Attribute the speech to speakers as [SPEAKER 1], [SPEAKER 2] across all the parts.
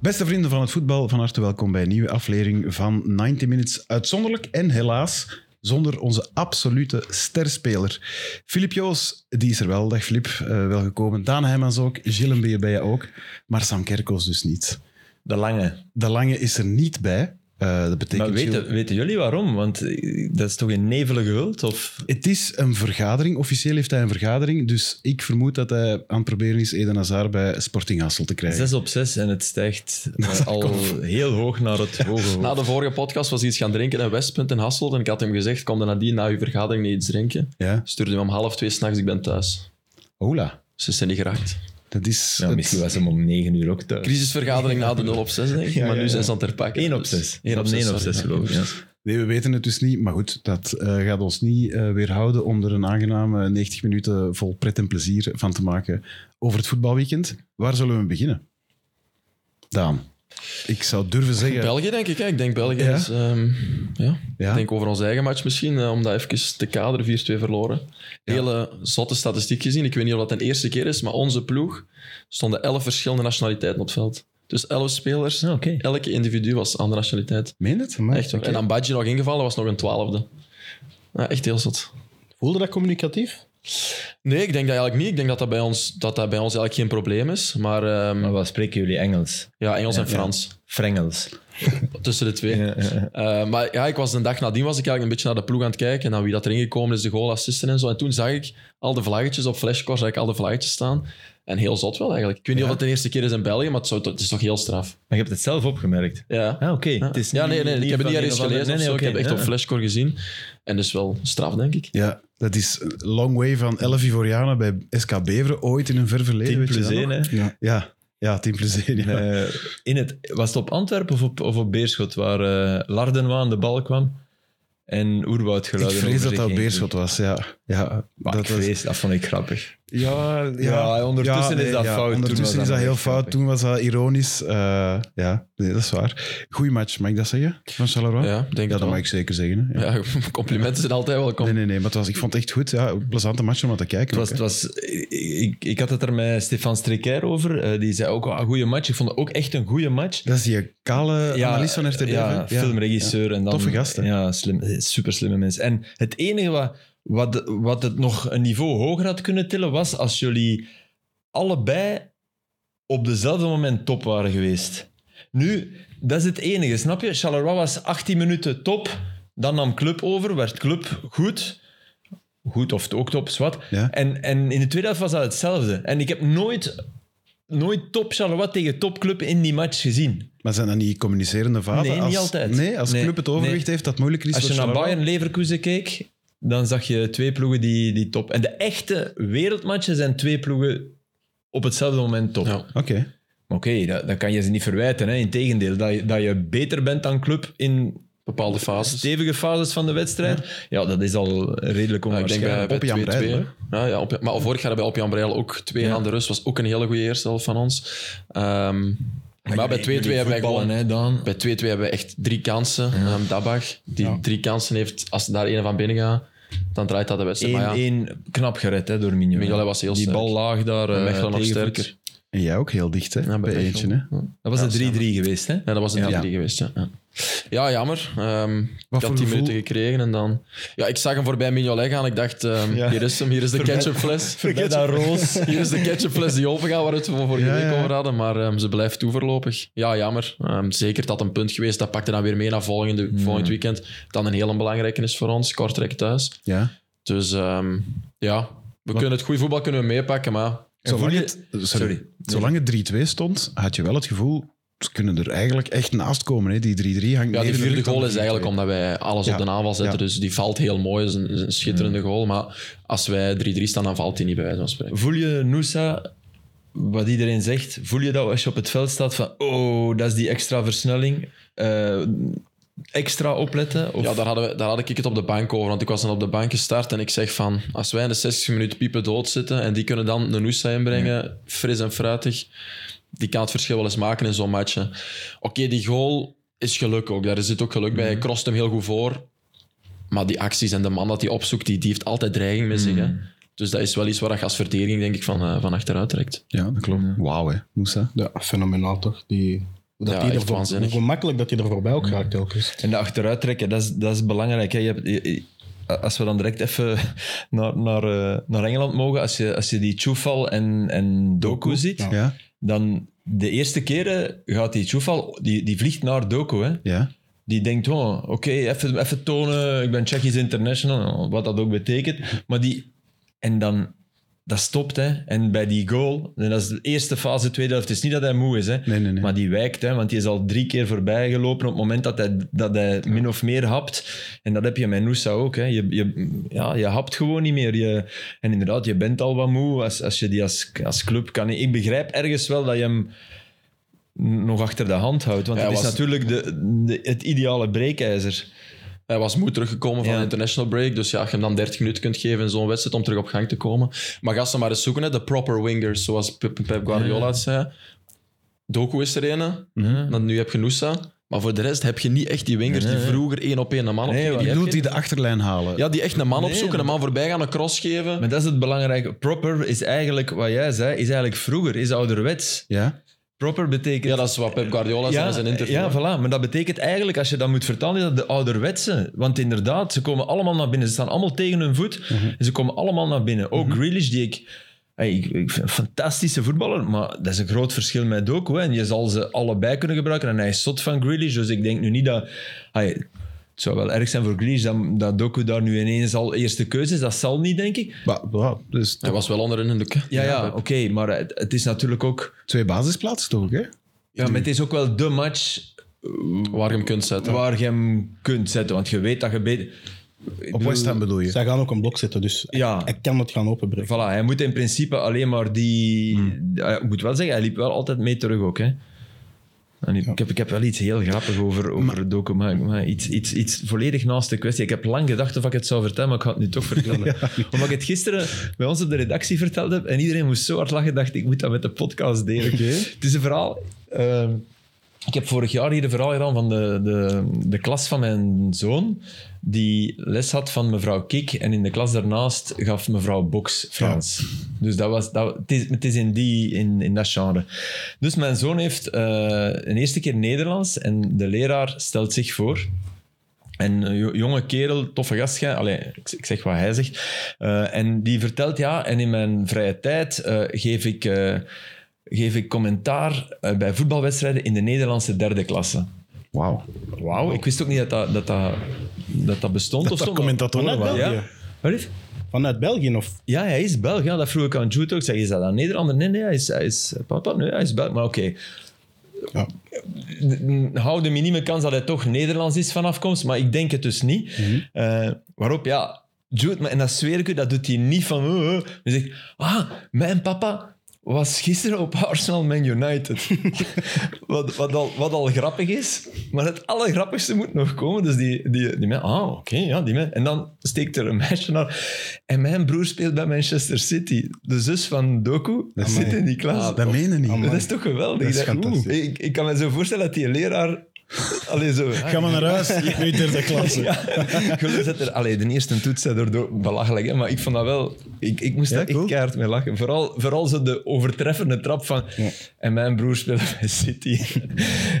[SPEAKER 1] Beste vrienden van het voetbal, van harte welkom bij een nieuwe aflevering van 90 Minutes. Uitzonderlijk en helaas zonder onze absolute sterspeler. Filip Joos, die is er wel. Dag Filip, eh, welgekomen. Daan Heijmans ook, Gillenbeer bij je ook, maar Sam Kerkos dus niet.
[SPEAKER 2] De lange.
[SPEAKER 1] De Lange is er niet bij. Eh, dat betekent
[SPEAKER 2] Maar
[SPEAKER 1] Gilles-
[SPEAKER 2] weten, weten jullie waarom? Want eh, dat is toch een nevelige hult? Of...
[SPEAKER 1] Het is een vergadering. Officieel heeft hij een vergadering. Dus ik vermoed dat hij aan het proberen is Eden Hazard bij Sporting Hassel te krijgen.
[SPEAKER 2] 6 op 6 en het stijgt eh, al heel hoog naar het hoge hoog.
[SPEAKER 3] Na de vorige podcast was hij iets gaan drinken in Westpunt in Hasselt. En ik had hem gezegd, kom dan nadien na uw vergadering niet iets drinken.
[SPEAKER 1] Ja.
[SPEAKER 3] Stuurde hem om half twee s'nachts, ik ben thuis.
[SPEAKER 1] Hola.
[SPEAKER 3] Dus ze zijn niet geraakt.
[SPEAKER 1] Dat is...
[SPEAKER 2] Ja,
[SPEAKER 1] het-
[SPEAKER 2] misschien was hem om 9 uur ook thuis.
[SPEAKER 3] Crisisvergadering na de 0 op 6, denk ik.
[SPEAKER 2] Ja,
[SPEAKER 3] maar
[SPEAKER 2] ja,
[SPEAKER 3] nu
[SPEAKER 2] ja.
[SPEAKER 3] zijn ze aan het herpakken.
[SPEAKER 2] 1 op
[SPEAKER 3] Dus
[SPEAKER 2] 6.
[SPEAKER 3] één
[SPEAKER 2] 1 op 1 op
[SPEAKER 3] sorry.
[SPEAKER 2] 6 geloof ik. Ja.
[SPEAKER 1] Nee, we weten het dus niet. Maar goed, dat eh, gaat ons niet eh, weerhouden om er een aangename 90 minuten vol pret en plezier van te maken over het voetbalweekend. Waar zullen we beginnen? Daan. Ik zou durven zeggen...
[SPEAKER 3] België, denk ik. Hè? Ik denk België
[SPEAKER 1] Ja.
[SPEAKER 3] is... ehm, ja.
[SPEAKER 1] Ja.
[SPEAKER 3] Ik denk over ons eigen match misschien, eh, om dat even te kaderen, 4-2 verloren. Hele zotte statistiek gezien. Ik weet niet of dat een eerste keer is, maar onze ploeg stonden 11 verschillende nationaliteiten op het veld. Dus 11 spelers,
[SPEAKER 2] Ah, oké.
[SPEAKER 3] elke individu was een andere nationaliteit.
[SPEAKER 1] Meen het?
[SPEAKER 3] Echt waar. En dan Badje nog ingevallen, was nog een twaalfde. Ja, echt heel zot.
[SPEAKER 4] Voelde dat communicatief?
[SPEAKER 3] Nee, ik denk dat eigenlijk niet. Ik denk dat dat bij ons, dat dat bij ons eigenlijk geen probleem is. Maar ehm,
[SPEAKER 2] Maar wat spreken jullie Engels?
[SPEAKER 3] ja, Engels en Frans.
[SPEAKER 2] Frengels.
[SPEAKER 3] Tussen de twee.
[SPEAKER 2] Ja, ja,
[SPEAKER 3] Eh, maar ja, ik was de dag nadien was ik eigenlijk een beetje naar de ploeg aan het kijken. En dan wie dat erin gekomen is, de goal, assisten en zo. En toen zag ik al de vlaggetjes op flashcores, zag ik al de vlaggetjes staan. En heel zot wel eigenlijk. Ik weet niet of het de eerste keer is in België, maar het, zou- het is toch heel straf.
[SPEAKER 2] Maar je hebt het zelf opgemerkt.
[SPEAKER 3] Ja.
[SPEAKER 2] Ah, oké. Het is
[SPEAKER 3] ja, nee, nee. Ik heb het
[SPEAKER 2] van
[SPEAKER 3] niet
[SPEAKER 2] een
[SPEAKER 3] ergens
[SPEAKER 2] of ander-
[SPEAKER 3] gelezen. of
[SPEAKER 2] Nee,
[SPEAKER 3] zo.
[SPEAKER 2] nee,
[SPEAKER 3] Ik heb het echt
[SPEAKER 2] oké,
[SPEAKER 3] op
[SPEAKER 2] ja.
[SPEAKER 3] flashcore gezien. En dus wel straf, denk ik.
[SPEAKER 1] Ja, dat is een long way van 11 Ivorianen bij SK Beveren ooit in een ver verleden.
[SPEAKER 2] 10
[SPEAKER 1] weet je
[SPEAKER 2] plus
[SPEAKER 1] dat
[SPEAKER 2] 1,
[SPEAKER 1] nog?
[SPEAKER 2] hè.
[SPEAKER 1] Ja. Ja, ja, 10 plus 1. Ja.
[SPEAKER 2] Eh, in het, was het op Antwerpen of op, of op Beerschot, waar eh Lardenwa aan de bal kwam en
[SPEAKER 1] ik
[SPEAKER 2] oerwoudgeluiden
[SPEAKER 1] vrees
[SPEAKER 2] over
[SPEAKER 1] dat
[SPEAKER 2] zich
[SPEAKER 1] dat
[SPEAKER 2] heen
[SPEAKER 1] Beerschot was, ja. ja
[SPEAKER 2] Maar
[SPEAKER 1] dat
[SPEAKER 2] ik
[SPEAKER 1] was-
[SPEAKER 2] vrees, dat vond ik grappig.
[SPEAKER 1] Ja, ja,
[SPEAKER 2] Ja, ondertussen is dat fout. Toen was
[SPEAKER 1] Ondertussen
[SPEAKER 2] dat
[SPEAKER 1] is dat heel
[SPEAKER 2] echt
[SPEAKER 1] fout.
[SPEAKER 2] grappig.
[SPEAKER 1] Toen was dat ironisch. Eh, ja, nee, dat is waar. Goeie match, mag ik dat zeggen? Van Charleroi?
[SPEAKER 3] Ja, denk
[SPEAKER 1] Ja,
[SPEAKER 3] ik
[SPEAKER 1] dat mag ik zeker zeggen. Hè. Ja.
[SPEAKER 3] Ja, complimenten zijn altijd welkom.
[SPEAKER 1] Nee, nee, nee. Maar het was, ik vond het echt goed. Ja, een plezante match om naar te kijken.
[SPEAKER 2] Het was,
[SPEAKER 1] ook,
[SPEAKER 2] het
[SPEAKER 1] hè.
[SPEAKER 2] was, ik, ik had het er met Stefan Strikker over. eh, die zei ook, een goede match. Ik vond het ook echt een goede match.
[SPEAKER 1] Dat is die kale eh, analist van RTBF.
[SPEAKER 2] ja,
[SPEAKER 1] hè? Ja.
[SPEAKER 2] filmregisseur. En dan,
[SPEAKER 1] Toffe gast, hè?
[SPEAKER 2] Ja, slim, super slimme mensen. En het enige wat, wat, wat het nog een niveau hoger had kunnen tillen, was als jullie allebei op dezelfde moment top waren geweest. Nu, dat is het enige, snap je? Charleroi was 18 minuten top, dan nam Club over, werd Club goed. Goed of ook top, zwart.
[SPEAKER 1] Ja.
[SPEAKER 2] En, en in de tweede helft was dat hetzelfde. En ik heb nooit, nooit top Charleroi tegen topclub in die match gezien.
[SPEAKER 1] Maar zijn dat niet communicerende vaten?
[SPEAKER 2] Nee,
[SPEAKER 1] als,
[SPEAKER 2] niet altijd.
[SPEAKER 1] Nee, als
[SPEAKER 2] Nee,
[SPEAKER 1] club het overwicht
[SPEAKER 2] nee.
[SPEAKER 1] heeft, dat het moeilijker is
[SPEAKER 2] Als je
[SPEAKER 1] voor
[SPEAKER 2] naar
[SPEAKER 1] Charleroi.
[SPEAKER 2] Bayern Leverkusen keek, dan zag je twee ploegen die, die top. En de echte wereldmatchen zijn twee ploegen op hetzelfde moment top.
[SPEAKER 3] Ja.
[SPEAKER 1] Oké.
[SPEAKER 2] Maar oké, dat, dat kan je ze niet verwijten. Hè. Integendeel, dat je, dat je beter bent dan club in
[SPEAKER 3] Bepaalde fases.
[SPEAKER 2] stevige fases van de wedstrijd. Ja, dat is al redelijk
[SPEAKER 3] Ja, ik denk eh, bij,
[SPEAKER 2] onwaarschijnlijk.
[SPEAKER 3] bij
[SPEAKER 1] Op Jan
[SPEAKER 3] 2-2.
[SPEAKER 1] Breidel,
[SPEAKER 3] Ja, ja, op, maar vorig jaar bij Op Jan Breidel ook 2 aan de rust. was ook een hele goede eerste helft van ons. Ehm, maar bij 2-2
[SPEAKER 2] Jullie
[SPEAKER 3] hebben wij
[SPEAKER 2] voetballen,
[SPEAKER 3] gewoon...
[SPEAKER 2] Hè, dan.
[SPEAKER 3] Bij 2-2 hebben we echt drie kansen. Ehm, Dabag, die drie kansen heeft. Als ze daar een van binnen gaat, dan draait dat de wedstrijd. Maar ja,
[SPEAKER 2] 1-1 knap gered hè, door Mignolet.
[SPEAKER 3] Mignolet was heel
[SPEAKER 2] Die
[SPEAKER 3] sterk.
[SPEAKER 2] bal laag daar. eh,
[SPEAKER 3] Mechelen nog
[SPEAKER 2] tegenvoet.
[SPEAKER 3] sterker.
[SPEAKER 1] En jij ook heel dicht, hè?
[SPEAKER 3] Ja, bij
[SPEAKER 1] bij
[SPEAKER 3] Mechelen.
[SPEAKER 1] eentje, hè?
[SPEAKER 2] Dat was
[SPEAKER 3] Ja,
[SPEAKER 2] het 3-3 geweest, hè?
[SPEAKER 3] Ja, dat was een 3-3
[SPEAKER 1] Ja.
[SPEAKER 3] geweest. Ja, ja. ja jammer. Ehm,
[SPEAKER 1] voor
[SPEAKER 3] ik had 10
[SPEAKER 1] gevoel?
[SPEAKER 3] minuten gekregen en dan... Ja, ik zag hem voorbij Mignolet gaan. Ik dacht, ehm,
[SPEAKER 2] Ja.
[SPEAKER 3] hier is hem, hier is de ketchupfles.
[SPEAKER 2] Bij dat roos.
[SPEAKER 3] Hier is de ketchupfles die opengaat waar we het voor vorige
[SPEAKER 1] Ja,
[SPEAKER 3] week
[SPEAKER 1] ja.
[SPEAKER 3] over hadden. Maar ehm, ze blijft toe voorlopig. Ja, jammer. Ehm, zeker dat een punt geweest. Dat pakte dan weer mee naar volgende, volgend weekend. Dan een heel belangrijke is voor ons. Kortrijk thuis.
[SPEAKER 1] Ja.
[SPEAKER 3] Dus ehm, ja, we kunnen het goede voetbal kunnen we meepakken. Maar
[SPEAKER 1] Zolang
[SPEAKER 2] je-
[SPEAKER 1] het, sorry.
[SPEAKER 2] Sorry. Nee.
[SPEAKER 1] Zolang het 3-2 stond, had je wel het gevoel, ze kunnen er eigenlijk echt naast komen. Hè? Die 3-3 hangt meer
[SPEAKER 3] Ja, die
[SPEAKER 1] in de
[SPEAKER 3] vierde
[SPEAKER 1] lucht dan
[SPEAKER 3] goal
[SPEAKER 1] de
[SPEAKER 3] is
[SPEAKER 1] 3-2.
[SPEAKER 3] eigenlijk omdat wij alles
[SPEAKER 1] Ja,
[SPEAKER 3] op de aanval zetten.
[SPEAKER 1] ja.
[SPEAKER 3] Dus die valt heel mooi. is een, is een schitterende goal. Maar als wij 3-3 staan, dan valt die niet bij wijze van spreken.
[SPEAKER 2] Voel je, Noosa, wat iedereen zegt, voel je dat als je op het veld staat van oh, dat is die extra versnelling. eh, extra opletten? Of,
[SPEAKER 3] Ja, daar, hadden we, daar had ik het op de bank over. Want ik was dan op de bank gestart en ik zeg van... Als wij in de 60 minuten piepen dood zitten en die kunnen dan een Noosa inbrengen, fris en fruitig, die kan het verschil wel eens maken in zo'n match. hè. Oké, die goal is geluk ook. Daar zit ook geluk bij. Hij crost hem heel goed voor. Maar die acties en de man dat hij opzoekt, die, die heeft altijd dreiging met zich. Hè. Dus dat is wel iets waar je als verdediging denk ik, van, eh, van achteruit trekt.
[SPEAKER 1] Ja, dat klopt. Wauw, hè, Moussa.
[SPEAKER 4] Ja, fenomenaal toch? Die Dat
[SPEAKER 3] Ja,
[SPEAKER 4] hij
[SPEAKER 3] echt
[SPEAKER 4] er voor-
[SPEAKER 3] waanzinnig.
[SPEAKER 4] Hoe gemakkelijk dat hij er voorbij ook Dus raakt telkens.
[SPEAKER 2] En de achteruit trekken, dat is, dat is belangrijk. Hè. Je hebt, je- je- als we dan direct even naar, naar, eh, naar Engeland mogen, als je, als je die Chufal en, en Doku ziet,
[SPEAKER 4] ja.
[SPEAKER 1] Ja,
[SPEAKER 2] dan de eerste keren gaat die Chufal, die, die vliegt naar Doku. Hè.
[SPEAKER 1] ja.
[SPEAKER 2] Die denkt, oh, oké, even, even tonen, ik ben Tsjechisch international, wat dat ook betekent. Maar die, en dan, dat stopt, hè. En bij die goal, en dat is de eerste fase, tweede helft, het is niet dat hij moe is, hè.
[SPEAKER 1] Nee, nee, nee.
[SPEAKER 2] Maar die wijkt, hè, want die is al drie keer voorbij gelopen op het moment dat hij, dat hij min of meer hapt. En dat heb je met Noosa ook. Hè. Je, je, ja, je hapt gewoon niet meer. Je, en inderdaad, je bent al wat moe als, als je die als, als club kan. Ik begrijp ergens wel dat je hem nog achter de hand houdt. Want
[SPEAKER 3] Hij
[SPEAKER 2] het is
[SPEAKER 3] was-
[SPEAKER 2] natuurlijk de, de- het ideale breekijzer.
[SPEAKER 3] Hij was moe teruggekomen van
[SPEAKER 2] Ja.
[SPEAKER 3] de international break. Dus ja, als je hem dan 30 minuten kunt geven in zo'n wedstrijd om terug op gang te komen. Maar ga ze maar eens zoeken, hè, de proper wingers, zoals Pep Pep Guardiola het zei. Doku is er ene, dan nu heb je Nusa. Maar voor de rest heb je niet echt die wingers
[SPEAKER 2] Nee,
[SPEAKER 3] die
[SPEAKER 2] nee.
[SPEAKER 3] vroeger één op één een man
[SPEAKER 2] Nee,
[SPEAKER 3] opgingen.
[SPEAKER 2] want
[SPEAKER 3] Die
[SPEAKER 1] Je
[SPEAKER 3] heb
[SPEAKER 1] moet
[SPEAKER 3] je-
[SPEAKER 1] die de achterlijn halen.
[SPEAKER 3] Ja, die echt een man
[SPEAKER 2] Nee,
[SPEAKER 3] opzoeken, een man voorbij gaan, een cross geven.
[SPEAKER 2] Maar dat is het belangrijke. Proper is eigenlijk, wat jij zei, is eigenlijk vroeger, is ouderwets.
[SPEAKER 1] Ja?
[SPEAKER 2] Proper betekent...
[SPEAKER 3] Ja, dat is wat Pep Guardiola zei in zijn interview.
[SPEAKER 2] Ja, voilà. Maar dat betekent eigenlijk, als je dat moet vertalen, is dat de ouderwetse. Want inderdaad, ze komen allemaal naar binnen. Ze staan allemaal tegen hun voet. En ze komen allemaal naar binnen. Ook Grealish, die ik... hey, ik, ik vind een fantastische voetballer, maar dat is een groot verschil met Doku. hè. En je zal ze allebei kunnen gebruiken. En hij is zot van Grealish, dus ik denk nu niet dat... hey, het zou wel erg zijn voor Grealish dat, dat Doku daar nu ineens al eerste keuze is. Dat zal niet, denk ik.
[SPEAKER 1] Maar, wow, dus
[SPEAKER 3] Hij was wel onderin in de k-
[SPEAKER 2] Ja, ja,
[SPEAKER 3] Pep.
[SPEAKER 2] oké. maar het, het is natuurlijk ook...
[SPEAKER 1] twee basisplaatsen toch, hè?
[SPEAKER 2] Ja, maar het is ook wel de match eh,
[SPEAKER 3] Waar je hem kunt zetten.
[SPEAKER 2] waar je hem kunt zetten. Want je weet dat je beter... Ik
[SPEAKER 1] Op
[SPEAKER 2] bedoel,
[SPEAKER 1] West Ham bedoel je?
[SPEAKER 4] Zij gaan ook een blok zetten, dus
[SPEAKER 2] Ja.
[SPEAKER 4] hij kan het gaan openbreken.
[SPEAKER 2] Voilà, hij moet in principe alleen maar die...
[SPEAKER 3] Hmm.
[SPEAKER 2] Eh, Ik moet wel zeggen, hij liep wel altijd mee terug ook. Hè? En ik, ik heb, ik heb wel iets heel grappigs over, over het docu, maar, maar iets, iets, iets volledig naast de kwestie. Ik heb lang gedacht of ik het zou vertellen, maar ik ga het nu toch vertellen. Omdat ik het gisteren bij ons op de redactie verteld heb en iedereen moest zo hard lachen, dacht ik moet dat met de podcast delen. Het is een verhaal... ehm, ik heb vorig jaar hier een verhaal gedaan van de, de, de klas van mijn zoon, die les had van mevrouw Kik. En in de klas daarnaast gaf mevrouw Boks Frans. Dus dat was, dat, het is, het is in, die, in, in dat genre. Dus mijn zoon heeft eh, een eerste keer Nederlands en de leraar stelt zich voor. En een jo- jonge kerel, toffe gast, gij- allee, ik, ik zeg wat hij zegt. Eh, en die vertelt, ja, en in mijn vrije tijd eh, geef, ik, eh, geef ik commentaar eh, bij voetbalwedstrijden in de Nederlandse derde klasse.
[SPEAKER 1] Wauw.
[SPEAKER 2] Wauw, ik wist ook niet dat dat, dat, dat, dat, dat bestond of
[SPEAKER 1] dat
[SPEAKER 2] zo.
[SPEAKER 1] commentatoren
[SPEAKER 2] maar-
[SPEAKER 4] waren.
[SPEAKER 2] Ja. Wat is?
[SPEAKER 4] Vanuit België of...
[SPEAKER 2] Ja, hij is Belg. Ja, dat vroeg ik aan Jude ook. Ik Zeg, is dat aan Nederlander? Nee, nee, hij is, hij is papa. Nee, hij is Belg. Maar oké.
[SPEAKER 4] Ja.
[SPEAKER 2] N- Hou de minieme kans dat hij toch Nederlands is van afkomst. Maar ik denk het dus niet. Eh, waarop, ja, Jude, maar, en dat zweer ik u, dat doet hij niet van... eh, eh. Hij zegt, ah, mijn papa was gisteren op Arsenal Man United. wat, wat, al, wat al grappig is. Maar het allergrappigste moet nog komen. Dus die, die, die man, ah, oké, ja, die man. En dan steekt er een meisje naar. En mijn broer speelt bij Manchester City. De zus van Doku
[SPEAKER 1] Dat is-
[SPEAKER 2] zit in die
[SPEAKER 3] Ah,
[SPEAKER 2] klas.
[SPEAKER 1] Dat meen je niet.
[SPEAKER 4] Amai.
[SPEAKER 2] dat is toch geweldig?
[SPEAKER 4] Oh, Dat is
[SPEAKER 2] Ik dacht, oeh,
[SPEAKER 4] fantastisch.
[SPEAKER 2] ik, ik kan me zo voorstellen dat die leraar... Allee, zo,
[SPEAKER 1] Ga maar naar huis, ik weet derde klasse.
[SPEAKER 2] ja, gelukkig dat er... Allee, de eerste toets zijn door belachelijk, hè, maar ik vond dat wel... Ik, ik moest
[SPEAKER 1] Ja,
[SPEAKER 2] daar
[SPEAKER 1] cool.
[SPEAKER 2] echt keihard mee lachen. Vooral, vooral zo de overtreffende trap van... En mijn broer speelde bij City.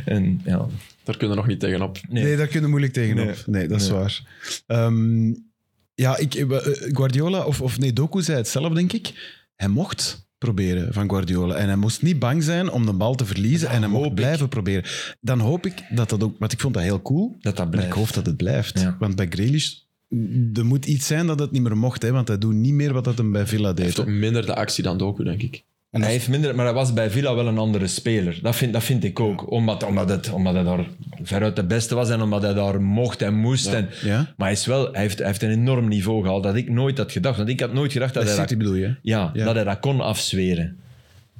[SPEAKER 2] en ja...
[SPEAKER 3] Daar kunnen we nog niet tegenop.
[SPEAKER 1] Nee, daar kunnen we moeilijk tegenop. Nee, dat is waar. Ehm, ja, ik, eh, Guardiola, of, of nee, Doku zei het zelf, denk ik. Hij mocht proberen van Guardiola. En hij moest niet bang zijn om de bal te verliezen. en hij mocht blijven proberen. Dan hoop ik dat dat ook... Want ik vond dat heel cool.
[SPEAKER 2] Dat dat
[SPEAKER 1] Maar
[SPEAKER 2] blijft.
[SPEAKER 1] ik hoop dat het blijft.
[SPEAKER 2] Ja.
[SPEAKER 1] Want bij Grealish... m, Er moet iets zijn dat het niet meer mocht, hè, want hij doet niet meer wat dat hem bij Villa
[SPEAKER 3] Heeft
[SPEAKER 1] deed.
[SPEAKER 3] ook minder de actie dan Doku, denk ik.
[SPEAKER 4] En
[SPEAKER 2] hij
[SPEAKER 4] dat
[SPEAKER 2] heeft minder, maar hij was bij Villa wel een andere speler. Dat vind, dat vind ik ook. Omdat, omdat, het, omdat hij daar veruit de beste was en omdat hij daar mocht en moest. En,
[SPEAKER 1] Ja?
[SPEAKER 2] Maar hij, is wel, hij, heeft, hij heeft een enorm niveau gehaald dat ik nooit had gedacht. Want ik had nooit gedacht dat,
[SPEAKER 1] Bij
[SPEAKER 2] hij,
[SPEAKER 1] City
[SPEAKER 2] dat,
[SPEAKER 1] bedoel je? hè?
[SPEAKER 2] ja,
[SPEAKER 1] Ja.
[SPEAKER 2] dat hij dat kon afzweren.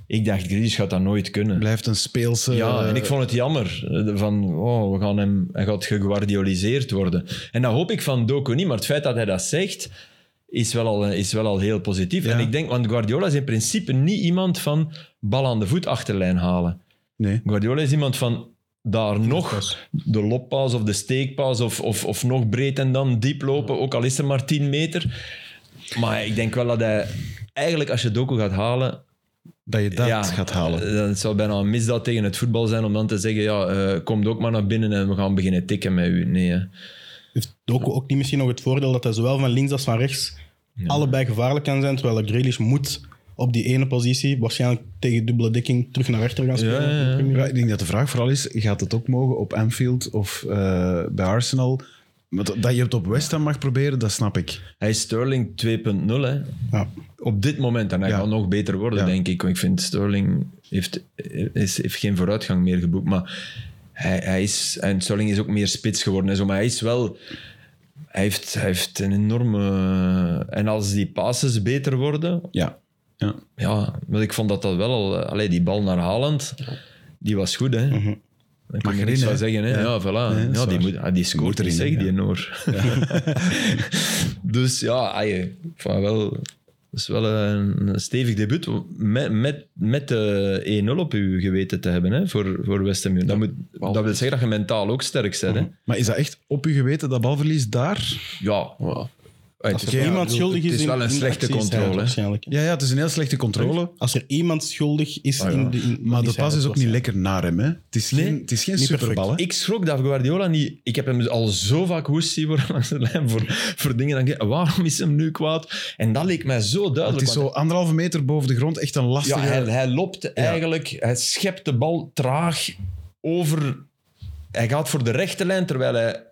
[SPEAKER 2] Ik dacht, Grealish gaat dat nooit kunnen.
[SPEAKER 1] Blijft een speelse...
[SPEAKER 2] Ja,
[SPEAKER 1] eh,
[SPEAKER 2] en ik vond het jammer. eh, Van, oh, we gaan hem, hij gaat geguardioliseerd worden. En dat hoop ik van Doku niet, maar het feit dat hij dat zegt, is wel al, eh, is wel al heel positief.
[SPEAKER 1] Ja.
[SPEAKER 2] En ik denk, want Guardiola is in principe niet iemand van bal aan de voet achterlijn halen.
[SPEAKER 1] Nee.
[SPEAKER 2] Guardiola is iemand van daar nog de loppaas of de steekpaas of, of, of nog breed en dan diep lopen, ook al is er maar 10 meter. Maar ik denk wel dat hij eigenlijk als je Doku gaat halen,
[SPEAKER 1] dat je dat gaat halen.
[SPEAKER 2] eh, Het zou bijna een misdaad tegen het voetbal zijn om dan te zeggen, ja, eh komt ook maar naar binnen en we gaan beginnen tikken met u. Nee, hè.
[SPEAKER 4] Heeft ook, ook niet misschien nog het voordeel dat hij zowel van links als van rechts allebei gevaarlijk kan zijn, terwijl Grealish moet op die ene positie, waarschijnlijk tegen dubbele dekking, terug naar achter gaan spelen.
[SPEAKER 2] ja, ja.
[SPEAKER 4] in de Premier
[SPEAKER 1] Ja,
[SPEAKER 4] League.
[SPEAKER 1] ik denk dat de vraag vooral is, gaat het ook mogen op Anfield of eh, bij Arsenal? Want dat- dat je het op West Ham mag proberen, dat snap ik.
[SPEAKER 2] Hij is Sterling 2.0, hè.
[SPEAKER 4] Ja.
[SPEAKER 2] Op dit moment. En hij
[SPEAKER 1] Ja.
[SPEAKER 2] kan nog beter worden,
[SPEAKER 1] Ja.
[SPEAKER 2] denk ik. Want ik vind Sterling heeft, is, heeft geen vooruitgang meer geboekt. Maar hij, hij is... En Sterling is ook meer spits geworden. En zo, maar hij is wel... Hij heeft, hij heeft een enorme... eh, En als die passes beter worden,
[SPEAKER 1] Ja. ja.
[SPEAKER 2] Ja, want ik vond dat dat wel al... eh, Allee, die bal naar Haaland, die was goed, hè. Dan kan
[SPEAKER 1] Mag
[SPEAKER 2] je
[SPEAKER 1] erin,
[SPEAKER 2] niks
[SPEAKER 1] hè?
[SPEAKER 2] van zeggen, hè. Ja, voilà.
[SPEAKER 1] Nee, dat is
[SPEAKER 2] ja, die,
[SPEAKER 1] waar.
[SPEAKER 2] moet, ah, die scoort
[SPEAKER 1] Moet erin,
[SPEAKER 2] erin, zeg,
[SPEAKER 1] hè,
[SPEAKER 2] die
[SPEAKER 1] ja.
[SPEAKER 2] Noor. dus ja, ai, van wel... Dat is wel een een stevig debuut met, met, met de 1-0 op je geweten te hebben hè, voor, voor West Ham. United. Dat, moet,
[SPEAKER 3] wel.
[SPEAKER 2] dat wil zeggen dat je mentaal ook sterk bent. Hè?
[SPEAKER 1] Maar is dat echt op je geweten, dat balverlies daar?
[SPEAKER 2] Ja,
[SPEAKER 3] Wow.
[SPEAKER 2] uit-
[SPEAKER 4] Als er
[SPEAKER 1] Ja,
[SPEAKER 4] iemand
[SPEAKER 2] ik bedoel,
[SPEAKER 4] schuldig is
[SPEAKER 2] Het is
[SPEAKER 4] in-
[SPEAKER 2] wel een
[SPEAKER 4] in de
[SPEAKER 2] slechte
[SPEAKER 4] acties,
[SPEAKER 2] controle.
[SPEAKER 4] ja,
[SPEAKER 2] hè.
[SPEAKER 4] waarschijnlijk.
[SPEAKER 1] Ja, ja het is een heel slechte controle.
[SPEAKER 4] Als er iemand schuldig is
[SPEAKER 2] Ah, ja.
[SPEAKER 4] in de... in-
[SPEAKER 1] Maar de
[SPEAKER 4] hij
[SPEAKER 1] pas
[SPEAKER 4] het
[SPEAKER 1] is ook niet lekker naar hem. Hè. Het is
[SPEAKER 2] Nee,
[SPEAKER 1] geen, het is geen
[SPEAKER 4] niet
[SPEAKER 1] superbal. Hè.
[SPEAKER 2] Ik schrok dat Guardiola niet... Ik heb hem dus al zo vaak woest zien worden langs de lijn voor, voor dingen. Dan denk ik, waarom is hem nu kwaad? En dat leek mij zo
[SPEAKER 1] Het
[SPEAKER 2] duidelijk.
[SPEAKER 1] is zo
[SPEAKER 2] want-
[SPEAKER 1] anderhalve meter boven de grond, echt een lastige...
[SPEAKER 2] ja, hij, hij loopt eigenlijk... Hij schept de bal traag over... Hij gaat voor de rechterlijn, terwijl hij...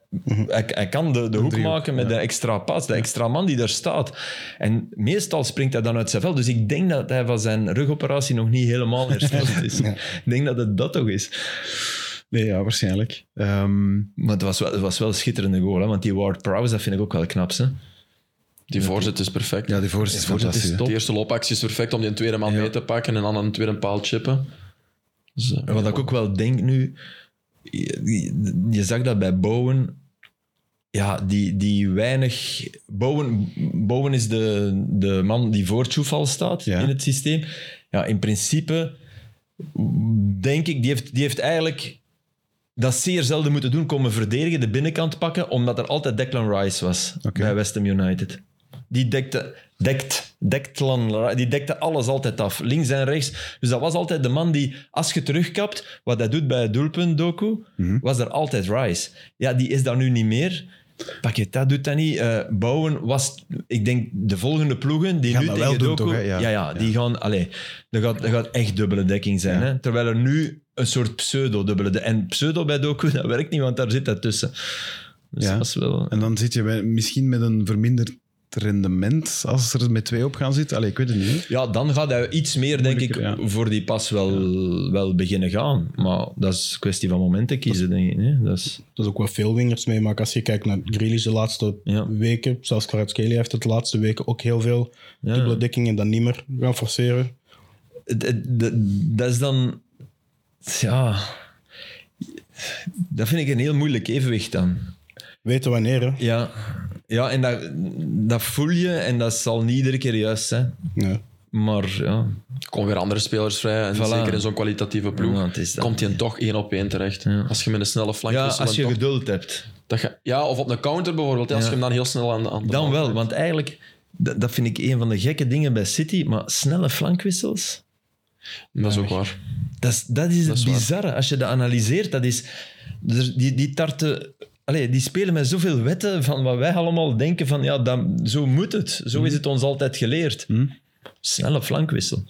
[SPEAKER 2] Hij, hij kan de, de hoek
[SPEAKER 1] Mhm. driehoek,
[SPEAKER 2] maken met
[SPEAKER 1] ja.
[SPEAKER 2] de extra pas, de extra man die daar staat. En meestal springt hij dan uit zijn vel. Dus ik denk dat hij van zijn rugoperatie nog niet helemaal hersteld is. Ik denk dat het dat toch is.
[SPEAKER 1] Nee, ja, waarschijnlijk. Ehm,
[SPEAKER 2] Maar het was wel, het was wel een schitterende goal, hè? want die Ward Prowse, dat vind ik ook wel knap. Hè?
[SPEAKER 3] Die voorzet is perfect.
[SPEAKER 1] ja, die voorzet is
[SPEAKER 2] Die voorzet is
[SPEAKER 1] fantastisch. hè.
[SPEAKER 2] top.
[SPEAKER 3] De eerste loopactie is perfect om die tweede man mee te pakken en dan een tweede paal chippen. Dus, eh,
[SPEAKER 2] En wat ik ook wel denk nu, je, je zag dat bij Bowen, ja, die, die weinig. Bowen, Bowen is de, de man die voor Tjoefal staat
[SPEAKER 1] Ja.
[SPEAKER 2] in het systeem. Ja, in principe denk ik, die heeft, die heeft eigenlijk dat zeer zelden moeten doen, komen verdedigen, de binnenkant pakken, omdat er altijd Declan Rice was
[SPEAKER 1] Oké.
[SPEAKER 2] bij West Ham United. Die dekte, dekt, Declan Ri- die dekte alles altijd af, links en rechts. Dus dat was altijd de man die, als je terugkapt, wat hij doet bij het doelpunt Doku,
[SPEAKER 1] Mhm.
[SPEAKER 2] was er altijd Rice. Ja, die is daar nu niet meer. Paqueta doet dat niet. Eh, Bouwen was, ik denk, de volgende ploegen die
[SPEAKER 1] Gaan
[SPEAKER 2] nu
[SPEAKER 1] dat
[SPEAKER 2] tegen
[SPEAKER 1] wel doen,
[SPEAKER 2] Doku...
[SPEAKER 1] toch, hè? Ja.
[SPEAKER 2] ja, ja, die gaan... Allee, er gaat, er gaat echt dubbele dekking zijn.
[SPEAKER 1] Ja.
[SPEAKER 2] Hè? Terwijl er nu een soort pseudo-dubbele... de- En pseudo bij Doku, dat werkt niet, want daar zit dat tussen. Dus
[SPEAKER 1] Ja.
[SPEAKER 2] dat is wel...
[SPEAKER 1] En dan zit je bij- misschien met een verminderd rendement als er met twee op gaan zitten. Allee, ik weet het niet.
[SPEAKER 2] Ja, dan gaat hij iets meer, denk ik,
[SPEAKER 1] Moeilijker, ja.
[SPEAKER 2] voor die pas wel, wel beginnen gaan. Maar dat is een kwestie van momenten kiezen, denk ik. Hè? Dat is...
[SPEAKER 4] Dat is ook wel veel wingers mee, maar als je kijkt naar Grealish de laatste
[SPEAKER 2] Ja.
[SPEAKER 4] weken, zelfs Kvaratskhelia heeft het de laatste weken ook heel veel
[SPEAKER 2] Ja.
[SPEAKER 4] dubbele dekkingen dan niet meer gaan forceren.
[SPEAKER 2] Het- het- de- dat is dan... Ja... Dat vind ik een heel moeilijk evenwicht dan.
[SPEAKER 4] Weten wanneer, hè?
[SPEAKER 2] Ja, ja en dat, dat voel je en dat zal niet iedere keer juist zijn.
[SPEAKER 4] Ja.
[SPEAKER 2] Maar ja,
[SPEAKER 3] Er komen weer andere spelers vrij. En
[SPEAKER 2] Voilà.
[SPEAKER 3] zeker in zo'n kwalitatieve ploeg
[SPEAKER 2] Ja, het is dat.
[SPEAKER 3] komt hij toch één op één terecht. Als je met een snelle flank
[SPEAKER 2] ja
[SPEAKER 3] wisselt,
[SPEAKER 2] als je
[SPEAKER 3] dan toch-
[SPEAKER 2] geduld hebt,
[SPEAKER 3] dat je- ja, of op een counter bijvoorbeeld. hè, Als
[SPEAKER 2] Ja.
[SPEAKER 3] je hem dan heel snel aan de aan de
[SPEAKER 2] dan
[SPEAKER 3] bal
[SPEAKER 2] wel.
[SPEAKER 3] krijgt.
[SPEAKER 2] Want eigenlijk, dat, dat vind ik een van de gekke dingen bij City, maar snelle flankwissels,
[SPEAKER 3] Dat is ook waar.
[SPEAKER 2] dat is, dat is het
[SPEAKER 3] Dat is waar.
[SPEAKER 2] bizarre. Als je dat analyseert, dat is... er- Die, die tarten... Allee, die spelen met zoveel wetten van wat wij allemaal denken van, ja, dan, zo moet het. Zo is het ons altijd geleerd. Snelle flankwissel.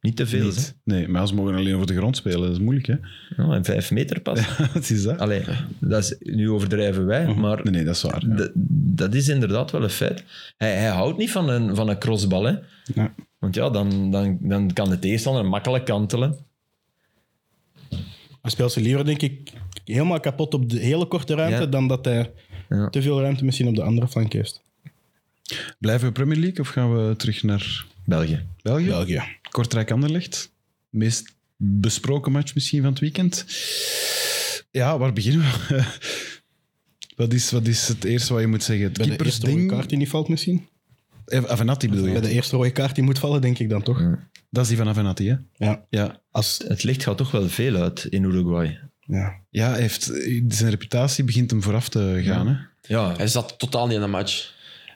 [SPEAKER 2] Niet te veel,
[SPEAKER 1] Niet. Nee, maar ze mogen alleen over de grond spelen. Dat is moeilijk, hè?
[SPEAKER 2] hè. Ja, Mhm. en vijf meter pas.
[SPEAKER 1] Het is dat.
[SPEAKER 2] Allee, dat is, nu overdrijven wij, maar
[SPEAKER 1] Nee, nee, dat is waar. ja.
[SPEAKER 2] d- dat is inderdaad wel een feit. Hij, hij houdt niet van een, van een crossbal, hè.
[SPEAKER 4] Ja.
[SPEAKER 2] Want ja, dan, dan, dan kan de tegenstander makkelijk kantelen.
[SPEAKER 4] Hij speelt ze liever, denk ik, helemaal kapot op de hele korte ruimte
[SPEAKER 2] Ja.
[SPEAKER 4] dan dat hij
[SPEAKER 2] Ja.
[SPEAKER 4] te veel ruimte misschien op de andere flank heeft.
[SPEAKER 1] Blijven we Premier League of gaan we terug naar
[SPEAKER 2] België.
[SPEAKER 1] België?
[SPEAKER 4] België.
[SPEAKER 1] Kortrijk Anderlecht. Meest besproken match misschien van het weekend. Ja, waar beginnen we? Wat is, wat is het eerste wat je moet zeggen? Het
[SPEAKER 4] Bij de eerste rode kaart
[SPEAKER 1] keepersding.
[SPEAKER 4] die niet valt misschien?
[SPEAKER 1] Eh, Avenatti bedoel
[SPEAKER 4] Bij
[SPEAKER 1] je?
[SPEAKER 4] de e- eerste rode kaart die moet vallen, denk ik dan toch?
[SPEAKER 1] Dat is die van Avenatti, hè?
[SPEAKER 4] Ja.
[SPEAKER 1] Ja.
[SPEAKER 4] Als,
[SPEAKER 2] Het licht gaat toch wel veel uit in Uruguay.
[SPEAKER 4] ja.
[SPEAKER 1] Ja, hij heeft, zijn reputatie begint hem vooraf te gaan, hè?
[SPEAKER 2] Ja,
[SPEAKER 3] Hij zat totaal niet in de match.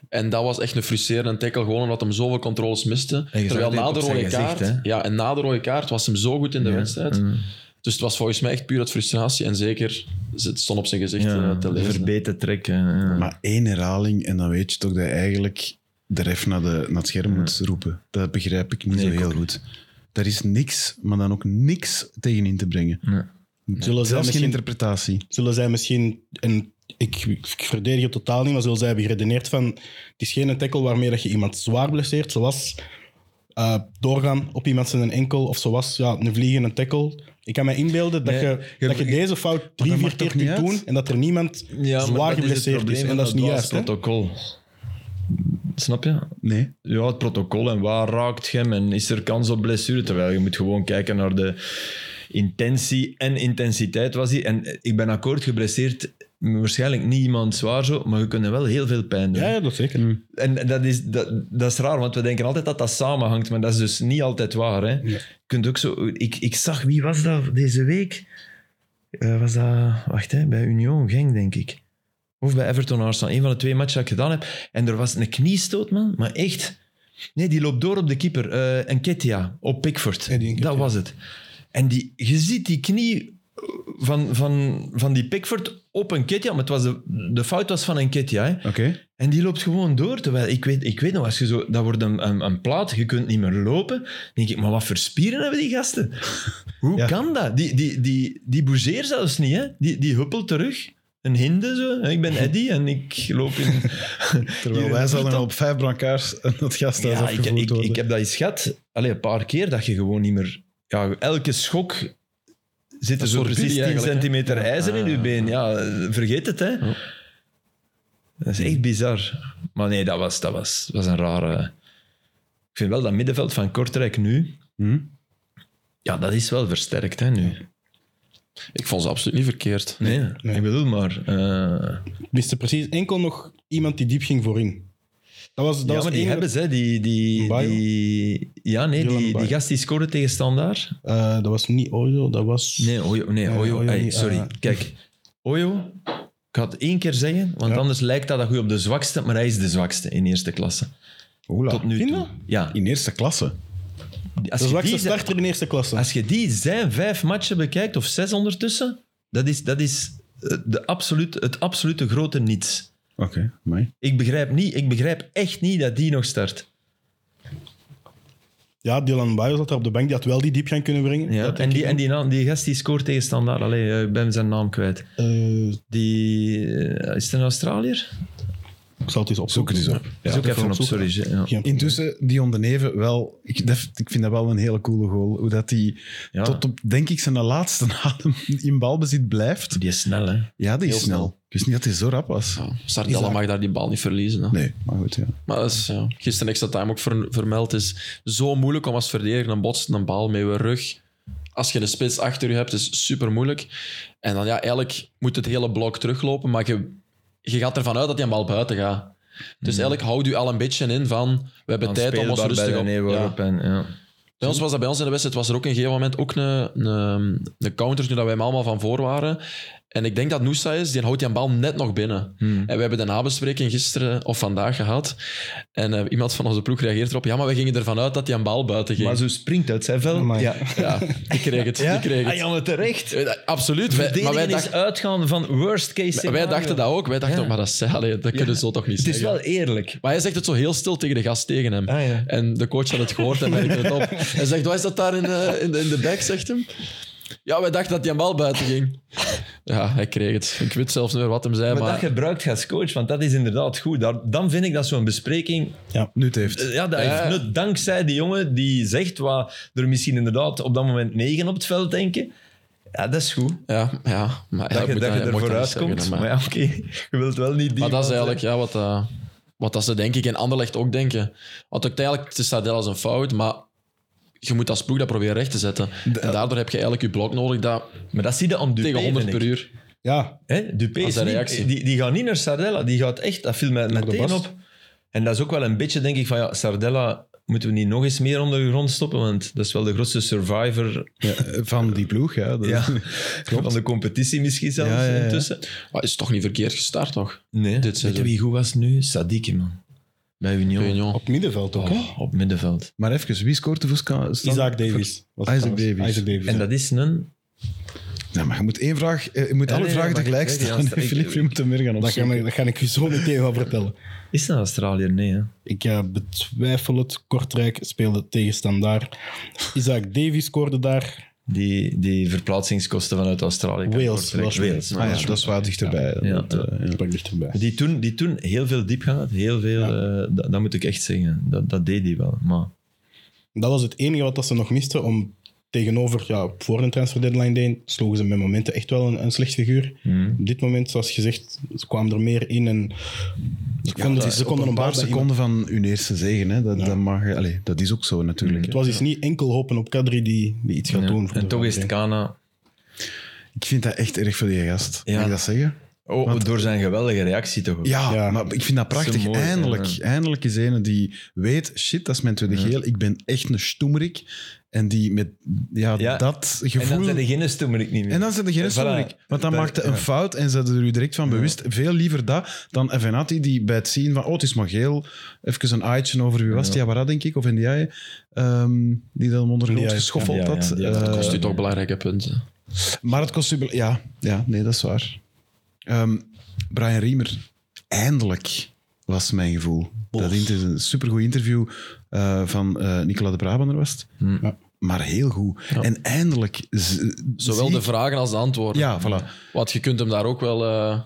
[SPEAKER 3] En dat was echt een frustrerende tackle, gewoon omdat hem zoveel controles miste.
[SPEAKER 2] zag
[SPEAKER 3] Terwijl
[SPEAKER 2] het
[SPEAKER 3] na
[SPEAKER 2] op
[SPEAKER 3] de
[SPEAKER 2] zijn
[SPEAKER 3] rode
[SPEAKER 2] gezicht,
[SPEAKER 3] kaart...
[SPEAKER 2] hè? Mm.
[SPEAKER 3] ja, en na de rode kaart was hem zo goed in de wedstrijd. Dus het was volgens mij echt puur uit frustratie. En zeker, het stond op zijn gezicht eh, te lezen.
[SPEAKER 2] verbeten trekken. ja.
[SPEAKER 1] Maar één herhaling en dan weet je toch dat je eigenlijk de ref naar, de, naar het scherm moet roepen. Dat begrijp ik niet
[SPEAKER 2] Nee,
[SPEAKER 1] zo
[SPEAKER 2] ik
[SPEAKER 1] heel
[SPEAKER 2] ook
[SPEAKER 1] goed. Daar is niks, maar dan ook niks tegen in te brengen.
[SPEAKER 4] Zullen zij,
[SPEAKER 1] Zelfs geen
[SPEAKER 4] misschien,
[SPEAKER 1] interpretatie.
[SPEAKER 4] zullen zij misschien, en ik, ik verdedig het totaal niet, maar zullen zij hebben geredeneerd van het is geen tackle waarmee dat je iemand zwaar blesseert, zoals eh, doorgaan op iemand zijn enkel of zoals ja, een vliegende tackle. Ik kan me inbeelden dat,
[SPEAKER 2] Nee,
[SPEAKER 4] je,
[SPEAKER 2] je-
[SPEAKER 4] dat je deze fout drie,
[SPEAKER 1] dat
[SPEAKER 4] vier
[SPEAKER 1] maakt
[SPEAKER 4] keer
[SPEAKER 1] toch niet
[SPEAKER 4] kunt
[SPEAKER 1] uit?
[SPEAKER 4] doen en dat er niemand
[SPEAKER 2] Ja, maar
[SPEAKER 4] zwaar
[SPEAKER 2] dat is het
[SPEAKER 4] geblesseerd is.
[SPEAKER 2] probleem
[SPEAKER 4] En
[SPEAKER 2] van
[SPEAKER 4] dat is niet
[SPEAKER 2] Duits
[SPEAKER 4] juist. hè?
[SPEAKER 2] protocol. Snap je?
[SPEAKER 1] Nee.
[SPEAKER 2] Ja, het protocol en waar raakt je hem en is er kans op blessure? Terwijl je moet gewoon kijken naar de intentie en intensiteit was hij. En ik ben akkoord geblesseerd. Waarschijnlijk niet iemand zwaar zo, maar je kunt hem wel heel veel pijn doen.
[SPEAKER 4] Ja, ja, dat zeker.
[SPEAKER 2] En dat is, dat, dat is raar, want we denken altijd dat dat samenhangt, maar dat is dus niet altijd waar. Hè? Je kunt ook zo, ik, ik zag, wie was dat deze week? Eh, was dat, wacht, hè, bij Union Genk, denk ik. Of bij Everton Arsenal, een van de twee matchen dat ik gedaan heb. En er was een kniestoot, man, maar echt. Nee, die loopt door op de keeper. Eh Enketia, op Pickford.
[SPEAKER 4] Eddie Nketiah.
[SPEAKER 2] dat was het. En die, je ziet die knie van, van, van die Pickford op Enketia, maar het was de, de fout was van Enketia. Hè?
[SPEAKER 1] Oké.
[SPEAKER 2] En die loopt gewoon door. Terwijl ik weet, ik weet nog, als je zo, dat wordt een, een, een plaat, je kunt niet meer lopen. Dan denk ik, maar wat voor spieren hebben die gasten? Hoe
[SPEAKER 1] Ja.
[SPEAKER 2] kan dat? Die, die, die, die bougeert zelfs niet, hè? Die, die huppelt terug. Een hinde zo. Ik ben Eddy en ik loop in.
[SPEAKER 1] Terwijl
[SPEAKER 2] Hier,
[SPEAKER 1] wij
[SPEAKER 2] dat
[SPEAKER 1] zaten
[SPEAKER 2] wordt
[SPEAKER 1] al op vijf brancards en dat gasthuis
[SPEAKER 2] ja, ik,
[SPEAKER 1] afgevoerd
[SPEAKER 2] ik,
[SPEAKER 1] worden.
[SPEAKER 2] ik heb dat eens gehad. Allee, een paar keer dat je gewoon niet meer... Ja, elke schok zit er
[SPEAKER 3] Dat
[SPEAKER 2] zo
[SPEAKER 3] soort
[SPEAKER 2] precies
[SPEAKER 3] pinnen
[SPEAKER 2] 10
[SPEAKER 3] eigenlijk, hè?
[SPEAKER 2] centimeter
[SPEAKER 3] Ja.
[SPEAKER 2] ijzer in
[SPEAKER 3] Ah,
[SPEAKER 2] je
[SPEAKER 3] ja,
[SPEAKER 2] been. Ja, vergeet het, hè.
[SPEAKER 3] Ja.
[SPEAKER 2] Dat is echt bizar. Maar nee, dat was, dat was, was een rare... Ik vind wel dat middenveld van Kortrijk nu...
[SPEAKER 1] Hm?
[SPEAKER 2] Ja, dat is wel versterkt, hè, nu.
[SPEAKER 3] Ik vond ze absoluut niet verkeerd.
[SPEAKER 2] Nee,
[SPEAKER 4] Nee.
[SPEAKER 2] ik bedoel maar... eh,
[SPEAKER 4] miste precies enkel nog iemand die diep ging voorin. Dat was, dat
[SPEAKER 2] ja,
[SPEAKER 4] was
[SPEAKER 2] maar die
[SPEAKER 4] één-
[SPEAKER 2] hebben ze, hè, die... die,
[SPEAKER 4] Mbayo.
[SPEAKER 2] die ja, nee,
[SPEAKER 4] Dylan
[SPEAKER 2] die, die
[SPEAKER 4] Mbayo.
[SPEAKER 2] gast die scoorde tegen Standaard.
[SPEAKER 4] Eh, dat was niet Ojo, dat was...
[SPEAKER 2] Nee, Ojo. Nee,
[SPEAKER 4] Nee,
[SPEAKER 2] Ojo.
[SPEAKER 4] Ojo
[SPEAKER 2] Hey,
[SPEAKER 4] niet,
[SPEAKER 2] sorry,
[SPEAKER 4] eh.
[SPEAKER 2] kijk. Ojo, ik ga het één keer zeggen, want
[SPEAKER 4] Ja.
[SPEAKER 2] anders lijkt dat dat goed op de zwakste, maar hij is de zwakste in eerste klasse.
[SPEAKER 1] Oula.
[SPEAKER 2] Tot nu
[SPEAKER 4] Vind
[SPEAKER 2] toe.
[SPEAKER 4] je?
[SPEAKER 2] Ja.
[SPEAKER 1] In eerste klasse.
[SPEAKER 2] Als
[SPEAKER 4] De
[SPEAKER 2] je
[SPEAKER 4] zwakste
[SPEAKER 2] die zijn-
[SPEAKER 4] starter in eerste klasse.
[SPEAKER 2] als je die zijn vijf matchen bekijkt, of zes ondertussen, dat is, dat is eh, de absoluut, het absolute grote niets.
[SPEAKER 1] Oké, mij.
[SPEAKER 2] Ik begrijp, niet, ik begrijp echt niet dat die nog start.
[SPEAKER 4] Ja, Dylan Bayo zat daar op de bank. Die had wel die diep gaan kunnen brengen.
[SPEAKER 2] Ja?
[SPEAKER 4] Dat
[SPEAKER 2] En,
[SPEAKER 4] denk
[SPEAKER 2] die,
[SPEAKER 4] ik
[SPEAKER 2] en die, naam, die gast die scoort tegen Standaard. Allee, eh, ik ben zijn naam kwijt.
[SPEAKER 4] niet. Eh,
[SPEAKER 2] Die, eh, is het een Australiër?
[SPEAKER 4] ik zal het eens opzoeken.
[SPEAKER 1] Zoek het eens op.
[SPEAKER 2] Ja, Zoek
[SPEAKER 4] ik ga
[SPEAKER 2] even op,
[SPEAKER 4] opzoeken.
[SPEAKER 2] sorry. Ja.
[SPEAKER 4] Geen probleem.
[SPEAKER 1] Intussen, Dion de Neven wel... Ik, dat- ik vind dat wel een hele coole goal. Hoe dat hij
[SPEAKER 2] Ja.
[SPEAKER 1] tot op, denk ik, zijn laatste adem in balbezit blijft.
[SPEAKER 2] Die is snel, hè?
[SPEAKER 1] Ja, die is
[SPEAKER 3] Heel
[SPEAKER 1] snel.
[SPEAKER 3] snel.
[SPEAKER 1] Ik wist niet dat hij zo rap was.
[SPEAKER 3] Ja, Sardella mag daar die bal niet verliezen. Hè.
[SPEAKER 1] Nee, maar goed, ja.
[SPEAKER 3] Maar dat is, ja, gisteren extra time ook ver- vermeld. Het is zo moeilijk om als verdediger een botst een bal met je rug. Als je de spits achter je hebt, is super moeilijk. En dan ja, eigenlijk moet het hele blok teruglopen, maar je, je gaat ervan uit dat die een bal buiten gaat. Dus eigenlijk houdt u al een beetje in van, we hebben tijd om ons rustig op... ja. Bij ons was dat bij ons in de wedstrijd, was er ook een gegeven moment ook een, een, een counter, nu dat wij hem allemaal van voor waren. En ik denk dat Noosa is, die houdt die bal net nog binnen.
[SPEAKER 2] Hmm.
[SPEAKER 3] En we hebben de nabespreking gisteren of vandaag gehad. En eh, iemand van onze ploeg reageert erop, ja, maar we gingen ervan uit dat die een bal buiten ging.
[SPEAKER 2] Maar zo springt uit zijn vel.
[SPEAKER 4] Amai.
[SPEAKER 2] Ja.
[SPEAKER 3] Ja, die kreeg het. Die kreeg het.
[SPEAKER 2] Ah, ja, maar terecht.
[SPEAKER 3] Eh, Absoluut. Wij, maar
[SPEAKER 2] Verdedigen
[SPEAKER 3] wij,
[SPEAKER 2] is
[SPEAKER 3] dacht-
[SPEAKER 2] uitgaan van worst case scenario.
[SPEAKER 3] wij dachten dat ook. Wij dachten,
[SPEAKER 2] Ja.
[SPEAKER 3] ook, maar dat, is, allee, dat kunnen ze zo toch niet
[SPEAKER 2] Het is
[SPEAKER 3] zeggen.
[SPEAKER 2] wel eerlijk.
[SPEAKER 3] Maar hij zegt het zo heel stil tegen de gast tegen hem.
[SPEAKER 2] Ah, ja.
[SPEAKER 3] En de coach had het gehoord en merkte het op. Hij zegt, wat is dat daar in de, in de, in de back, zegt hem. Ja, wij dachten dat die een bal buiten ging. Ja, hij kreeg het. Ik weet zelfs niet meer wat hem zei,
[SPEAKER 2] Maar
[SPEAKER 3] maar...
[SPEAKER 2] dat gebruikt je als coach, want dat is inderdaad goed. Daar- Dan vind ik dat zo'n bespreking...
[SPEAKER 1] Nu het heeft.
[SPEAKER 2] eh, Ja, dat
[SPEAKER 3] Ja.
[SPEAKER 2] heeft nut. Dankzij die jongen die zegt wat er misschien inderdaad op dat moment negen op het veld denken. Ja, dat is goed.
[SPEAKER 3] Ja, ja. Maar, ja,
[SPEAKER 2] Dat je,
[SPEAKER 3] moet
[SPEAKER 2] dat je
[SPEAKER 3] dat-
[SPEAKER 2] er
[SPEAKER 3] moet dat niet
[SPEAKER 2] vooruit komt.
[SPEAKER 3] zeggen,
[SPEAKER 2] Maar,
[SPEAKER 3] maar-
[SPEAKER 2] ja, oké. Je wilt wel niet die
[SPEAKER 3] Maar dat
[SPEAKER 2] man
[SPEAKER 3] is
[SPEAKER 2] zijn.
[SPEAKER 3] eigenlijk ja, wat, eh, wat dat ze denk ik in Anderlecht ook denken. Want uiteindelijk het staat dat als een fout, maar je moet als ploeg dat proberen recht te zetten. En daardoor heb je eigenlijk je blok nodig dat
[SPEAKER 2] Maar dat zie je aan Dupé,
[SPEAKER 3] tegen 100
[SPEAKER 2] vind ik.
[SPEAKER 3] per uur.
[SPEAKER 4] Ja,
[SPEAKER 2] Hè, Dupé
[SPEAKER 3] Als
[SPEAKER 2] is
[SPEAKER 3] een
[SPEAKER 2] niet-
[SPEAKER 3] reactie.
[SPEAKER 2] die, die gaat niet naar Sardella. Die gaat echt, dat viel mij meteen
[SPEAKER 4] Bast.
[SPEAKER 2] op. En dat is ook wel een beetje, denk ik, van ja, Sardella moeten we niet nog eens meer onder de grond stoppen, want dat is wel de grootste survivor
[SPEAKER 1] Ja, eh, van die ploeg, ja. Dat-
[SPEAKER 2] Eh, ja, van de competitie misschien zelfs
[SPEAKER 1] Ja, ja, ja.
[SPEAKER 2] intussen.
[SPEAKER 3] Maar is toch niet verkeerd gestart, toch?
[SPEAKER 2] Nee.
[SPEAKER 3] Dit seizoen.
[SPEAKER 2] Weet je wie goed was nu? Sadiki, man. bij Union.
[SPEAKER 3] Union.
[SPEAKER 4] Op middenveld ook, hè?
[SPEAKER 2] Oh, op middenveld.
[SPEAKER 1] Maar even, wie scoort de Vuska?
[SPEAKER 4] Isaac Davis. was
[SPEAKER 1] Isaac
[SPEAKER 4] het trouwens.
[SPEAKER 1] Davis.
[SPEAKER 4] Isaac Davis.
[SPEAKER 2] En dat is een...
[SPEAKER 1] Ja, maar je moet één vraag... eh, Je moet
[SPEAKER 2] Ja,
[SPEAKER 1] alle
[SPEAKER 2] nee,
[SPEAKER 1] vragen
[SPEAKER 2] nee, maar
[SPEAKER 1] tegelijk
[SPEAKER 2] ik weet
[SPEAKER 1] stellen.
[SPEAKER 2] niet, als-
[SPEAKER 1] Filip,
[SPEAKER 2] ik-
[SPEAKER 1] je moet hem weer gaan
[SPEAKER 4] dat,
[SPEAKER 1] opzoeken.
[SPEAKER 4] kan, ik- dat ga ik je zo meteen wel vertellen.
[SPEAKER 2] Is dat Australiër? Nee, hè?
[SPEAKER 4] Ik eh, betwijfel het. Kortrijk speelde tegen Standaard. Isaac Davis scoorde daar.
[SPEAKER 2] Die, die verplaatsingskosten vanuit Australië. kan
[SPEAKER 4] Wales,
[SPEAKER 2] kortrijk-
[SPEAKER 4] Welsh.
[SPEAKER 2] Wales.
[SPEAKER 1] Ah ja, dat is wel dichterbij.
[SPEAKER 2] Ja.
[SPEAKER 1] Dat, eh, ja.
[SPEAKER 4] Dat pak ik dichterbij.
[SPEAKER 2] Die toen, die toen heel veel diepgang had. Heel veel... eh, dat, dat moet ik echt zeggen. Dat, dat deed hij wel. Maar
[SPEAKER 4] Dat was het enige wat dat ze nog misten om tegenover, ja, voor de transfer deadline day, sloegen ze met momenten echt wel een, een slecht figuur.
[SPEAKER 2] Mhm.
[SPEAKER 4] Op dit moment, zoals gezegd, ze kwamen er meer in en ze konden,
[SPEAKER 1] dat is
[SPEAKER 2] dus
[SPEAKER 4] ze
[SPEAKER 1] Eh, op
[SPEAKER 4] konden
[SPEAKER 1] een paar
[SPEAKER 4] baat bij iemand.
[SPEAKER 1] seconden van hun eerste zegen. Hè. Dat,
[SPEAKER 4] Ja.
[SPEAKER 1] dat, mag, je- allee, dat is ook zo natuurlijk.
[SPEAKER 2] Mm.
[SPEAKER 4] Het was dus niet enkel hopen op Kadri die, die iets gaat
[SPEAKER 2] Ja.
[SPEAKER 4] doen. voor
[SPEAKER 2] En
[SPEAKER 4] de
[SPEAKER 2] toch is het
[SPEAKER 4] Vlaanderen.
[SPEAKER 2] Kana...
[SPEAKER 1] Ik vind dat echt erg voor die gast.
[SPEAKER 2] Ja.
[SPEAKER 1] Mag ik dat zeggen?
[SPEAKER 2] Oh, door zijn geweldige reactie toch ook.
[SPEAKER 1] Ja,
[SPEAKER 4] Ja.
[SPEAKER 1] maar ik vind dat
[SPEAKER 2] is
[SPEAKER 1] prachtig.
[SPEAKER 2] zo mooi,
[SPEAKER 1] eindelijk,
[SPEAKER 2] ja.
[SPEAKER 1] eindelijk is een die weet, shit, dat is mijn tweede geel. Ik ben echt een stoemerik. En die met ja,
[SPEAKER 2] Ja.
[SPEAKER 1] dat
[SPEAKER 2] En dan
[SPEAKER 1] gevoel...
[SPEAKER 2] zijn er geen stoemerik niet meer.
[SPEAKER 1] En dan zit er geen
[SPEAKER 2] Voilà.
[SPEAKER 1] stoemerik. Want dan
[SPEAKER 2] Dat-
[SPEAKER 1] maakte een
[SPEAKER 2] ja.
[SPEAKER 1] fout en ze er u direct van bewust. Veel liever dat dan Evenati die bij het zien van, oh, het is maar geel. Even een aaitje over wie was het? Jawara, denk ik, of Ndiaye. ehm die dan onder de grond
[SPEAKER 4] Ndiaye,
[SPEAKER 1] geschoffeld
[SPEAKER 2] ja. Ja,
[SPEAKER 1] had.
[SPEAKER 2] ja, ja, dat
[SPEAKER 1] Eh,
[SPEAKER 3] Dat kost u
[SPEAKER 2] Eh,
[SPEAKER 3] toch belangrijke punten.
[SPEAKER 1] maar het kost u... bel- Ja, ja, nee, dat is waar. Ehm, Brian Riemer, eindelijk was mijn gevoel. Dat inter- is een supergoed interview eh, van eh Nicola de Brabander was het.
[SPEAKER 4] Ja.
[SPEAKER 1] Maar heel goed. En eindelijk... z-
[SPEAKER 3] Zowel
[SPEAKER 1] zie
[SPEAKER 3] de
[SPEAKER 1] ik-
[SPEAKER 3] vragen als de antwoorden.
[SPEAKER 1] Ja, voilà.
[SPEAKER 3] Want je kunt hem daar ook wel... eh,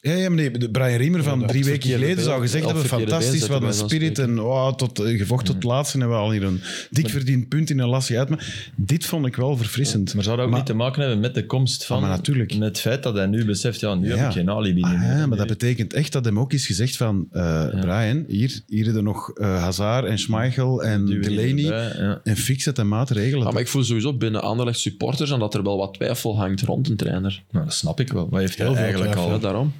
[SPEAKER 1] Ja, ja, maar nee, de Brian Riemer van drie weken
[SPEAKER 3] verkeerde
[SPEAKER 1] geleden
[SPEAKER 3] beeld.
[SPEAKER 1] zou gezegd
[SPEAKER 3] Op
[SPEAKER 1] hebben:
[SPEAKER 3] verkeerde
[SPEAKER 1] fantastisch,
[SPEAKER 3] been
[SPEAKER 1] wat een
[SPEAKER 3] zetten wij
[SPEAKER 1] spirit.
[SPEAKER 3] dan Mhm.
[SPEAKER 1] En oh, tot, eh, gevochten tot het laatste en we al hier een dik verdiend punt in een lasje uit. Maar dit vond ik wel verfrissend.
[SPEAKER 2] Maar zou dat ook niet te maken hebben met de komst van...
[SPEAKER 1] Ah, maar natuurlijk.
[SPEAKER 2] Met het feit dat hij nu beseft, ja, nu
[SPEAKER 1] Ja.
[SPEAKER 2] heb ik geen alibi
[SPEAKER 1] Ah,
[SPEAKER 2] meer.
[SPEAKER 1] ja,
[SPEAKER 2] Nu-
[SPEAKER 1] maar dat betekent echt dat hem ook is gezegd van eh, Brian, hier, hier hebben we nog eh, Hazard en Schmeichel en
[SPEAKER 2] nu weer
[SPEAKER 1] Delaney.
[SPEAKER 2] erbij, ja.
[SPEAKER 1] En fix het en maatregelen.
[SPEAKER 3] ah, maar ik voel sowieso binnen Anderlecht supporters aan dat er wel wat twijfel hangt rond een trainer.
[SPEAKER 2] Nou, dat snap ik wel. Maar hij heeft
[SPEAKER 4] Heel
[SPEAKER 2] heel
[SPEAKER 4] veel
[SPEAKER 2] eigenlijk
[SPEAKER 4] twijfel.
[SPEAKER 2] al.
[SPEAKER 3] Ja, daarom.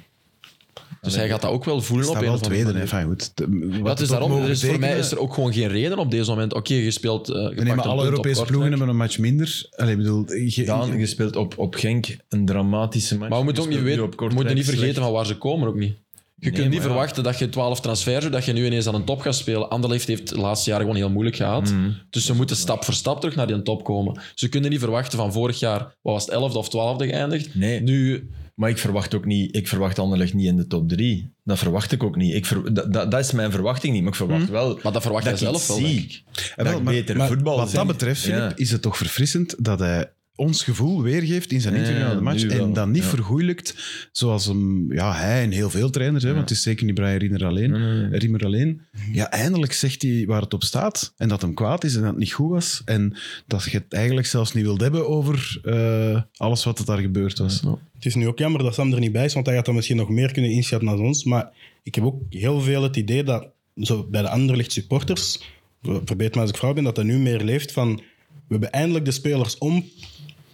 [SPEAKER 3] Dus hij gaat dat ook wel voelen
[SPEAKER 1] is
[SPEAKER 3] op
[SPEAKER 1] dat
[SPEAKER 3] een
[SPEAKER 1] wel
[SPEAKER 3] of andere
[SPEAKER 1] tweede, hè?
[SPEAKER 3] manier.
[SPEAKER 1] Enfin, goed. De- wat
[SPEAKER 3] Dat
[SPEAKER 1] het
[SPEAKER 3] is
[SPEAKER 1] ook
[SPEAKER 3] daarom.
[SPEAKER 1] mogen
[SPEAKER 3] Dus voor mij
[SPEAKER 1] betekenen-
[SPEAKER 3] is er ook gewoon geen reden op deze moment. Oké, je speelt. eh, je pakt
[SPEAKER 1] Nee,
[SPEAKER 3] een
[SPEAKER 1] maar alle
[SPEAKER 3] punt op
[SPEAKER 1] Europese
[SPEAKER 3] kort,
[SPEAKER 1] ploegen
[SPEAKER 3] hè.
[SPEAKER 1] hebben een match minder. Allee, ik bedoel, je-
[SPEAKER 2] Daan gespeeld op, op Genk, een dramatische match.
[SPEAKER 3] Maar we moeten ook niet,
[SPEAKER 2] Gespeeld nu
[SPEAKER 3] weten,
[SPEAKER 2] op
[SPEAKER 3] we
[SPEAKER 2] Kortrijk,
[SPEAKER 3] moeten niet
[SPEAKER 2] slecht.
[SPEAKER 3] vergeten van waar ze komen ook niet. Je kunt niet
[SPEAKER 2] maar ja.
[SPEAKER 3] verwachten dat je 12 transfers doet, dat je nu ineens aan een top gaat spelen. Anderlecht heeft het laatste jaar gewoon heel moeilijk gehad.
[SPEAKER 2] Mhm.
[SPEAKER 3] Dus ze moeten stap voor stap terug naar die top komen. Ze kunnen niet verwachten van vorig jaar, wat was het, 11e of 12e geëindigd.
[SPEAKER 2] Nee,
[SPEAKER 3] Nu,
[SPEAKER 2] maar ik verwacht ook niet, ik verwacht Anderlecht niet in de top drie. Dat verwacht ik ook niet. Ik ver- dat, dat, dat is mijn verwachting niet, maar ik verwacht wel...
[SPEAKER 3] Hmm. maar dat verwacht
[SPEAKER 2] dat
[SPEAKER 3] je
[SPEAKER 2] ik
[SPEAKER 3] zelf
[SPEAKER 2] iets
[SPEAKER 3] wel. denk
[SPEAKER 2] zie.
[SPEAKER 3] ik.
[SPEAKER 1] Ja,
[SPEAKER 2] Dat
[SPEAKER 1] wel,
[SPEAKER 2] ik
[SPEAKER 1] maar-
[SPEAKER 2] beter
[SPEAKER 1] maar
[SPEAKER 2] voetbal
[SPEAKER 1] Wat
[SPEAKER 2] zie.
[SPEAKER 1] dat betreft, Filip,
[SPEAKER 2] Ja.
[SPEAKER 1] is het toch verfrissend dat hij ons gevoel weergeeft in zijn
[SPEAKER 2] Ja,
[SPEAKER 1] interview na de match
[SPEAKER 2] nu wel,
[SPEAKER 1] en dat niet
[SPEAKER 2] ja.
[SPEAKER 1] vergoeilijkt zoals hem, ja, hij en heel veel trainers, hè, want het is zeker niet Brian Riemer alleen, Riemer alleen. Ja, eindelijk zegt hij waar het op staat en dat hem kwaad is en dat het niet goed was en dat je het eigenlijk zelfs niet wilt hebben over eh, alles wat er daar gebeurd was.
[SPEAKER 4] Het is nu ook jammer dat Sam er niet bij is, want hij gaat dan misschien nog meer kunnen inschatten dan ons. Maar ik heb ook heel veel het idee dat zo bij de Anderlecht supporters, verbeet me als ik vrouw ben, dat dat nu meer leeft van we hebben eindelijk de spelers om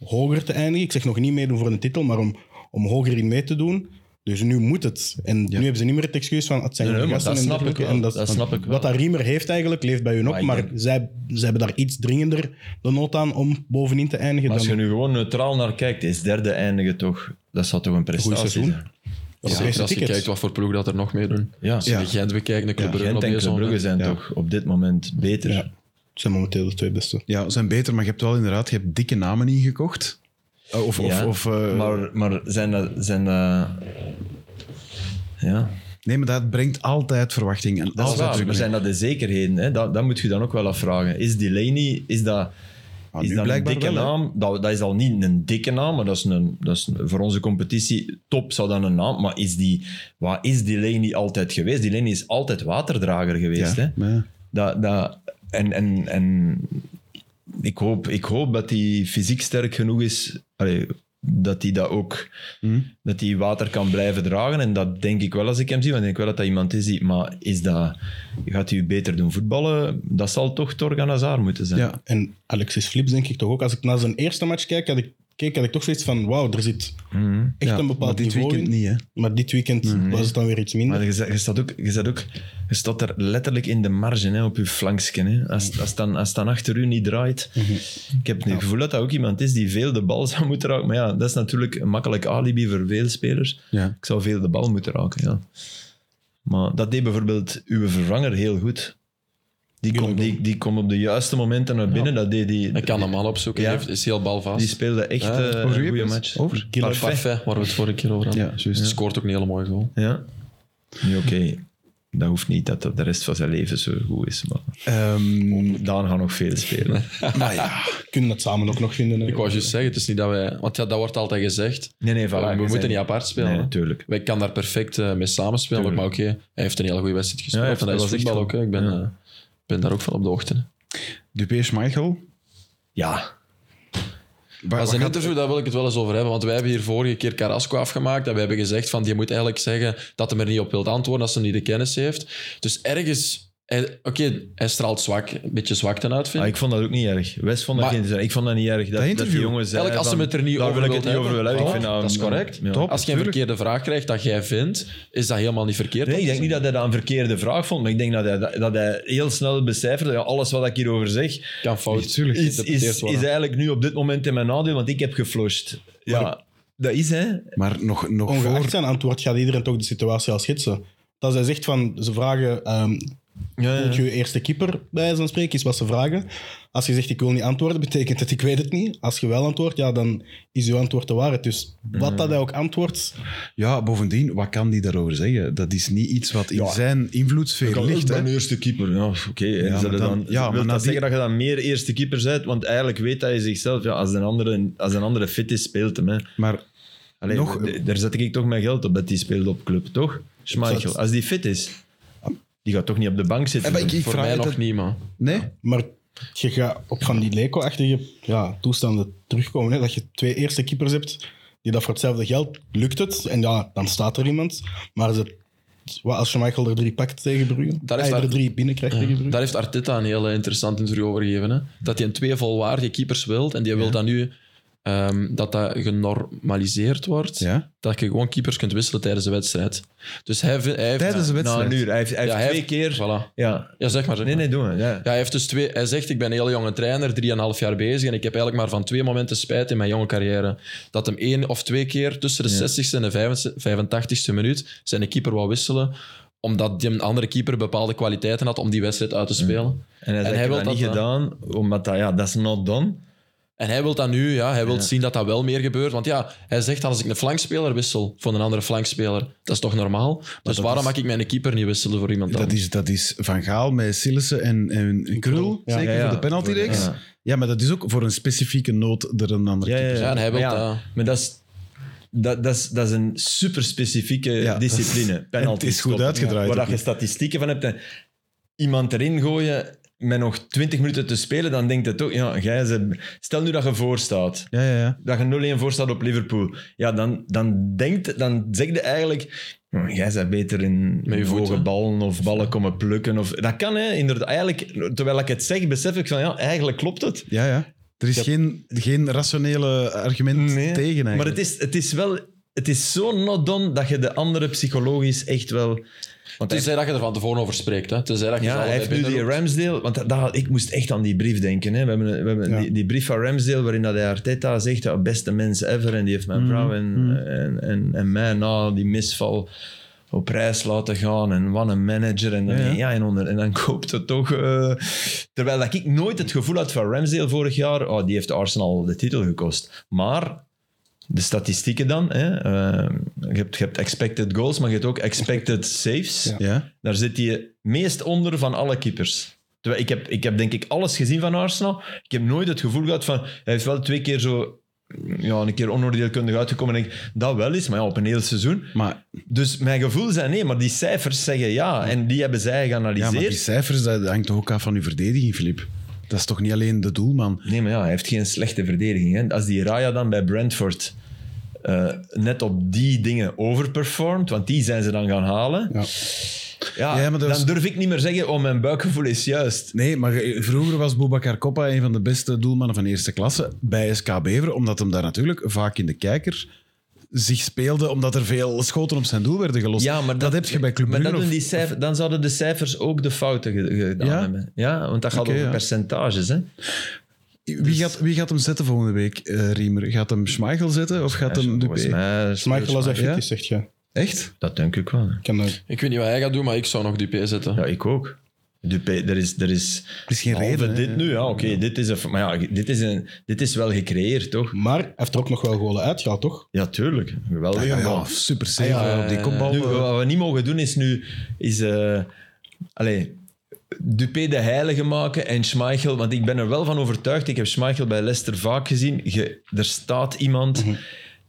[SPEAKER 4] hoger te eindigen. Ik zeg nog niet meedoen voor een titel, maar om, om hoger in mee te doen. Dus nu moet het. En nu hebben ze niet meer het excuus van het zijn
[SPEAKER 2] Nee,
[SPEAKER 4] nee,
[SPEAKER 2] nee, maar
[SPEAKER 4] gasten
[SPEAKER 2] dat
[SPEAKER 4] en
[SPEAKER 2] snap ik
[SPEAKER 4] dergelijke.
[SPEAKER 2] wel.
[SPEAKER 4] En
[SPEAKER 2] Dat
[SPEAKER 4] want
[SPEAKER 2] snap ik wel.
[SPEAKER 4] Wat dat Riemer heeft eigenlijk, leeft bij hun ook.
[SPEAKER 2] Maar
[SPEAKER 4] Maar,
[SPEAKER 2] ik denk-
[SPEAKER 4] zij, zij hebben daar iets dringender de nood aan om bovenin te eindigen.
[SPEAKER 2] Maar als
[SPEAKER 4] dan
[SPEAKER 2] je nu gewoon neutraal naar kijkt, is derde eindigen toch... Dat zou toch een prestatie
[SPEAKER 4] seizoen.
[SPEAKER 2] zijn?
[SPEAKER 3] Zeker
[SPEAKER 4] Europese
[SPEAKER 3] als je
[SPEAKER 4] tickets.
[SPEAKER 3] kijkt wat voor ploeg dat er nog meedoen.
[SPEAKER 2] Ja.
[SPEAKER 3] Als je de Gent bekijkt, de Club Brugge
[SPEAKER 2] Gent
[SPEAKER 3] op
[SPEAKER 2] en
[SPEAKER 3] deze
[SPEAKER 2] Club Brugge
[SPEAKER 3] moment.
[SPEAKER 2] zijn
[SPEAKER 1] Ja.
[SPEAKER 2] toch op dit moment beter.
[SPEAKER 4] Ja. Het zijn momenteel de twee beste.
[SPEAKER 1] Ja, ze zijn beter, maar je hebt wel inderdaad je hebt dikke namen ingekocht. Eh, Of, of,
[SPEAKER 2] Ja,
[SPEAKER 1] of, eh,
[SPEAKER 2] maar, maar zijn dat... Zijn dat ja.
[SPEAKER 1] Nee, maar dat brengt altijd verwachting. En
[SPEAKER 2] Dat is
[SPEAKER 1] altijd
[SPEAKER 2] waar,
[SPEAKER 1] druk
[SPEAKER 2] maar
[SPEAKER 1] mee.
[SPEAKER 2] zijn dat de zekerheden? Hè? Dat, dat moet je dan ook wel afvragen. Is Delaney, is dat,
[SPEAKER 1] Ah,
[SPEAKER 2] is
[SPEAKER 1] nu
[SPEAKER 2] dat een
[SPEAKER 1] blijkbaar
[SPEAKER 2] dikke
[SPEAKER 1] wel, hè.
[SPEAKER 2] naam? Dat, dat is al niet een dikke naam, maar dat is, een, dat is een- voor onze competitie top zou dan een naam. Maar is die, wat is Delaney altijd geweest? Delaney is altijd waterdrager geweest. Hè?
[SPEAKER 1] maar ja.
[SPEAKER 2] Dat, dat, en en, en ik, hoop, ik hoop dat hij fysiek sterk genoeg is. Allee, dat hij dat ook dat hij water kan blijven dragen. En dat denk ik wel als ik hem zie. Want ik denk wel dat dat iemand is die. Maar is dat, gaat hij u beter doen voetballen? Dat zal toch Torgan Hazard moeten zijn.
[SPEAKER 1] Ja.
[SPEAKER 4] En Alexis Flips denk ik toch ook. Als ik naar zijn eerste match kijk, had ik, keek, had ik toch zoiets van... Wauw, er zit
[SPEAKER 2] Mhm.
[SPEAKER 4] echt
[SPEAKER 1] Ja,
[SPEAKER 4] een
[SPEAKER 1] maar
[SPEAKER 4] bepaald
[SPEAKER 1] dit
[SPEAKER 4] niveau
[SPEAKER 1] weekend
[SPEAKER 4] in.
[SPEAKER 1] niet, hè?
[SPEAKER 4] Maar dit weekend was het dan weer iets minder.
[SPEAKER 2] Maar je, zet- je staat ook, je, staat ook, je staat er letterlijk in de marge hè, op je flanksken. Hè.
[SPEAKER 1] Mhm.
[SPEAKER 2] Als, als, dan, als dan achter u niet draait. Ik heb het gevoel dat dat ook iemand is die veel de bal zou moeten raken. Maar ja, dat is natuurlijk een makkelijk alibi voor veel spelers.
[SPEAKER 1] Ja.
[SPEAKER 2] Ik zou veel de bal moeten raken. Ja. Maar dat deed bijvoorbeeld uw vervanger heel goed. Die komt die, die komt op de juiste momenten naar binnen. Dat deed die,
[SPEAKER 3] Hij kan de man opzoeken,
[SPEAKER 2] Ja.
[SPEAKER 3] hij heeft- is heel balvast.
[SPEAKER 2] die speelde echt
[SPEAKER 3] Ja,
[SPEAKER 2] eh,
[SPEAKER 3] over
[SPEAKER 1] Over
[SPEAKER 2] een
[SPEAKER 1] wie
[SPEAKER 2] goede
[SPEAKER 1] heb je het?
[SPEAKER 2] match.
[SPEAKER 1] Over?
[SPEAKER 4] Killer
[SPEAKER 3] Parfait, waar we het vorige keer over hadden.
[SPEAKER 1] Ja, juist.
[SPEAKER 3] Hij Scoort ook een hele mooie goal.
[SPEAKER 2] Ja. Nu oké, dat hoeft niet dat dat de rest van zijn leven zo goed is. Maar
[SPEAKER 1] Ehm,
[SPEAKER 2] Daan gaat nog veel spelen.
[SPEAKER 1] maar ja,
[SPEAKER 4] kunnen dat samen ook nog vinden. hè.
[SPEAKER 3] Ik wou juist zeggen, het is niet dat wij... Want ja, dat wordt altijd gezegd.
[SPEAKER 2] Nee, nee, voilà,
[SPEAKER 3] we
[SPEAKER 2] je
[SPEAKER 3] moeten
[SPEAKER 2] zei-
[SPEAKER 3] niet apart spelen.
[SPEAKER 2] Nee, natuurlijk.
[SPEAKER 3] Wij kan daar perfect eh, mee samenspelen, ook, maar oké, hij heeft een hele goede wedstrijd gespeeld.
[SPEAKER 2] Ja, hij
[SPEAKER 3] en dat
[SPEAKER 2] heeft-
[SPEAKER 3] is
[SPEAKER 2] dat was echt
[SPEAKER 3] voetbal ook. hè. Ik ben,
[SPEAKER 2] Ja.
[SPEAKER 3] eh, ben daar ook van op de ochtend.
[SPEAKER 1] Dupé Schmeichel.
[SPEAKER 2] Ja.
[SPEAKER 1] Wa-
[SPEAKER 3] Maar
[SPEAKER 1] wat
[SPEAKER 3] zijn
[SPEAKER 1] gaat-
[SPEAKER 3] interview, daar wil ik het wel eens over hebben. Want wij hebben hier vorige keer Carrasco afgemaakt. En we hebben gezegd van, die moet eigenlijk zeggen dat hij er niet op wilt antwoorden als hij niet de kennis heeft. Dus ergens... hij- Oké, hij straalt zwak, een beetje zwakte uit, vind
[SPEAKER 2] Ah,
[SPEAKER 3] ik.
[SPEAKER 2] ik vond dat ook niet erg. Wes vond dat,
[SPEAKER 3] Maar-
[SPEAKER 2] geen, ik vond dat niet erg. Dat,
[SPEAKER 1] interview?
[SPEAKER 2] dat die jongen zei
[SPEAKER 3] Eigenlijk als
[SPEAKER 2] van,
[SPEAKER 3] ze het er niet
[SPEAKER 2] daar
[SPEAKER 3] over
[SPEAKER 2] wil ik
[SPEAKER 3] wilt
[SPEAKER 2] het niet over
[SPEAKER 3] hebben.
[SPEAKER 2] willen hebben. Ik
[SPEAKER 3] Voilà,
[SPEAKER 2] vind
[SPEAKER 3] dat is correct.
[SPEAKER 2] Ja.
[SPEAKER 1] Top.
[SPEAKER 3] Als je een
[SPEAKER 1] tuurlijk.
[SPEAKER 3] verkeerde vraag krijgt dat jij vindt, is dat helemaal niet verkeerd.
[SPEAKER 2] Nee, ik denk niet dat hij dat een verkeerde vraag vond, maar ik denk dat hij, dat, dat hij heel snel becijferde. Ja, alles wat ik hierover zeg,
[SPEAKER 3] kan fout
[SPEAKER 1] Tuurlijk.
[SPEAKER 2] is, is,
[SPEAKER 3] geïnterpreteerd
[SPEAKER 2] is
[SPEAKER 3] worden.
[SPEAKER 2] eigenlijk nu op dit moment in mijn nadeel, want ik heb geflushed. Ja, dat is hè.
[SPEAKER 1] Maar nog, nog
[SPEAKER 4] Ongeacht
[SPEAKER 1] voor...
[SPEAKER 4] zijn antwoord gaat iedereen toch de situatie al schetsen. Dat zij zegt van, ze vragen, ehm
[SPEAKER 2] Ja,
[SPEAKER 4] moet je je eerste keeper bij zo'n spreken, is wat ze vragen. Als je zegt, ik wil niet antwoorden, betekent dat ik weet het niet. Als je wel antwoordt, ja, dan is je antwoord de waarheid. Dus
[SPEAKER 1] Mhm.
[SPEAKER 4] wat dat hij ook antwoordt,
[SPEAKER 1] Ja, bovendien, wat kan die daarover zeggen? Dat is niet iets wat in
[SPEAKER 2] Ja.
[SPEAKER 1] zijn invloedssfeer ligt. hè.
[SPEAKER 2] eerste keeper. Ja, oké. En
[SPEAKER 1] maar
[SPEAKER 2] zou dat
[SPEAKER 1] dan-
[SPEAKER 2] dan,
[SPEAKER 1] ja,
[SPEAKER 2] wil
[SPEAKER 1] maar
[SPEAKER 2] dat
[SPEAKER 1] nadien-
[SPEAKER 2] zeggen dat je dan meer eerste keeper bent? Want eigenlijk weet hij zichzelf, ja, als, een andere, als een andere fit is, speelt hem. Hè.
[SPEAKER 1] Maar
[SPEAKER 2] Allee,
[SPEAKER 1] Nog-
[SPEAKER 2] d- daar zet ik toch mijn geld op dat die speelt op club, toch? Schmeichel,
[SPEAKER 4] zat-
[SPEAKER 2] als die fit is, die gaat toch niet op de bank zitten.
[SPEAKER 1] Eh, maar ik- ik-
[SPEAKER 3] Voor
[SPEAKER 1] vraag
[SPEAKER 3] mij
[SPEAKER 1] het
[SPEAKER 3] nog
[SPEAKER 1] dat-
[SPEAKER 3] niet, man.
[SPEAKER 1] nee,
[SPEAKER 4] maar je gaat op van die Leko-achtige ja, toestanden terugkomen. Hè? Dat je twee eerste keepers hebt die dat voor hetzelfde geld, lukt het. En ja, dan staat er iemand. Maar ze, wat als je Michael er drie pakt tegen Brugge,
[SPEAKER 3] Daar
[SPEAKER 4] daar
[SPEAKER 3] is
[SPEAKER 4] is
[SPEAKER 3] daar-
[SPEAKER 4] er drie binnenkrijgt tegen Brugge.
[SPEAKER 3] Hm. Daar heeft Arteta een heel interessant interview over gegeven. Hè? Dat hij een twee volwaardige keepers wil en die wil dat nu ehm, dat dat genormaliseerd wordt.
[SPEAKER 1] ja.
[SPEAKER 3] Dat je gewoon keepers kunt wisselen tijdens de wedstrijd. Dus hij, vi- hij heeft...
[SPEAKER 1] Tijdens de
[SPEAKER 2] Nou,
[SPEAKER 1] wedstrijd.
[SPEAKER 2] een uur. Hij heeft, hij heeft
[SPEAKER 3] Ja, hij
[SPEAKER 2] twee
[SPEAKER 3] heeft-
[SPEAKER 2] keer...
[SPEAKER 3] Voilà.
[SPEAKER 2] Ja.
[SPEAKER 3] Ja, zeg maar. Zeg
[SPEAKER 2] Nee,
[SPEAKER 3] maar.
[SPEAKER 2] nee, doen we. Ja.
[SPEAKER 3] Ja, hij, heeft dus twee, hij zegt, ik ben een heel jonge trainer, drieënhalf jaar bezig en ik heb eigenlijk maar van twee momenten spijt in mijn jonge carrière. Dat hem één of twee keer tussen de 60ste en de 85ste minuut zijn keeper wou wisselen, omdat die een andere keeper bepaalde kwaliteiten had om die wedstrijd uit te spelen.
[SPEAKER 2] En hij,
[SPEAKER 3] En
[SPEAKER 2] zegt,
[SPEAKER 3] hij
[SPEAKER 2] ik
[SPEAKER 3] wil
[SPEAKER 2] heb dat
[SPEAKER 3] dat
[SPEAKER 2] niet
[SPEAKER 3] dan.
[SPEAKER 2] gedaan, omdat dat, ja, dat is not done.
[SPEAKER 3] En hij wil dat nu, ja, hij wil zien dat dat wel meer gebeurt. Want ja, hij zegt dan als ik een flankspeler wissel voor een andere flankspeler, dat is toch normaal? Dus waarom mag ik mijn keeper niet wisselen voor iemand
[SPEAKER 1] Dat
[SPEAKER 3] anders?
[SPEAKER 1] is, dat is Van Gaal met Sillissen en, en, en Krul,
[SPEAKER 4] Ja.
[SPEAKER 1] zeker
[SPEAKER 2] Ja, ja.
[SPEAKER 1] voor de penaltyreeks.
[SPEAKER 2] Ja.
[SPEAKER 1] Ja. maar dat is ook voor een specifieke nood er een ander keeper.
[SPEAKER 3] Ja, en hij wil
[SPEAKER 2] maar
[SPEAKER 3] dat.
[SPEAKER 2] Maar dat is, dat, dat is, dat is een super specifieke
[SPEAKER 1] Ja.
[SPEAKER 2] discipline. Penalty
[SPEAKER 1] het is goed
[SPEAKER 2] stoppen.
[SPEAKER 1] uitgedraaid
[SPEAKER 2] Waar
[SPEAKER 1] ook
[SPEAKER 2] dat je statistieken van hebt. En iemand erin gooien met nog 20 minuten te spelen, dan denkt het ook... Ja, jij ze, stel nu dat je voorstaat.
[SPEAKER 1] Ja, ja, ja.
[SPEAKER 2] Dat je 0-1 voorstaat op Liverpool. Ja, dan, dan, denkt, dan zeg je eigenlijk... "Hm, Jij bent beter in
[SPEAKER 3] Met je
[SPEAKER 2] hoge
[SPEAKER 3] voeten."
[SPEAKER 2] ballen of ballen komen plukken. Of, dat kan, hè. Inderdaad, eigenlijk, terwijl ik het zeg, besef ik van... Ja, eigenlijk klopt het.
[SPEAKER 1] ja, ja. Er is geen, geen rationele argument
[SPEAKER 2] Nee,
[SPEAKER 1] tegen eigenlijk.
[SPEAKER 2] Maar het is, het is wel... Het is zo not done dat je de andere psychologisch echt wel... Want hij,
[SPEAKER 3] Tenzij dat je er van tevoren over spreekt. Hè. Tenzij dat je ze
[SPEAKER 2] ja, hij
[SPEAKER 3] allebei
[SPEAKER 2] heeft nu die
[SPEAKER 3] binnenroept.
[SPEAKER 2] Ramsdale... Want dat, dat- ik moest echt aan die brief denken. Hè. We hebben, een- we hebben
[SPEAKER 4] Ja.
[SPEAKER 2] die, die brief van Ramsdale waarin dat hij Arteta zegt... ja, beste mens ever. En die heeft
[SPEAKER 1] Mhm.
[SPEAKER 2] mijn vrouw en, en, en, en mij na die misval op reis laten gaan. En wat een manager. En dan,
[SPEAKER 1] Ja,
[SPEAKER 2] ja,
[SPEAKER 1] ja.
[SPEAKER 2] en, onder, en dan koopt het toch... eh, terwijl dat ik nooit het gevoel had van Ramsdale vorig jaar... Oh, die heeft Arsenal de titel gekost. Maar de statistieken dan. Hè? Eh, je, hebt, je hebt expected goals, maar je hebt ook expected saves.
[SPEAKER 1] Ja.
[SPEAKER 2] Daar zit hij meest onder van alle keepers. Terwijl ik, heb, ik heb denk ik alles gezien van Arsenal. Ik heb nooit het gevoel gehad van... Hij heeft wel twee keer zo... Ja, een keer onoordeelkundig uitgekomen. En ik, denk, dat wel is, maar ja, op een heel seizoen.
[SPEAKER 1] Maar,
[SPEAKER 2] Dus mijn gevoel zijn nee, maar die cijfers zeggen ja. En die hebben zij
[SPEAKER 1] ja,
[SPEAKER 2] geanalyseerd.
[SPEAKER 1] maar die cijfers, dat hangt toch ook af van uw verdediging, Filip? Dat is toch niet alleen de doelman?
[SPEAKER 2] Nee, maar ja, hij heeft geen slechte verdediging. Hè. Als die Raya dan bij Brentford eh, net op die dingen overperformt, want die zijn ze dan gaan halen,
[SPEAKER 4] Ja.
[SPEAKER 2] ja,
[SPEAKER 1] Ja, maar dat
[SPEAKER 2] dan
[SPEAKER 1] was-
[SPEAKER 2] durf ik niet meer zeggen, oh, mijn buikgevoel is juist.
[SPEAKER 1] Nee, maar ge- vroeger was Boubacar Coppa een van de beste doelmannen van eerste klasse bij SK Beveren, omdat hem daar natuurlijk vaak in de kijker zich speelde, omdat er veel schoten op zijn doel werden gelost. dat, heb je bij Club
[SPEAKER 2] maar dat
[SPEAKER 1] Brugge
[SPEAKER 2] doen die
[SPEAKER 1] of-
[SPEAKER 2] cijfers, Dan zouden de cijfers ook de fouten ge- gedaan
[SPEAKER 1] Ja?
[SPEAKER 2] hebben. Ja, want dat gaat
[SPEAKER 1] Oké,
[SPEAKER 2] over
[SPEAKER 1] ja.
[SPEAKER 2] percentages. Hè. Dus-
[SPEAKER 1] Wie gaat, wie gaat hem zetten volgende week, eh, Riemer? Gaat hem Schmeichel zetten of gaat hem
[SPEAKER 2] Volgens
[SPEAKER 1] Dupé?
[SPEAKER 2] mij
[SPEAKER 4] Michael als hij fit
[SPEAKER 1] Ja?
[SPEAKER 4] is, zeg je.
[SPEAKER 1] Echt?
[SPEAKER 2] Dat denk ik wel. hè.
[SPEAKER 4] Ik kan dat-
[SPEAKER 3] Ik weet niet wat hij gaat doen, maar ik zou nog Dupé zetten.
[SPEAKER 2] Ja, ik ook. Dupé, er is, er is
[SPEAKER 1] Er is geen
[SPEAKER 2] Behalve
[SPEAKER 1] reden. hè.
[SPEAKER 2] dit nu, ja, oké. dit is een- maar ja, dit is, een, dit is wel gecreëerd, toch?
[SPEAKER 4] Maar hij heeft er ook nog wel golen uitgehaald, toch?
[SPEAKER 2] Ja, tuurlijk.
[SPEAKER 1] Ja,
[SPEAKER 2] Geweldig.
[SPEAKER 1] Ah, ja, ja, super safe
[SPEAKER 2] Ah, ja,
[SPEAKER 1] hè, op die
[SPEAKER 3] eh,
[SPEAKER 1] kopbal.
[SPEAKER 2] Nu,
[SPEAKER 1] eh.
[SPEAKER 2] wat we niet mogen doen is nu... Is, eh allee, Dupé de heilige maken en Schmeichel... Want ik ben er wel van overtuigd. Ik heb Schmeichel bij Leicester vaak gezien. Je- er staat iemand...
[SPEAKER 3] Mhm.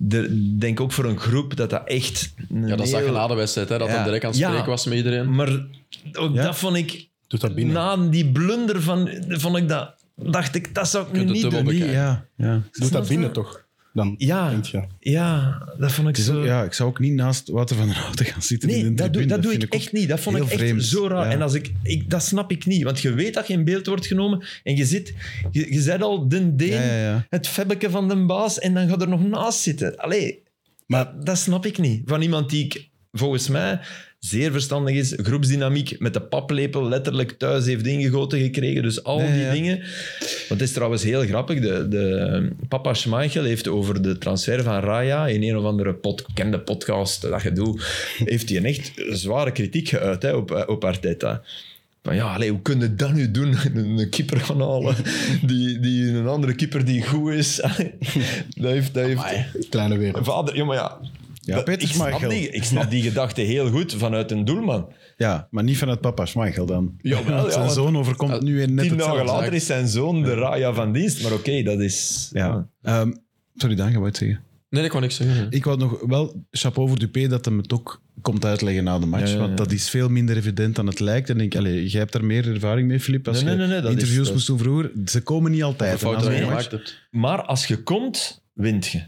[SPEAKER 2] er- denk ook voor een groep dat dat echt... een
[SPEAKER 3] Ja, dat zag je
[SPEAKER 2] heel-
[SPEAKER 3] na de wedstrijd, hè, dat
[SPEAKER 2] Ja.
[SPEAKER 3] hij direct aan het
[SPEAKER 2] Ja.
[SPEAKER 3] spreken was met iedereen.
[SPEAKER 2] Maar ook dat vond ik...
[SPEAKER 4] Doet dat binnen.
[SPEAKER 2] Na die blunder van... Vond ik dat... Dacht ik, dat zou ik nu
[SPEAKER 3] kunt het
[SPEAKER 2] niet
[SPEAKER 3] dubbel
[SPEAKER 2] doen.
[SPEAKER 1] Nee,
[SPEAKER 3] bekijken.
[SPEAKER 1] ja, ja.
[SPEAKER 4] Doet dat binnen, toch? Dan
[SPEAKER 2] Ja.
[SPEAKER 4] denk je.
[SPEAKER 2] Ja, dat vond ik
[SPEAKER 1] Het is
[SPEAKER 2] zo...
[SPEAKER 1] ook- ja, ik zou ook niet naast Wouter van der Houten gaan zitten in de
[SPEAKER 2] Nee, dat doe,
[SPEAKER 1] tribune.
[SPEAKER 2] dat doe ik
[SPEAKER 1] vind
[SPEAKER 2] echt
[SPEAKER 1] ook
[SPEAKER 2] niet. Dat vond ik
[SPEAKER 1] heel
[SPEAKER 2] echt
[SPEAKER 1] vreemd.
[SPEAKER 2] zo raar.
[SPEAKER 1] Ja.
[SPEAKER 2] En als ik, ik, dat snap ik niet. Want je weet dat je in beeld wordt genomen en je zit, je, je zet al den deen,
[SPEAKER 1] Ja, ja, ja.
[SPEAKER 2] het febbeke van de baas en dan gaat er nog naast zitten. Allee,
[SPEAKER 4] Maar
[SPEAKER 2] dat snap ik niet. Van iemand die ik, volgens mij zeer verstandig is, groepsdynamiek met de paplepel letterlijk thuis heeft ingegoten gekregen. Dus al
[SPEAKER 1] Nee,
[SPEAKER 2] die
[SPEAKER 1] ja.
[SPEAKER 2] dingen. Want het is trouwens heel grappig. De, de, papa Schmeichel heeft over de transfer van Raya in een of andere pod, kende podcast dat je doet, heeft hij een echt zware kritiek geuit hè, op, op Arteta. Van ja, allee, hoe kun je dat nu doen? Een, een keeper gaan halen. Die, die, een andere keeper die goed is. Dat heeft, dat heeft,
[SPEAKER 4] kleine wereld.
[SPEAKER 2] Vader, ja, maar ja.
[SPEAKER 1] Ja,
[SPEAKER 2] Dat-
[SPEAKER 1] Peter
[SPEAKER 2] ik, snap
[SPEAKER 1] Schmeichel.
[SPEAKER 2] die, ik snap die gedachte heel goed vanuit een doelman.
[SPEAKER 1] Ja, maar niet vanuit papa Schmeichel dan.
[SPEAKER 2] Jawel,
[SPEAKER 1] Want
[SPEAKER 2] ja,
[SPEAKER 1] zijn
[SPEAKER 2] want-
[SPEAKER 1] zoon overkomt nu weer net
[SPEAKER 2] Tien dagen
[SPEAKER 1] hetzelfde.
[SPEAKER 2] later is zijn zoon de Raya van dienst. Maar oké, dat is...
[SPEAKER 1] Ja.
[SPEAKER 2] Ah.
[SPEAKER 1] Ehm, sorry, Daan, je wou het zeggen.
[SPEAKER 3] Nee, ik kon niks zeggen.
[SPEAKER 1] Ik wou nog wel chapeau voor Dupé dat hem het ook komt uitleggen na de match.
[SPEAKER 2] Ja, ja, ja.
[SPEAKER 1] Want dat is veel minder evident dan het lijkt. En ik denk, allee, jij hebt daar meer ervaring mee, Filip. Als
[SPEAKER 2] Nee,
[SPEAKER 1] je
[SPEAKER 2] nee, nee, nee, dat is-
[SPEAKER 1] interviews
[SPEAKER 2] dat-
[SPEAKER 1] moest doen vroeger. Ze komen niet
[SPEAKER 3] De
[SPEAKER 1] altijd.
[SPEAKER 3] fout
[SPEAKER 1] En
[SPEAKER 3] dat
[SPEAKER 1] na
[SPEAKER 3] je
[SPEAKER 1] zo'n
[SPEAKER 3] gemaakt
[SPEAKER 1] match-
[SPEAKER 3] hebt.
[SPEAKER 2] Maar als je komt, wint je.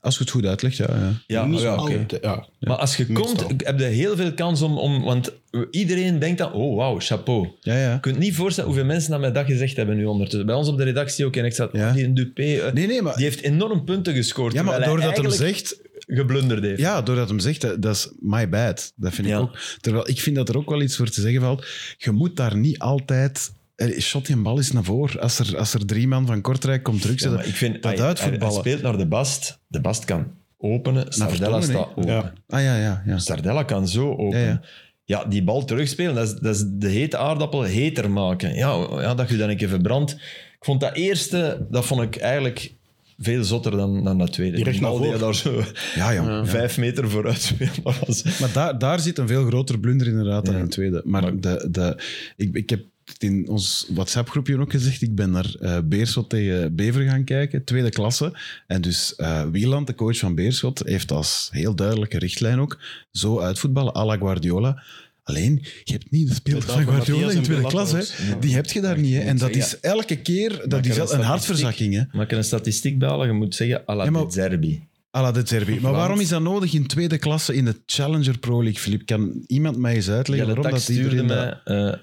[SPEAKER 1] Als je het goed uitlegt, ja. ja.
[SPEAKER 2] Ja,
[SPEAKER 4] Niet
[SPEAKER 2] ja, oké.
[SPEAKER 4] altijd, ja.
[SPEAKER 2] Maar als je
[SPEAKER 4] Meestal.
[SPEAKER 2] komt, heb je heel veel kans om... om want iedereen denkt dan, oh wauw, chapeau.
[SPEAKER 1] ja, ja.
[SPEAKER 2] Je kunt niet voorstellen hoeveel mensen dat mij dat gezegd hebben nu ondertussen. Bij ons op de redactie ook. En ik zat,
[SPEAKER 1] Ja.
[SPEAKER 2] oh, die een Dupé... eh,
[SPEAKER 1] Nee, nee, maar,
[SPEAKER 2] Die heeft enorm punten gescoord.
[SPEAKER 1] ja, maar
[SPEAKER 2] terwijl hij
[SPEAKER 1] doordat hem
[SPEAKER 2] eigenlijk
[SPEAKER 1] zegt,
[SPEAKER 2] geblunderd heeft.
[SPEAKER 1] Ja, doordat hem zegt, dat, dat is my bad. Dat vind
[SPEAKER 2] Ja.
[SPEAKER 1] ik ook. Terwijl ik vind dat er ook wel iets voor te zeggen valt. Je moet daar niet altijd... eh, Shot die een bal eens naar voren. Als er, als er drie man van Kortrijk komt
[SPEAKER 2] Ja,
[SPEAKER 1] terugzetten.
[SPEAKER 2] maar ik vind,
[SPEAKER 1] dat
[SPEAKER 2] hij, hij
[SPEAKER 1] uitvoetballen.
[SPEAKER 2] speelt naar de bast. De bast kan openen. Sardella
[SPEAKER 1] Vertongen,
[SPEAKER 2] staat
[SPEAKER 1] hè?
[SPEAKER 2] open.
[SPEAKER 4] Ja.
[SPEAKER 1] ah ja, ja, ja.
[SPEAKER 2] Sardella kan zo open.
[SPEAKER 1] Ja,
[SPEAKER 2] Ja,
[SPEAKER 1] ja.
[SPEAKER 2] die bal terugspelen, dat is, dat is de hete aardappel heter maken. Ja, ja, dat je dan een keer verbrandt. Ik vond dat eerste, dat vond ik eigenlijk veel zotter dan, dan dat tweede.
[SPEAKER 4] Direct
[SPEAKER 2] Die bal die
[SPEAKER 4] naar voren.
[SPEAKER 2] je daar zo
[SPEAKER 1] Ja, ja.
[SPEAKER 2] vijf meter vooruit speelt. dat was-
[SPEAKER 1] Maar daar, daar zit een veel groter blunder inderdaad dan in het tweede. Maar, de, de, ik, ik heb het in ons WhatsApp-groepje ook gezegd. Ik ben naar eh, Beerschot tegen Bever gaan kijken, tweede klasse. En dus eh, Wieland, de coach van Beerschot, heeft als heel duidelijke richtlijn ook zo uitvoetballen, à la Guardiola. Alleen, je hebt niet de speelers
[SPEAKER 4] Met
[SPEAKER 1] van
[SPEAKER 4] Alvaro
[SPEAKER 1] Guardiola
[SPEAKER 4] Diaz
[SPEAKER 1] in
[SPEAKER 4] en
[SPEAKER 1] tweede
[SPEAKER 4] Pilatos.
[SPEAKER 1] klasse. hè. Die heb je daar niet. Hè. En dat is elke keer dat is
[SPEAKER 2] een
[SPEAKER 1] wel een
[SPEAKER 2] statistiek.
[SPEAKER 1] hartverzakking. Hè.
[SPEAKER 2] Maar ik kan een statistiek behalen, je moet zeggen, à la
[SPEAKER 1] Ja, maar-
[SPEAKER 2] de Zerbi.
[SPEAKER 1] À la de Zerbi. Maar waarom is dat nodig in tweede klasse in de Challenger Pro League, Filip? Kan iemand mij eens
[SPEAKER 2] Ja,
[SPEAKER 1] uitleggen
[SPEAKER 2] de
[SPEAKER 1] waarom
[SPEAKER 2] tak
[SPEAKER 1] dat
[SPEAKER 2] stuurde
[SPEAKER 1] iedereen... dat-
[SPEAKER 2] mij eh,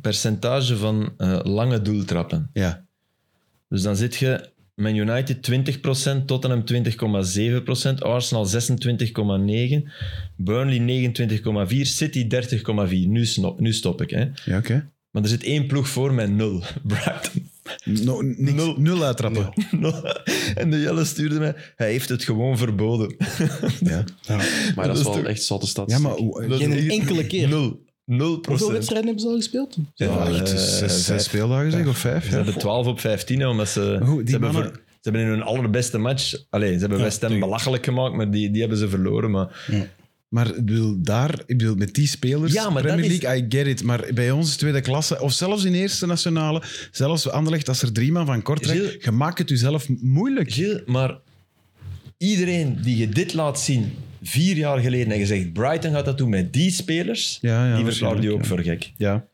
[SPEAKER 2] percentage van eh, lange doeltrappen.
[SPEAKER 1] Ja,
[SPEAKER 2] Dus dan zit je Man United 20%, Tottenham 20,7%, Arsenal 26,9%, Burnley 29,4%, City 30,4%. Nu, snop- nu stop ik. Hè.
[SPEAKER 1] ja oké.
[SPEAKER 2] Maar er zit één ploeg voor met 0. Brighton
[SPEAKER 1] No, niks, nul.
[SPEAKER 2] Nul.
[SPEAKER 1] uittrappen.
[SPEAKER 2] 0. En de Jelle stuurde mij, hij heeft het gewoon verboden.
[SPEAKER 1] Ja.
[SPEAKER 3] Maar dat
[SPEAKER 2] Dat
[SPEAKER 3] is
[SPEAKER 2] is
[SPEAKER 3] wel
[SPEAKER 2] toch-
[SPEAKER 3] echt zotte stad.
[SPEAKER 1] ja, maar hoe-
[SPEAKER 2] Dat
[SPEAKER 4] Geen
[SPEAKER 2] is-
[SPEAKER 4] enkele keer.
[SPEAKER 2] 0. 0
[SPEAKER 4] Hoeveel wedstrijden hebben ze al gespeeld?
[SPEAKER 1] ja,
[SPEAKER 2] Ja,
[SPEAKER 1] het is
[SPEAKER 2] eh,
[SPEAKER 1] zes, zes
[SPEAKER 2] vijf.
[SPEAKER 1] speeldagen zeg, of vijf?
[SPEAKER 2] Ze
[SPEAKER 1] Ja.
[SPEAKER 2] hebben 12 op 15, hè, omdat ze,
[SPEAKER 1] Goed, die
[SPEAKER 2] ze, hebben
[SPEAKER 1] mannen-
[SPEAKER 2] ver- ze hebben in hun allerbeste match... Allee, ze hebben
[SPEAKER 4] Ja,
[SPEAKER 2] West Ham
[SPEAKER 4] tegen-
[SPEAKER 2] belachelijk gemaakt, maar die, die hebben ze verloren. Maar
[SPEAKER 1] Maar ik bedoel, daar, ik bedoel, met die spelers,
[SPEAKER 2] Ja, maar dat
[SPEAKER 1] Premier
[SPEAKER 2] is-
[SPEAKER 1] League, I get it. Maar bij ons tweede klasse, of zelfs in eerste nationale, zelfs Anderlecht, als er drie man van Kortrijk,
[SPEAKER 2] Gilles-
[SPEAKER 1] je maakt het jezelf moeilijk.
[SPEAKER 2] Gilles, maar iedereen die je dit laat zien vier jaar geleden en je zegt Brighton gaat dat doen met die spelers,
[SPEAKER 1] Ja, ja,
[SPEAKER 2] die verklaarde je ook
[SPEAKER 1] waarschijnlijk,
[SPEAKER 2] voor gek.
[SPEAKER 1] Ja.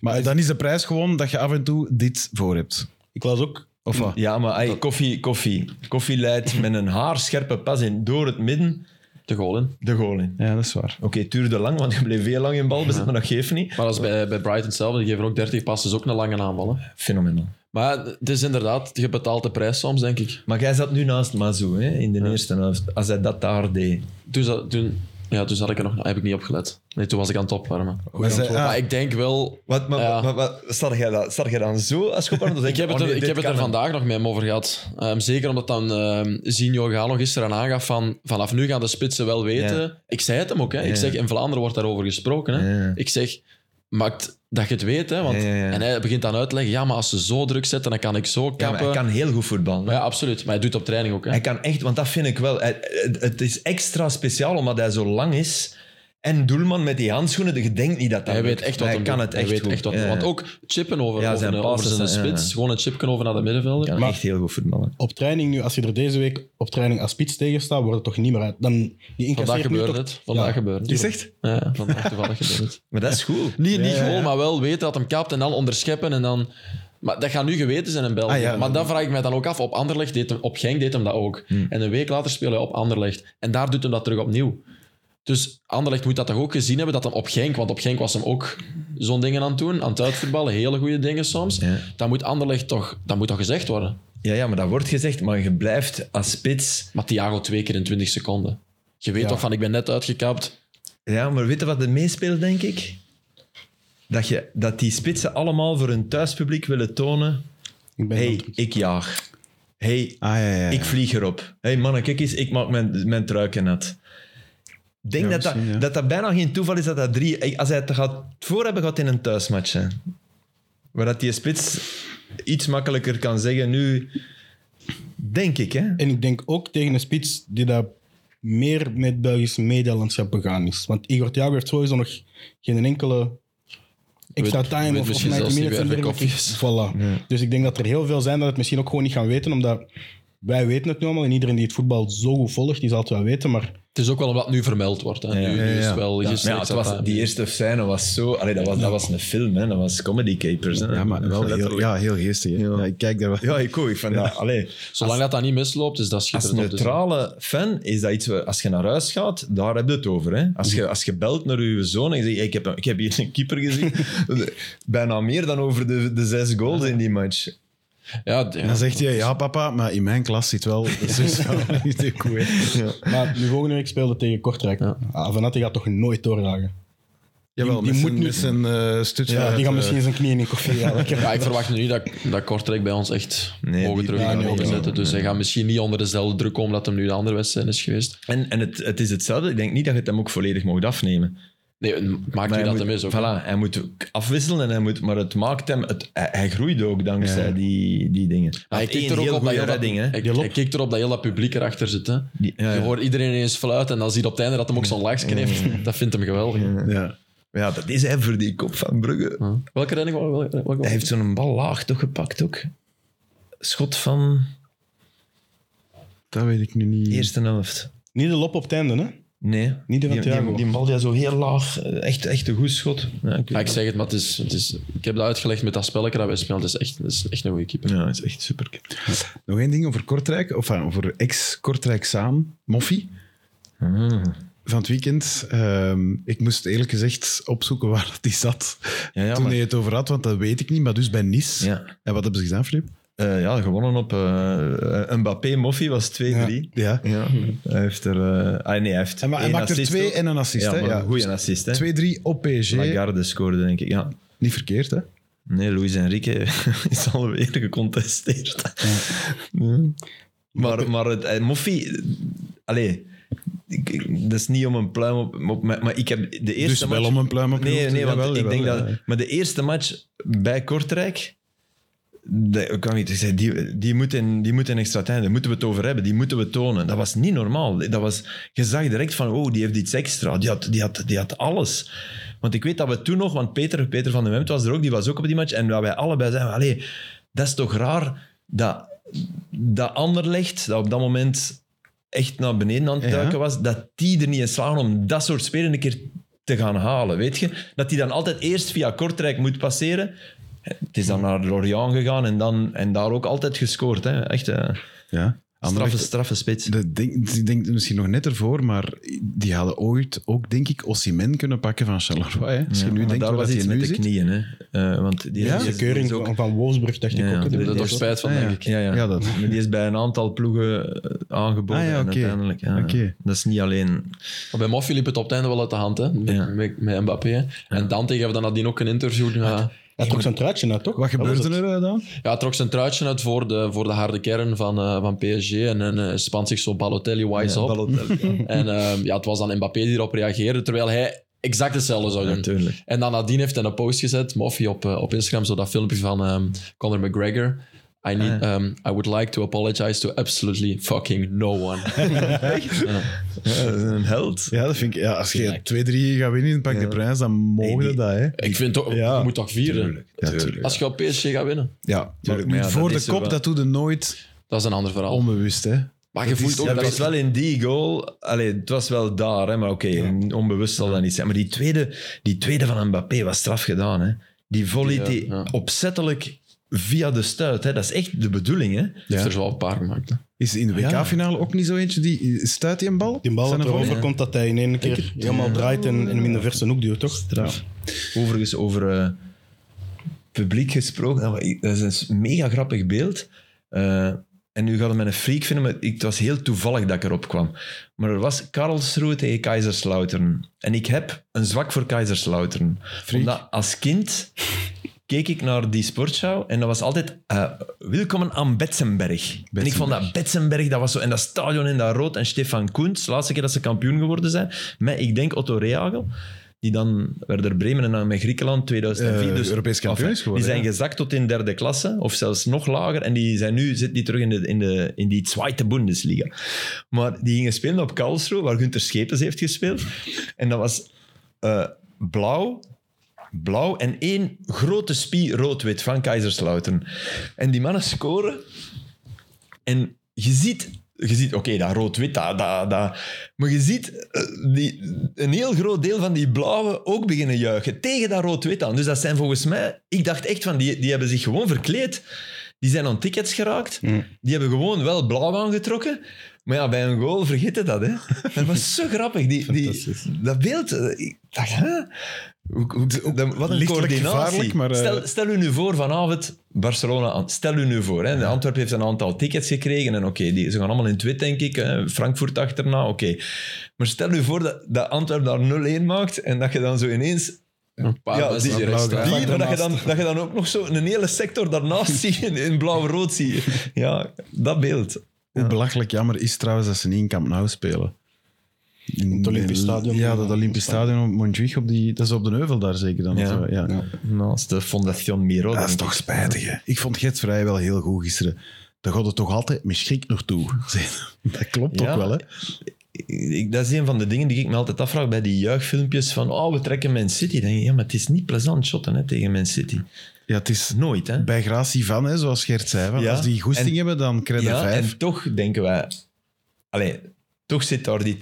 [SPEAKER 1] Maar dan is de prijs gewoon dat je af en toe dit voor hebt.
[SPEAKER 4] Ik las ook
[SPEAKER 1] Of wat?
[SPEAKER 2] Ja, maar ey, koffie, koffie. Koffie leidt met een haarscherpe pas in door het midden
[SPEAKER 3] De goal in.
[SPEAKER 2] de goal in.
[SPEAKER 1] Ja, dat is waar.
[SPEAKER 2] Oké, het duurde lang, want je bleef heel lang in balbezit, maar dat geeft niet.
[SPEAKER 3] Maar dat is bij, bij Brighton zelf. Die geven ook 30 passes, ook een lange aanval. Hè.
[SPEAKER 2] Fenomenaal.
[SPEAKER 3] Maar het is inderdaad, je betaalt de prijs soms, denk ik.
[SPEAKER 2] Maar jij zat nu naast Mazou hè, in de eerste helft. Als hij dat daar deed.
[SPEAKER 3] Toen, zat- toen Ja, dus had ik er nog, heb ik niet opgelet. Nee, toen was ik aan het opwarmen.
[SPEAKER 1] Maar zij- ah,
[SPEAKER 3] Maar ik denk wel...
[SPEAKER 2] Wat, maar,
[SPEAKER 3] Ja.
[SPEAKER 2] maar, maar, staat jij dat- staat jij dan zo als je op aan
[SPEAKER 3] Ik heb het, er, ik heb het er vandaag nog met hem over gehad. Ehm, zeker omdat dan ehm Zinho Galo gisteren aangaf van vanaf nu gaan de spitsen wel weten. Ik zei het hem ook. Hè.
[SPEAKER 2] Ja.
[SPEAKER 3] Ik zeg, in Vlaanderen wordt daarover gesproken. Hè.
[SPEAKER 2] Ja.
[SPEAKER 3] Ik zeg, maakt dat je het weet. Hè, want,
[SPEAKER 2] Ja, ja, ja.
[SPEAKER 3] En hij begint dan uit te leggen, ja, maar als ze zo druk zetten, dan kan ik zo
[SPEAKER 2] Ja, maar
[SPEAKER 3] kappen.
[SPEAKER 2] hij
[SPEAKER 3] Ja,
[SPEAKER 2] kan heel goed voetballen. hè.
[SPEAKER 3] absoluut. Maar hij doet het op training ook. Hè.
[SPEAKER 2] Hij kan echt, want dat vind ik wel. hij- het- het is extra speciaal omdat hij zo lang is. En doelman met die handschoenen, je denkt niet dat dat
[SPEAKER 3] Hij weet
[SPEAKER 2] lukt.
[SPEAKER 3] echt
[SPEAKER 2] Maar
[SPEAKER 3] wat
[SPEAKER 2] hij
[SPEAKER 3] hem
[SPEAKER 2] kan
[SPEAKER 3] doet.
[SPEAKER 2] het echt
[SPEAKER 3] hij weet
[SPEAKER 2] goed.
[SPEAKER 3] echt wat.
[SPEAKER 2] Ja,
[SPEAKER 3] Want
[SPEAKER 2] ja.
[SPEAKER 3] ook chippen over,
[SPEAKER 2] Ja,
[SPEAKER 3] over,
[SPEAKER 2] zijn
[SPEAKER 3] een- over
[SPEAKER 2] passes
[SPEAKER 3] zijn
[SPEAKER 2] zijn- ja,
[SPEAKER 3] spits.
[SPEAKER 2] ja.
[SPEAKER 3] Gewoon een chipken over naar de middenvelder.
[SPEAKER 2] Hij kan
[SPEAKER 4] Maar-
[SPEAKER 2] echt heel goed voetballen.
[SPEAKER 4] Op training nu, als je er deze week op training als spits tegen staat, wordt het toch niet meer uit. Dan, je
[SPEAKER 3] Vandaag
[SPEAKER 4] incasseert nu
[SPEAKER 3] gebeurde
[SPEAKER 4] toch-
[SPEAKER 3] het. Vandaag
[SPEAKER 4] Ja.
[SPEAKER 3] gebeurde het.
[SPEAKER 1] je zegt,
[SPEAKER 3] Ja, vandaag toevallig gebeurde het.
[SPEAKER 2] Maar dat is goed.
[SPEAKER 3] Niet, niet
[SPEAKER 4] Ja, ja,
[SPEAKER 3] gewoon,
[SPEAKER 4] ja.
[SPEAKER 3] maar wel weten dat hem kapt en dan onderscheppen. En dan... Maar dat gaat nu geweten zijn in België.
[SPEAKER 1] Ah, ja.
[SPEAKER 3] maar dat vraag ik mij dan ook af. Op, Anderlecht deed hem, op Genk deed hem dat ook.
[SPEAKER 2] Hmm.
[SPEAKER 3] En een week later speel hij op Anderlecht. En daar doet hem dat terug opnieuw. Dus Anderlecht moet dat toch ook gezien hebben, dat hem op Genk... Want op Genk was hem ook zo'n dingen aan het doen. Aan het uitvoetballen, hele goede dingen soms.
[SPEAKER 2] Ja.
[SPEAKER 3] Dat moet Anderlecht toch, dat moet toch gezegd worden.
[SPEAKER 2] Ja, ja, maar dat wordt gezegd, maar je blijft als spits.
[SPEAKER 3] Maar Thiago twee keer in 20 seconden. Je weet
[SPEAKER 4] Ja.
[SPEAKER 3] toch van, ik ben net uitgekapt.
[SPEAKER 2] Ja, maar weet je wat er meespeelt, denk ik? Dat, je, dat die spitsen allemaal voor hun thuispubliek willen tonen.
[SPEAKER 4] Ik ben
[SPEAKER 2] hey, ik jaag. hey,
[SPEAKER 1] ah, ja, ja, ja.
[SPEAKER 2] ik vlieg erop. hey, mannen, kijk eens, ik maak mijn, mijn truiken nat. Ik denk
[SPEAKER 1] Ja,
[SPEAKER 2] dat, dat,
[SPEAKER 1] misschien, ja.
[SPEAKER 2] dat dat bijna geen toeval is dat dat drie... Als hij het gaat voor hebben gehad in een thuismatch, hè, waar dat die spits iets makkelijker kan zeggen nu... Denk ik, hè?
[SPEAKER 4] En ik denk ook tegen een spits die dat meer met Belgisch medialandschap begaan is. Want Igor Thiago heeft sowieso nog geen enkele extra
[SPEAKER 3] Weet-
[SPEAKER 4] time
[SPEAKER 3] weet
[SPEAKER 4] of, of
[SPEAKER 3] misschien
[SPEAKER 4] 90
[SPEAKER 3] zelfs niet
[SPEAKER 4] minutes en
[SPEAKER 3] wie er
[SPEAKER 4] dergelijke. Voilà. Dus ik denk dat er heel veel zijn dat het misschien ook gewoon niet gaan weten, omdat wij weten het nu allemaal en iedereen die het voetbal zo goed volgt, die zal het wel weten, maar
[SPEAKER 3] Het is ook wel omdat het nu vermeld wordt. Hè.
[SPEAKER 2] Ja,
[SPEAKER 3] Nu, nu
[SPEAKER 1] ja,
[SPEAKER 3] is
[SPEAKER 1] ja.
[SPEAKER 3] het wel...
[SPEAKER 2] Ja,
[SPEAKER 3] gisteren
[SPEAKER 2] maar ja, het
[SPEAKER 3] zat
[SPEAKER 2] was,
[SPEAKER 3] dat-
[SPEAKER 2] die eerste scène was zo... Allee, dat, was, dat was een film, hè. dat was Comedy Capers. Hè.
[SPEAKER 1] Ja, maar wel heel,
[SPEAKER 2] Letterlijk.
[SPEAKER 1] ja, heel geestig. hè.
[SPEAKER 2] Ja.
[SPEAKER 1] Ja, ik kijk daar wel.
[SPEAKER 2] Ja, ik ook. Ik vond dat- allee,
[SPEAKER 3] Zolang dat dat niet misloopt, is dat
[SPEAKER 2] als
[SPEAKER 3] schitterend. om te zien.
[SPEAKER 2] neutrale fan is dat iets... waar- Als je naar huis gaat, daar heb je het over. Hè. Als, je, als je belt naar je zoon en je zegt... "Hey, Ik heb, een- ik heb hier een keeper gezien. Bijna meer dan over de, de zes goals in die match.
[SPEAKER 3] Ja, d- ja.
[SPEAKER 1] En dan zegt hij, ja papa, maar in mijn klas zit wel de zus van de koe.
[SPEAKER 4] Maar nu volgende week speelde tegen Kortrijk.
[SPEAKER 3] Ja.
[SPEAKER 4] Ah, Van Atte gaat toch nooit doorragen.
[SPEAKER 1] Jawel,
[SPEAKER 4] Die-
[SPEAKER 1] met
[SPEAKER 4] die moet
[SPEAKER 1] zijn,
[SPEAKER 4] nu-
[SPEAKER 1] met zijn eh, stutje
[SPEAKER 4] Dus Ja,
[SPEAKER 1] uit,
[SPEAKER 4] die
[SPEAKER 1] eh,
[SPEAKER 4] gaat misschien zijn knieën in koffie halen. Ik heb-
[SPEAKER 3] Maar ik verwacht nu niet dat, dat Kortrijk bij ons echt
[SPEAKER 2] Nee,
[SPEAKER 3] hoge
[SPEAKER 2] die-
[SPEAKER 3] druk
[SPEAKER 2] ja,
[SPEAKER 3] gaat
[SPEAKER 4] nee, ook
[SPEAKER 3] zetten.
[SPEAKER 2] niet.
[SPEAKER 3] Dus hij gaat misschien niet onder dezelfde druk komen dat hem nu de andere wedstrijd is geweest.
[SPEAKER 2] En, en het, het is hetzelfde. Ik denk niet dat je het hem ook volledig mocht afnemen.
[SPEAKER 3] Nee, het maakt
[SPEAKER 2] Maar
[SPEAKER 3] nu
[SPEAKER 2] hij
[SPEAKER 3] dat
[SPEAKER 2] moet-
[SPEAKER 3] hem is ook.
[SPEAKER 2] Voilà, hij moet ook afwisselen. En hij moet, maar het maakt hem... het- hij, hij groeit ook dankzij die, die dingen.
[SPEAKER 3] Maar hij
[SPEAKER 2] Had
[SPEAKER 3] kikt
[SPEAKER 2] één
[SPEAKER 3] er ook
[SPEAKER 2] heel
[SPEAKER 3] op dat
[SPEAKER 2] goede
[SPEAKER 3] heel dat,
[SPEAKER 2] redding, hè.
[SPEAKER 3] hij-
[SPEAKER 4] Die
[SPEAKER 3] hij
[SPEAKER 4] lop.
[SPEAKER 3] kikt erop dat heel dat publiek erachter zit. Hè.
[SPEAKER 2] Die- ja,
[SPEAKER 3] Je
[SPEAKER 2] ja.
[SPEAKER 3] hoort iedereen ineens fluiten en dan zie je op het einde dat hem ook zo'n lachje heeft. Dat vindt hem geweldig.
[SPEAKER 1] Ja.
[SPEAKER 2] Ja, dat is hij voor die kop van Brugge.
[SPEAKER 3] Huh? Welke redding? wa- welke- welke-
[SPEAKER 2] Hij heeft zo'n bal laag toch gepakt ook. Schot van
[SPEAKER 1] Dat weet ik nu niet.
[SPEAKER 2] de eerste helft.
[SPEAKER 4] Niet de lop op het einde, hè?
[SPEAKER 2] Nee.
[SPEAKER 4] Niet de
[SPEAKER 2] die,
[SPEAKER 4] Thiago.
[SPEAKER 2] die, die bal die zo heel laag. eh, Echt, echt een goed schot. Ja, ik,
[SPEAKER 1] Ah,
[SPEAKER 3] Ja, ik
[SPEAKER 2] weet
[SPEAKER 3] zeg het, maar het is, het is, ik heb dat uitgelegd met dat spelletje dat wij spelen. Het is echt, het is echt een goede keeper.
[SPEAKER 2] het. ja, dat is echt super.
[SPEAKER 1] Nog één ding over Kortrijk, of enfin, over ex-Kortrijk Saam, Moffie.
[SPEAKER 2] Ah.
[SPEAKER 1] Van het weekend. Ehm, ik moest eerlijk gezegd opzoeken waar dat die zat.
[SPEAKER 2] Ja, ja,
[SPEAKER 1] toen
[SPEAKER 2] maar-
[SPEAKER 1] hij het over had, want dat weet ik niet. Maar dus bij Nice.
[SPEAKER 2] Ja.
[SPEAKER 1] En wat hebben ze gedaan, Filip?
[SPEAKER 2] Eh, ja, gewonnen op eh, eh, Mbappé. Moffie was 2-3. Ja.
[SPEAKER 1] Ja.
[SPEAKER 2] Hij heeft er... eh, ah, nee, hij heeft
[SPEAKER 1] En ma- hij
[SPEAKER 2] één
[SPEAKER 1] maakt er
[SPEAKER 2] assist
[SPEAKER 1] twee
[SPEAKER 2] ook.
[SPEAKER 1] en een assist,
[SPEAKER 2] Ja,
[SPEAKER 1] hè?
[SPEAKER 2] maar
[SPEAKER 1] Ja. dus
[SPEAKER 2] een goede assist. Hè?
[SPEAKER 1] 2-3 op PSG.
[SPEAKER 2] Lagarde scoorde, denk ik. Ja.
[SPEAKER 1] Niet verkeerd, hè?
[SPEAKER 2] Nee, Luis Enrique is alweer gecontesteerd. Ja. Maar, maar het, eh, Moffie... Allee, ik- ik- dat is niet om een pluim op... op mij, maar ik heb de eerste
[SPEAKER 1] Dus wel
[SPEAKER 2] match-
[SPEAKER 1] om een pluim op je hoofd
[SPEAKER 2] Nee,
[SPEAKER 1] te-
[SPEAKER 2] nee want
[SPEAKER 1] jawel,
[SPEAKER 2] ik denk
[SPEAKER 1] jawel,
[SPEAKER 2] dat...
[SPEAKER 1] ja.
[SPEAKER 2] Maar de eerste match bij Kortrijk... dat- ik kan niet ik zei, die, die, moet in, die moet in extra tijd, daar moeten we het over hebben, die moeten we tonen. Dat was niet normaal. Dat was, je zag direct van, oh, die heeft iets extra. Die had, die, had, die had alles. Want ik weet dat we toen nog, want Peter, Peter van den Wemt was er ook, die was ook op die match. En dat wij allebei zeiden, allee, dat is toch raar dat, dat Anderlecht, dat op dat moment echt naar beneden aan het
[SPEAKER 1] Ja.
[SPEAKER 2] duiken was, dat die er niet in slagen om dat soort spelers een keer te gaan halen, weet je? Dat die dan altijd eerst via Kortrijk moet passeren. Het is dan naar Lorient gegaan en, dan, en daar ook altijd gescoord. Hè? Echt, eh,
[SPEAKER 1] Ja.
[SPEAKER 2] Straffe,
[SPEAKER 1] Anderlecht-
[SPEAKER 2] straffe spits.
[SPEAKER 1] Dat denk, ik denk misschien nog net ervoor, maar die hadden ooit ook, denk ik, Ossimen kunnen pakken van Charleroi. Hè? Als je
[SPEAKER 2] Ja,
[SPEAKER 1] nu
[SPEAKER 2] maar
[SPEAKER 1] denkt
[SPEAKER 2] daar
[SPEAKER 1] waar
[SPEAKER 2] was
[SPEAKER 1] dat
[SPEAKER 2] iets
[SPEAKER 1] hij nu
[SPEAKER 2] met de
[SPEAKER 1] zit.
[SPEAKER 2] knieën. Hè. Eh, want die,
[SPEAKER 1] Ja?
[SPEAKER 2] die
[SPEAKER 4] De
[SPEAKER 2] is,
[SPEAKER 4] keuring
[SPEAKER 2] is ook-
[SPEAKER 4] van- van Wolfsburg dacht
[SPEAKER 2] Ja,
[SPEAKER 4] ik ook.
[SPEAKER 2] dat
[SPEAKER 4] hè.
[SPEAKER 3] Daar
[SPEAKER 4] Die
[SPEAKER 3] heb je toch
[SPEAKER 4] was-
[SPEAKER 3] spijt van,
[SPEAKER 1] Ah,
[SPEAKER 3] denk ik.
[SPEAKER 2] Ja, ja.
[SPEAKER 1] Ja, dat.
[SPEAKER 2] Maar die is bij een aantal ploegen eh, aangeboden
[SPEAKER 1] Ah, ja,
[SPEAKER 2] en
[SPEAKER 1] oké.
[SPEAKER 2] uiteindelijk. Ja.
[SPEAKER 1] Oké.
[SPEAKER 2] Dat is niet alleen...
[SPEAKER 3] Maar bij Moffi liep het op het einde wel uit de hand, hè? Met,
[SPEAKER 2] Ja.
[SPEAKER 3] met, met Mbappé. hè. En Dante gaf dan nadien ook een interview. Ja,
[SPEAKER 4] Hij trok zijn truitje uit, toch?
[SPEAKER 1] Wat gebeurde
[SPEAKER 4] Dat was het.
[SPEAKER 1] er eh, dan?
[SPEAKER 3] ja, hij trok zijn truitje uit voor de, voor de harde kern van, eh, van PSG. En eh, spant zich zo Balotelli-wise op.
[SPEAKER 2] Balotelli.
[SPEAKER 3] En ehm, ja, het was dan Mbappé die erop reageerde, terwijl hij exact hetzelfde zou doen.
[SPEAKER 2] Natuurlijk.
[SPEAKER 3] En dan nadien heeft hij een post gezet, Moffy op, eh, op Instagram, zo dat filmpje van ehm, Conor McGregor. I, need, ehm, I would like to apologize to absolutely fucking no one.
[SPEAKER 2] Ja, dat is een held.
[SPEAKER 1] Ja, dat vind ik, ja, als je 2-3 gaat winnen in Pak de Prijs, dan mogen dat, hè?
[SPEAKER 3] Ik vind toch,
[SPEAKER 1] Ja.
[SPEAKER 3] je moet toch vieren.
[SPEAKER 1] Ja, tuurlijk.
[SPEAKER 3] Als je op PSG gaat winnen.
[SPEAKER 1] Ja, maar
[SPEAKER 2] Tuurlijk,
[SPEAKER 1] nu
[SPEAKER 2] maar ja,
[SPEAKER 1] voor
[SPEAKER 2] dat
[SPEAKER 1] de
[SPEAKER 2] is er
[SPEAKER 1] kop,
[SPEAKER 2] wel.
[SPEAKER 1] dat doe je nooit
[SPEAKER 3] Dat is een ander verhaal.
[SPEAKER 1] onbewust, hè?
[SPEAKER 3] maar je voelt ook
[SPEAKER 2] Ja,
[SPEAKER 3] dat
[SPEAKER 2] dat was wel in die goal. Allee, het was wel daar, hè, maar oké, onbewust zal dat niet zijn. Maar die tweede, die tweede van Mbappé was straf gedaan. Hè. Die volley
[SPEAKER 3] Die,
[SPEAKER 2] die,
[SPEAKER 3] ja, ja.
[SPEAKER 2] opzettelijk via de stuit. Hè. Dat is echt de bedoeling. Hè.
[SPEAKER 3] heeft er zo wel een paar gemaakt. hè.
[SPEAKER 1] Is in de
[SPEAKER 2] Ja.
[SPEAKER 1] WK-finale ook niet zo eentje die stuit die een bal?
[SPEAKER 4] Die bal
[SPEAKER 1] Zijn
[SPEAKER 4] dat
[SPEAKER 1] er
[SPEAKER 4] erover
[SPEAKER 1] voor-
[SPEAKER 4] komt dat hij in één keer helemaal draait en, en hem in de verse hoek duwt, toch?
[SPEAKER 2] Straf. Overigens, over eh, publiek gesproken. nou, ik- Dat is een mega grappig beeld. Eh, en nu gaat het met een freak vinden, maar ik, het was heel toevallig dat ik erop kwam. Maar er was Karlsruhe tegen Kaiserslautern. En ik heb een zwak voor Kaiserslautern. Omdat als kind keek ik naar die sportschouw en dat was altijd eh Willkommen aan Betzenberg. En ik vond dat Betzenberg, dat was zo, en dat stadion in dat rood en Stefan Koens, laatste keer dat ze kampioen geworden zijn, met ik denk Otto Rehagel, die dan Werder Bremen en dan met Griekenland 2004.
[SPEAKER 1] Eh,
[SPEAKER 2] dus,
[SPEAKER 1] Europees kampioen
[SPEAKER 2] enfin,
[SPEAKER 1] is geworden,
[SPEAKER 2] Die zijn
[SPEAKER 1] ja.
[SPEAKER 2] gezakt tot in derde klasse, of zelfs nog lager, en die zijn nu, zitten die terug in, de, in, de, in die Zweite Bundesliga. Maar die gingen spelen op Karlsruhe, waar Gunther Schepens heeft gespeeld. En dat was eh, blauw, blauw en één grote spie rood-wit van Kaiserslautern. En die mannen scoren. En je ziet, je ziet oké, dat rood-wit, dat, dat, dat. Maar je ziet eh, die, een heel groot deel van die blauwe ook beginnen juichen tegen dat rood-wit aan. Dus dat zijn volgens mij, ik dacht echt van, die, die hebben zich gewoon verkleed. Die zijn aan tickets geraakt. Die hebben gewoon wel blauw aangetrokken. Maar ja, bij een goal vergeet je dat, hè. Dat was zo grappig. Die, die,
[SPEAKER 4] Fantastisch.
[SPEAKER 2] dat beeld, eh, ik dacht, hè? Hoe- hoe- dan- wat een
[SPEAKER 1] Lichtelijk
[SPEAKER 2] coördinatie.
[SPEAKER 1] gevaarlijk, maar, eh,
[SPEAKER 2] stel, stel u nu voor vanavond Barcelona. aan- Stel u nu voor. Hè, de Antwerp heeft een aantal tickets gekregen. En oké, die ze gaan allemaal in het wit, denk ik. Hè, Frankfurt achterna, oké. Maar stel u voor dat, dat Antwerp daar 0-1 maakt. En dat je dan zo ineens.
[SPEAKER 3] Een paar
[SPEAKER 2] Ja,
[SPEAKER 3] mensen
[SPEAKER 2] die-
[SPEAKER 3] die rechts staan.
[SPEAKER 2] Die, maar dat je,
[SPEAKER 4] daarnaast.
[SPEAKER 2] dan, dat je dan ook nog zo een hele sector daarnaast ziet in, in blauw-rood zie. Ja, dat beeld.
[SPEAKER 1] Hoe belachelijk jammer is trouwens dat ze niet in Camp Nou spelen. In
[SPEAKER 4] het Olympisch
[SPEAKER 1] in-
[SPEAKER 4] Stadion.
[SPEAKER 1] Ja, dat Olympisch Stadion op Montjuïc, op die, dat is op de Heuvel daar zeker dan. of
[SPEAKER 2] Ja.
[SPEAKER 1] zo, ja.
[SPEAKER 2] Naast de Fondation Miro.
[SPEAKER 1] Dat
[SPEAKER 2] denk
[SPEAKER 1] is
[SPEAKER 2] ik.
[SPEAKER 1] toch spijtig, hè? Ik vond Gert Vrij wel heel goed gisteren. Daar gaat het toch altijd met schrik naartoe. Dat klopt
[SPEAKER 2] Ja.
[SPEAKER 1] ook wel, hè?
[SPEAKER 2] ik, dat is een van de dingen die ik me altijd afvraag bij die juichfilmpjes van oh, we trekken Man City. Dan denk ik, ja, maar het is niet plezant shotten hè, tegen Man City.
[SPEAKER 1] Ja, het is
[SPEAKER 2] Nooit, hè.
[SPEAKER 1] bij gratie van, hè, zoals Gert zei. want
[SPEAKER 2] Ja.
[SPEAKER 1] Als die goesting
[SPEAKER 2] En-
[SPEAKER 1] hebben, dan krijg je
[SPEAKER 2] ja,
[SPEAKER 1] vijf.
[SPEAKER 2] en toch denken wij... Allee, toch zit daar die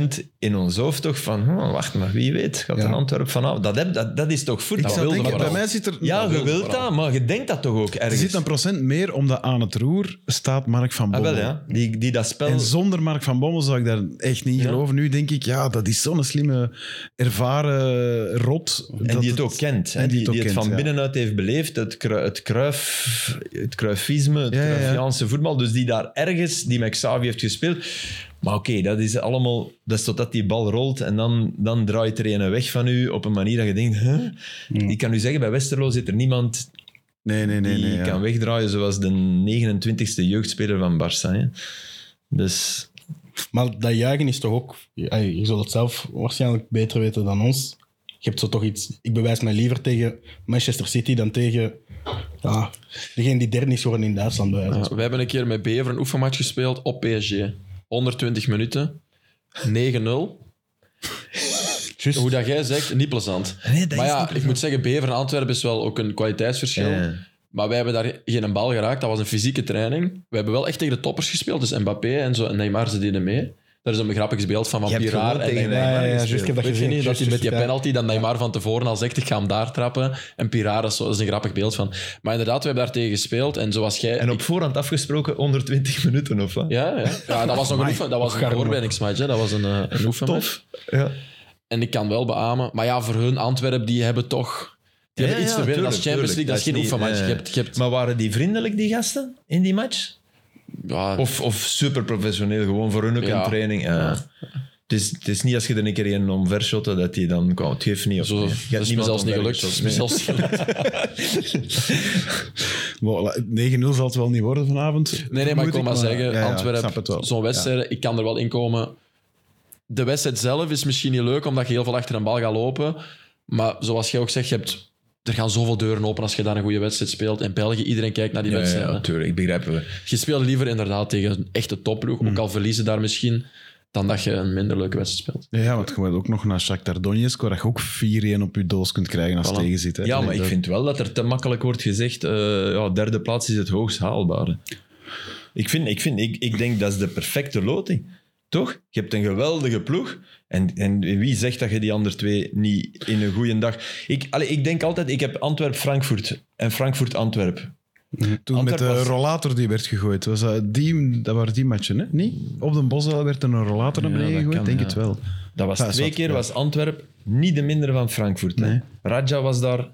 [SPEAKER 2] 10% in ons hoofd toch van hm, wacht maar, wie weet, gaat
[SPEAKER 1] Ja.
[SPEAKER 2] een Antwerp vanaf. Dat, heb, dat, dat is toch
[SPEAKER 1] ik
[SPEAKER 2] voetbal?
[SPEAKER 1] zou
[SPEAKER 3] wilde
[SPEAKER 1] denken,
[SPEAKER 3] vooral.
[SPEAKER 1] bij mij zit er...
[SPEAKER 2] ja,
[SPEAKER 3] dat
[SPEAKER 2] je
[SPEAKER 3] wil
[SPEAKER 2] wilt
[SPEAKER 3] vooral.
[SPEAKER 2] dat, maar je denkt dat toch ook
[SPEAKER 1] er
[SPEAKER 2] ergens?
[SPEAKER 1] zit een procent meer, omdat aan het roer staat Mark van
[SPEAKER 2] ah,
[SPEAKER 1] Bommel.
[SPEAKER 2] wel, ja. Die, die dat spel...
[SPEAKER 1] En zonder Mark van Bommel zou ik daar echt niet in
[SPEAKER 2] Ja.
[SPEAKER 1] geloven. Nu denk ik, ja, dat is zo'n slimme, ervaren rot.
[SPEAKER 2] En
[SPEAKER 1] dat
[SPEAKER 2] die het ook kent. hè,
[SPEAKER 1] en
[SPEAKER 2] die,
[SPEAKER 1] ook
[SPEAKER 2] die het
[SPEAKER 1] kent,
[SPEAKER 2] van
[SPEAKER 1] ja.
[SPEAKER 2] binnenuit heeft beleefd. Het, kru, het, kruif, het kruifisme, het
[SPEAKER 1] Ja, ja, ja.
[SPEAKER 2] kruifiaanse voetbal. Dus die daar ergens, die met Xavi heeft gespeeld. Maar oké, dat is allemaal... Dat is totdat die bal rolt en dan, dan draait er een weg van u op een manier dat je denkt... Huh? Ik kan u zeggen, bij Westerlo zit er niemand
[SPEAKER 1] Nee, nee, Hmm. nee.
[SPEAKER 2] die
[SPEAKER 1] nee ja.
[SPEAKER 2] kan wegdraaien zoals de 29e jeugdspeler van Barça. hè. Dus...
[SPEAKER 4] Maar dat juichen is toch ook... ja, Je zult het zelf waarschijnlijk beter weten dan ons. Je hebt zo toch iets... Ik bewijs mij liever tegen Manchester City dan tegen... Ja, degene die derde is geworden in Duitsland. Bij wijze van
[SPEAKER 3] Ja, we hebben een keer met Bever een oefenmatch gespeeld op PSG. 120 minuten. 9-0.
[SPEAKER 4] Juist.
[SPEAKER 3] Hoe dat jij zegt, niet plezant.
[SPEAKER 2] Nee, dat
[SPEAKER 3] maar
[SPEAKER 2] is
[SPEAKER 3] ja,
[SPEAKER 2] niet
[SPEAKER 3] ik moet zeggen, Bever en Antwerpen is wel ook een kwaliteitsverschil.
[SPEAKER 2] Ja.
[SPEAKER 3] Maar wij hebben daar geen bal geraakt. Dat was een fysieke training. We hebben wel echt tegen de toppers gespeeld. Dus Mbappé en zo en Neymar, ze deden mee. Daar is een grappig beeld van van
[SPEAKER 2] Je hebt
[SPEAKER 3] Piraar.
[SPEAKER 2] gewoon
[SPEAKER 3] En
[SPEAKER 2] tegen
[SPEAKER 3] Neymar.
[SPEAKER 2] Neymar
[SPEAKER 4] ja, ja, juist,
[SPEAKER 2] gespeeld.
[SPEAKER 4] ik heb dat
[SPEAKER 3] Weet je
[SPEAKER 4] gezien.
[SPEAKER 3] niet, dat
[SPEAKER 4] Juist,
[SPEAKER 3] hij met die
[SPEAKER 4] juist, ja.
[SPEAKER 3] penalty dat Neymar van tevoren al zegt, ik ga hem daar trappen. En Piraar, dat is, zo- dat is een grappig beeld van. Maar inderdaad, we hebben daar tegen gespeeld. En zoals jij...
[SPEAKER 2] En op voorhand afgesproken onder 20 minuten of wat?
[SPEAKER 3] Ja, ja. ja, dat was nog een,
[SPEAKER 4] Amai,
[SPEAKER 3] oefen, dat was een
[SPEAKER 4] Garmo.
[SPEAKER 3] voorbereidingsmatch. hè. Dat was een, eh, een oefenmatch.
[SPEAKER 2] Ja.
[SPEAKER 3] En ik kan wel beamen. Maar ja, voor hun, Antwerpen, die hebben toch... Die
[SPEAKER 2] Ja,
[SPEAKER 3] hebben iets
[SPEAKER 2] ja,
[SPEAKER 3] te winnen.
[SPEAKER 2] tuurlijk,
[SPEAKER 3] dat is Champions League, dat is geen
[SPEAKER 2] tuurlijk. Dat
[SPEAKER 3] oefenmatch.
[SPEAKER 2] is
[SPEAKER 3] Je
[SPEAKER 2] niet- eh,
[SPEAKER 3] hebt... Je hebt
[SPEAKER 2] Maar waren die vriendelijk, die gasten, in die match?
[SPEAKER 3] ja,
[SPEAKER 2] Of, of super professioneel, gewoon voor hun ook
[SPEAKER 3] Ja.
[SPEAKER 2] een training. ja. Het, is, het is niet als je er een keer een omvershotte dat die dan kwam. Het geeft niet op.
[SPEAKER 3] zo,
[SPEAKER 2] nee. Je
[SPEAKER 3] dat
[SPEAKER 2] hebt
[SPEAKER 3] is me
[SPEAKER 2] niemand
[SPEAKER 3] zelfs niet gelukt.
[SPEAKER 2] omvergeschoten,
[SPEAKER 3] Dat is me
[SPEAKER 2] nee.
[SPEAKER 3] zelfs niet gelukt.
[SPEAKER 1] Voilà, 9-0 zal het wel niet worden vanavond.
[SPEAKER 3] Nee, nee, maar ik wil maar zeggen,
[SPEAKER 1] Antwerpen. snap het
[SPEAKER 3] Antwerpen,
[SPEAKER 1] wel.
[SPEAKER 3] zo'n wedstrijd, ik kan er wel in komen. De wedstrijd zelf is misschien niet leuk, omdat je heel veel achter een bal gaat lopen. Maar zoals jij ook zegt, je hebt, er gaan zoveel deuren open als je daar een goede wedstrijd speelt. In België, iedereen kijkt naar die
[SPEAKER 2] Ja,
[SPEAKER 3] wedstrijd.
[SPEAKER 2] ja,
[SPEAKER 3] hè.
[SPEAKER 2] natuurlijk. Ik begrijp het. wel.
[SPEAKER 3] Je speelt liever inderdaad tegen een echte topploeg, ook al verliezen daar misschien, dan dat je een minder leuke wedstrijd speelt.
[SPEAKER 1] Ja, want je moet ook nog naar Shakhtar Donetsk, waar je ook 4-1 op je doos kunt krijgen als
[SPEAKER 3] Voilà.
[SPEAKER 1] tegenzit. hè.
[SPEAKER 2] Ja, maar
[SPEAKER 1] Dat-
[SPEAKER 2] ik vind wel dat er te makkelijk wordt gezegd, eh, ja, derde plaats is het hoogst haalbare. Ik, vind, ik, vind, ik, ik denk dat is de perfecte loting. Toch? Je hebt een geweldige ploeg. En, en wie zegt dat je die andere twee niet in een goede dag... Ik, allee, ik denk altijd, ik heb Antwerp-Frankfurt en Frankfurt-Antwerp.
[SPEAKER 1] Toen met de
[SPEAKER 2] Antwerpen was-
[SPEAKER 1] rollator die werd gegooid, was dat, die, dat waren die matchen, hè? Niet? Op de Bosel werd er een rollator naar
[SPEAKER 2] Ja,
[SPEAKER 1] beneden
[SPEAKER 2] dat
[SPEAKER 1] gegooid,
[SPEAKER 2] kan,
[SPEAKER 1] denk
[SPEAKER 2] ja.
[SPEAKER 1] het wel.
[SPEAKER 2] Dat was
[SPEAKER 1] Dat is
[SPEAKER 2] twee
[SPEAKER 1] wat,
[SPEAKER 2] keer
[SPEAKER 1] ja.
[SPEAKER 2] was Antwerp niet de minder van Frankfurt. hè.
[SPEAKER 1] Nee.
[SPEAKER 2] Raja was daar...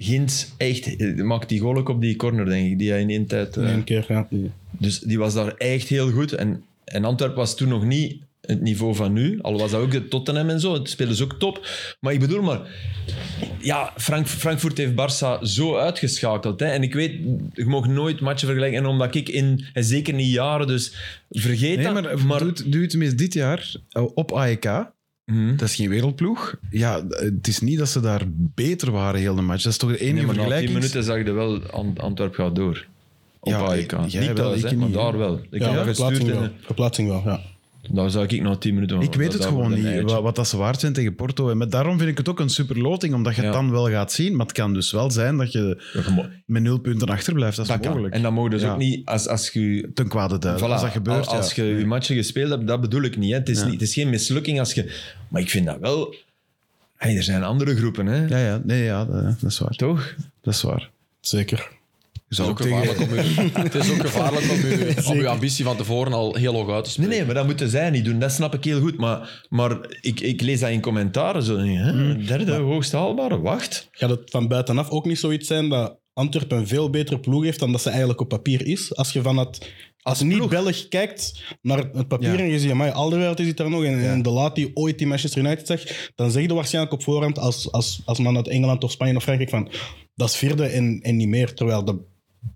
[SPEAKER 2] Gint, echt, eh, maakt die goal ook op die corner, denk ik, die hij in één tijd... eh,
[SPEAKER 4] In één keer, ja.
[SPEAKER 2] Dus die was daar echt heel goed. En, en Antwerpen was toen nog niet het niveau van nu. Al was dat ook de Tottenham en zo. Het speelden ze ook top. Maar ik bedoel maar... Ja, Frank, Frankfurt heeft Barça zo uitgeschakeld. Hè? En ik weet, je mag nooit matchen vergelijken. En omdat ik in... En zeker niet jaren, dus vergeet
[SPEAKER 1] Nee,
[SPEAKER 2] dat.
[SPEAKER 1] maar, doe, het, doe het tenminste dit jaar eh, op AEK.
[SPEAKER 2] Mhm.
[SPEAKER 1] Dat is geen wereldploeg. Ja, d- het is niet dat ze daar beter waren heel de match. Dat is toch de enige
[SPEAKER 2] Nee, maar na tien
[SPEAKER 1] vergelijking.
[SPEAKER 2] minuten zag je wel, Ant- Antwerp gaat door. Op
[SPEAKER 1] Ja,
[SPEAKER 2] AEK.
[SPEAKER 1] jij
[SPEAKER 2] Niet
[SPEAKER 1] wel,
[SPEAKER 2] thuis,
[SPEAKER 1] ik
[SPEAKER 2] hè, maar
[SPEAKER 1] niet, hè.
[SPEAKER 2] daar wel. Ik
[SPEAKER 4] Ja,
[SPEAKER 2] heb
[SPEAKER 4] verplaatsing
[SPEAKER 2] gestuurd
[SPEAKER 4] wel.
[SPEAKER 2] en
[SPEAKER 4] Verplaatsing wel, ja.
[SPEAKER 2] daar zag ik na tien minuten van.
[SPEAKER 1] Ik weet het
[SPEAKER 2] dat
[SPEAKER 1] gewoon
[SPEAKER 2] wordt een
[SPEAKER 1] niet,
[SPEAKER 2] eitje.
[SPEAKER 1] wat, wat dat ze waard zijn tegen Porto. En met, daarom vind ik het ook een super loting, omdat je het
[SPEAKER 2] Ja.
[SPEAKER 1] dan wel gaat zien. Maar het kan dus wel zijn dat je
[SPEAKER 2] Dat gemo-
[SPEAKER 1] met nul punten achterblijft. Dat is
[SPEAKER 2] Dat kan.
[SPEAKER 1] mogelijk.
[SPEAKER 2] En dan mogen dus
[SPEAKER 1] Ja.
[SPEAKER 2] ook niet, als, als je
[SPEAKER 1] Ten kwade duivel.
[SPEAKER 2] Voilà,
[SPEAKER 1] Als dat gebeurt,
[SPEAKER 2] al- Als
[SPEAKER 1] ja.
[SPEAKER 2] je je matchen gespeeld hebt, dat bedoel ik niet. Hè. Het, is
[SPEAKER 1] Ja.
[SPEAKER 2] niet het is geen mislukking als je... Maar ik vind dat wel... Hey, er zijn andere groepen, hè.
[SPEAKER 1] Ja, ja, nee, ja, dat, dat is waar.
[SPEAKER 2] Toch?
[SPEAKER 1] Dat is waar.
[SPEAKER 4] Zeker.
[SPEAKER 1] Je
[SPEAKER 3] Het
[SPEAKER 1] zou
[SPEAKER 3] is
[SPEAKER 1] ook
[SPEAKER 3] ook
[SPEAKER 1] tegen...
[SPEAKER 3] gevaarlijk om u- het is ook gevaarlijk om u- om uw ambitie van tevoren al heel hoog uit te
[SPEAKER 2] Nee,
[SPEAKER 3] spelen.
[SPEAKER 2] nee, maar dat moeten zij niet doen. Dat snap ik heel goed. Maar, maar ik, ik lees dat in commentaren. Zo, hè.
[SPEAKER 1] Mm.
[SPEAKER 2] Derde, hoogst haalbare. Wacht.
[SPEAKER 4] Gaat het van buitenaf ook niet zoiets zijn dat Antwerpen een veel betere ploeg heeft dan dat ze eigenlijk op papier is? Als je van het... Als niet-Belg kijkt naar het papier
[SPEAKER 1] Ja.
[SPEAKER 4] en je ziet, amai, Alderweireld is het daar nog en, en de laat die ooit die Manchester United zag, dan zeg je waarschijnlijk op voorhand als, als, als man uit Engeland of Spanje of Frankrijk van dat is vierde en, en niet meer. Terwijl de,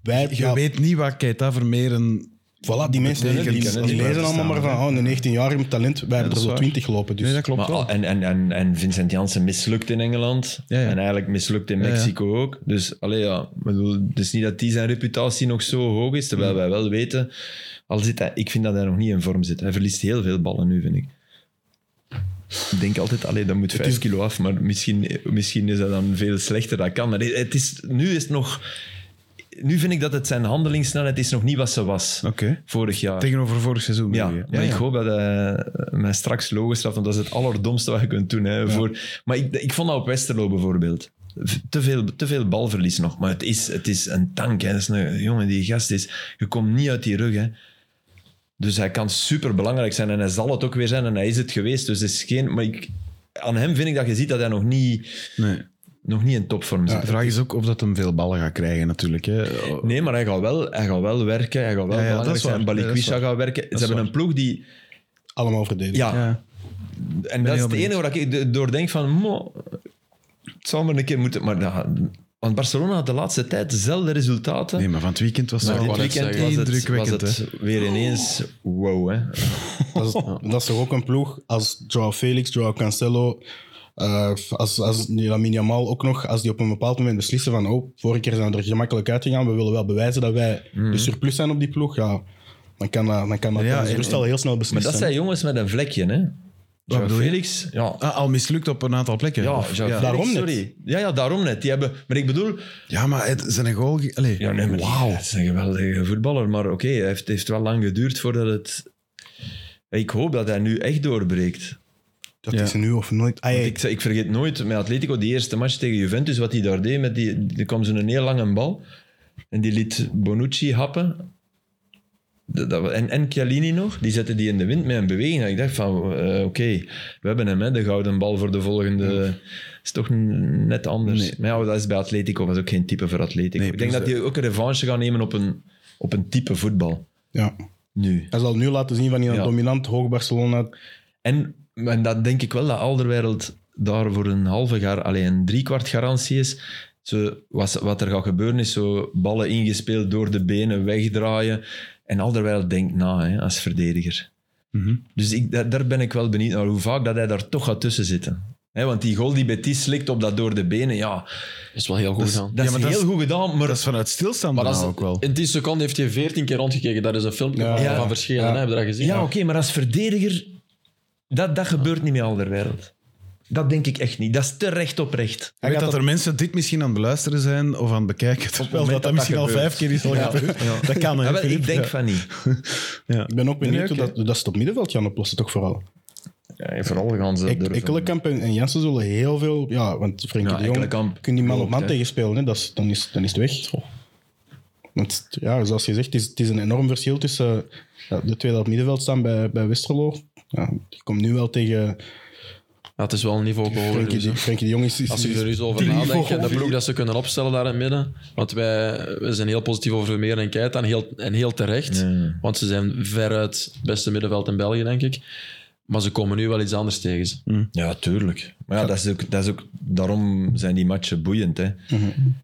[SPEAKER 4] wij,
[SPEAKER 1] Je
[SPEAKER 4] ja,
[SPEAKER 1] weet niet wat Keita Vermeeren...
[SPEAKER 4] voilà, die mensen
[SPEAKER 1] betekent
[SPEAKER 4] die,
[SPEAKER 1] als
[SPEAKER 4] die, lezen allemaal maar van
[SPEAKER 1] buitenstaander,
[SPEAKER 4] oh, een 19-jarige talent, wij hebben
[SPEAKER 1] dat
[SPEAKER 4] er
[SPEAKER 1] is
[SPEAKER 4] zo
[SPEAKER 1] waar.
[SPEAKER 4] 20 lopen. Dus.
[SPEAKER 1] Nee, dat klopt
[SPEAKER 2] Maar,
[SPEAKER 1] wel.
[SPEAKER 2] al- en, en, en, en Vincent Janssen mislukt in Engeland.
[SPEAKER 1] Ja, ja.
[SPEAKER 2] En eigenlijk mislukt in
[SPEAKER 1] Ja, ja.
[SPEAKER 2] Mexico ook. Dus allee, ja, ik bedoel, het is niet dat die zijn reputatie nog zo hoog is.
[SPEAKER 1] Mm.
[SPEAKER 2] Terwijl wij wel weten... Al zit hij, ik vind dat hij nog niet in vorm zit. Hij verliest heel veel ballen nu, vind ik. Ik denk altijd, allee, dat moet 5 kilo af. Maar misschien, misschien is dat dan veel slechter. Dat kan. Maar het is, nu is het nog... Nu vind ik dat het zijn handelingssnelheid is nog niet wat ze was.
[SPEAKER 1] Oké.
[SPEAKER 2] Vorig jaar.
[SPEAKER 1] Tegenover vorig seizoen.
[SPEAKER 2] Ja,
[SPEAKER 1] bedoel je?
[SPEAKER 2] maar ik hoop dat hij mij straks logisch straft, want dat is het allerdomste wat je kunt doen. Hè, voor, maar ik, ik vond dat op Westerlo bijvoorbeeld. V- Te veel, te veel balverlies nog, maar het is, het is een tank. Hè. Dat is een jongen die gast is. Je komt niet uit die rug. Hè. Dus hij kan super belangrijk zijn en hij zal het ook weer zijn en hij is het geweest. Dus het is geen. Maar ik, aan hem vind ik dat je ziet dat hij nog niet,
[SPEAKER 1] Nee.
[SPEAKER 2] nog niet in topvorm zit.
[SPEAKER 1] De vraag is ook of dat hem veel ballen gaat krijgen, natuurlijk. Hè.
[SPEAKER 2] Nee, maar hij gaat wel, hij gaat wel werken. Hij gaat wel
[SPEAKER 1] Ja, ja, dat
[SPEAKER 2] belangrijk
[SPEAKER 1] is
[SPEAKER 2] zijn.
[SPEAKER 1] waar. Ja,
[SPEAKER 2] Balikwisha
[SPEAKER 1] dat is
[SPEAKER 2] gaat werken. Ze
[SPEAKER 1] is
[SPEAKER 2] hebben
[SPEAKER 1] waar.
[SPEAKER 2] een ploeg die.
[SPEAKER 4] Allemaal verdedigen.
[SPEAKER 2] Ja,
[SPEAKER 1] Ja.
[SPEAKER 2] En
[SPEAKER 1] heel
[SPEAKER 2] dat is het
[SPEAKER 1] benieuwd.
[SPEAKER 2] enige waar ik de- door denk van... Mo, het zal maar een keer moeten... Maar dat, want Barcelona had de laatste tijd dezelfde resultaten.
[SPEAKER 1] nee, maar van het weekend was
[SPEAKER 3] Nou,
[SPEAKER 1] het
[SPEAKER 3] ik
[SPEAKER 1] wel
[SPEAKER 3] wou net
[SPEAKER 1] weekend
[SPEAKER 2] was
[SPEAKER 3] zeggen,
[SPEAKER 2] het, was
[SPEAKER 1] indrukwekkend. hè.
[SPEAKER 2] het weer ineens... Wow, hè.
[SPEAKER 4] Dat is, dat is toch ook een ploeg als Joao Felix, Joao Cancelo, eh, als, als die Lamine Yamal ook nog, als die op een bepaald moment beslissen van oh, vorige keer zijn we er gemakkelijk uitgegaan, we willen wel bewijzen dat wij
[SPEAKER 2] Mhm.
[SPEAKER 4] de surplus zijn op die ploeg, ja, dan kan dat, dan kan dat
[SPEAKER 1] Ja,
[SPEAKER 4] tijdens de
[SPEAKER 1] en-
[SPEAKER 4] rust al heel snel
[SPEAKER 2] Maar
[SPEAKER 4] beslissen.
[SPEAKER 2] dat zijn jongens met een vlekje, hè. Joao
[SPEAKER 1] bedoel je?
[SPEAKER 2] Felix, ja...
[SPEAKER 1] Ah, al mislukt op een aantal plekken.
[SPEAKER 2] Ja,
[SPEAKER 1] Of-
[SPEAKER 2] Joao Felix,
[SPEAKER 4] Daarom net.
[SPEAKER 2] sorry. Ja, ja, daarom net. Die hebben, maar ik bedoel...
[SPEAKER 1] ja maar het zijn goal... ge- Allee.
[SPEAKER 2] Ja, nee, maar die- dat is een geweldige voetballer. Maar oké, het heeft, heeft wel lang geduurd voordat het... Ik hoop dat hij nu echt doorbreekt.
[SPEAKER 4] Dat
[SPEAKER 1] Ja.
[SPEAKER 4] is nu of nooit. Ah, ja,
[SPEAKER 2] Want Ik, ik vergeet nooit met Atletico die eerste match tegen Juventus, wat hij daar deed. Met die, die kwam zo'n heel lange bal en die liet Bonucci happen. Dat, dat, en, en Chiellini nog, die zette die in de wind met een beweging. En ik dacht van, eh, oké, we hebben hem, hè, de gouden bal voor de volgende. is toch n- net anders.
[SPEAKER 1] Nee.
[SPEAKER 2] Maar ja, dat is bij Atletico, was ook geen type voor Atletico.
[SPEAKER 1] Nee,
[SPEAKER 2] ik denk
[SPEAKER 1] dus
[SPEAKER 2] dat die ook een revanche gaan nemen op een, op een type voetbal.
[SPEAKER 4] ja.
[SPEAKER 2] Nu.
[SPEAKER 4] Hij zal nu laten zien van die
[SPEAKER 2] Ja.
[SPEAKER 4] dominant hoog Barcelona.
[SPEAKER 2] En, en dat denk ik wel dat Alderwereld daar voor een halve jaar, alleen een driekwart garantie is. Zo, wat, wat er gaat gebeuren is zo ballen ingespeeld door de benen, wegdraaien. En Alderwereld denkt na hè, als verdediger.
[SPEAKER 1] Mhm.
[SPEAKER 2] Dus ik, daar, daar ben ik wel benieuwd naar hoe vaak dat hij daar toch gaat tussen zitten. Hè, want die goal die Betis slikt op dat door de benen, ja,
[SPEAKER 3] Dat is wel heel goed
[SPEAKER 2] dat is,
[SPEAKER 3] gegaan.
[SPEAKER 2] dat is
[SPEAKER 1] maar dat
[SPEAKER 2] heel
[SPEAKER 1] is-
[SPEAKER 2] goed gedaan. Maar
[SPEAKER 1] Dat is vanuit stilstand
[SPEAKER 3] Maar dat is,
[SPEAKER 1] bijna ook wel.
[SPEAKER 3] in 10 seconden heeft hij 14 keer rondgekeken. Daar is een filmpje
[SPEAKER 4] Ja.
[SPEAKER 3] van,
[SPEAKER 2] Ja.
[SPEAKER 3] van verschillen.
[SPEAKER 4] Ja.
[SPEAKER 3] hè, Heb je dat gezien?
[SPEAKER 2] Ja, oké, maar als verdediger, dat, dat gebeurt niet met Alderwereld. Dat denk ik echt niet. Dat is te recht op recht.
[SPEAKER 1] Ik weet dat er mensen dit misschien aan het beluisteren zijn of aan het bekijken. Terwijl dat, dat
[SPEAKER 2] moment dat dat
[SPEAKER 1] misschien al
[SPEAKER 2] gebeurt.
[SPEAKER 1] vijf keer is al gebeurd. Dat kan. hè,
[SPEAKER 2] Ah, wel, ik
[SPEAKER 1] Filip?
[SPEAKER 2] denk
[SPEAKER 1] Ja.
[SPEAKER 2] van niet.
[SPEAKER 1] Ja.
[SPEAKER 4] Ik ben ook benieuwd
[SPEAKER 1] Nee, oké.
[SPEAKER 4] hoe dat, hoe dat ze het op middenveld gaan oplossen, toch vooral.
[SPEAKER 2] vooral gaan ze
[SPEAKER 4] Ek- Ekkelenkamp en, en Jansen zullen heel veel... Ja, want Frenkie
[SPEAKER 2] Ja,
[SPEAKER 4] de Jong
[SPEAKER 2] Ekkelenkamp
[SPEAKER 4] kun die man op
[SPEAKER 2] loopt,
[SPEAKER 4] man
[SPEAKER 2] hè.
[SPEAKER 4] tegenspelen. Hè. Dat is, dan, is, dan is het weg. Want ja, zoals gezegd, het is, het is een enorm verschil tussen ja, de twee dat op middenveld staan bij, bij Westerlo. Ja, die komt nu wel tegen
[SPEAKER 3] Ja, het is wel een niveau hoger.
[SPEAKER 4] Frenkie
[SPEAKER 3] dus, hè.
[SPEAKER 4] de, Frenkie de Jong. Is, is-
[SPEAKER 3] Als ik er eens over
[SPEAKER 4] die niveau
[SPEAKER 3] nadenk, en
[SPEAKER 4] gewoon-
[SPEAKER 3] de ploeg dat ze kunnen opstellen daar in het midden. Want wij, wij zijn heel positief over Vermeer en Keita, en heel, en heel terecht.
[SPEAKER 2] Ja.
[SPEAKER 3] Want ze zijn veruit het beste middenveld in België, denk ik. Maar ze komen nu wel iets anders tegen ze.
[SPEAKER 1] Mm.
[SPEAKER 2] Ja, tuurlijk. Maar ja, dat is ook, dat is ook, daarom zijn die matchen boeiend. Hè.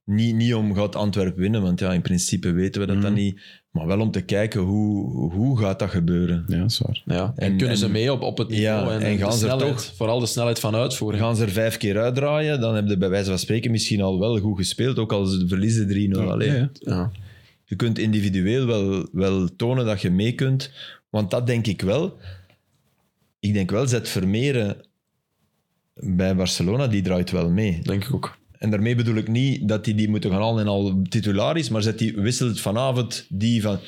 [SPEAKER 2] Niet, niet om gaat Antwerpen winnen, want ja, in principe weten we dat
[SPEAKER 1] Mm.
[SPEAKER 2] dan niet. Maar wel om te kijken hoe, hoe gaat dat gebeuren.
[SPEAKER 1] ja, dat is waar.
[SPEAKER 3] Ja. En,
[SPEAKER 2] En-
[SPEAKER 3] kunnen ze
[SPEAKER 2] en-
[SPEAKER 3] mee op, op het niveau
[SPEAKER 2] Ja,
[SPEAKER 3] en,
[SPEAKER 2] en gaan
[SPEAKER 3] de
[SPEAKER 2] ze er
[SPEAKER 3] snelheid,
[SPEAKER 2] toch-
[SPEAKER 3] vooral de snelheid van uitvoering.
[SPEAKER 2] Gaan ze er vijf keer uitdraaien, dan hebben ze bij wijze van spreken misschien al wel goed gespeeld, ook al ze verliezen 3-0. Allee,
[SPEAKER 1] Ja, ja.
[SPEAKER 3] Ja.
[SPEAKER 2] Je kunt individueel wel, wel tonen dat je mee kunt. Want dat denk ik wel. Ik denk wel, zet Vermeeren bij Barcelona, die draait wel mee.
[SPEAKER 3] Denk ik ook.
[SPEAKER 2] En daarmee bedoel ik niet dat hij die moeten gaan halen en al titularis, maar zet die wisselt vanavond die van...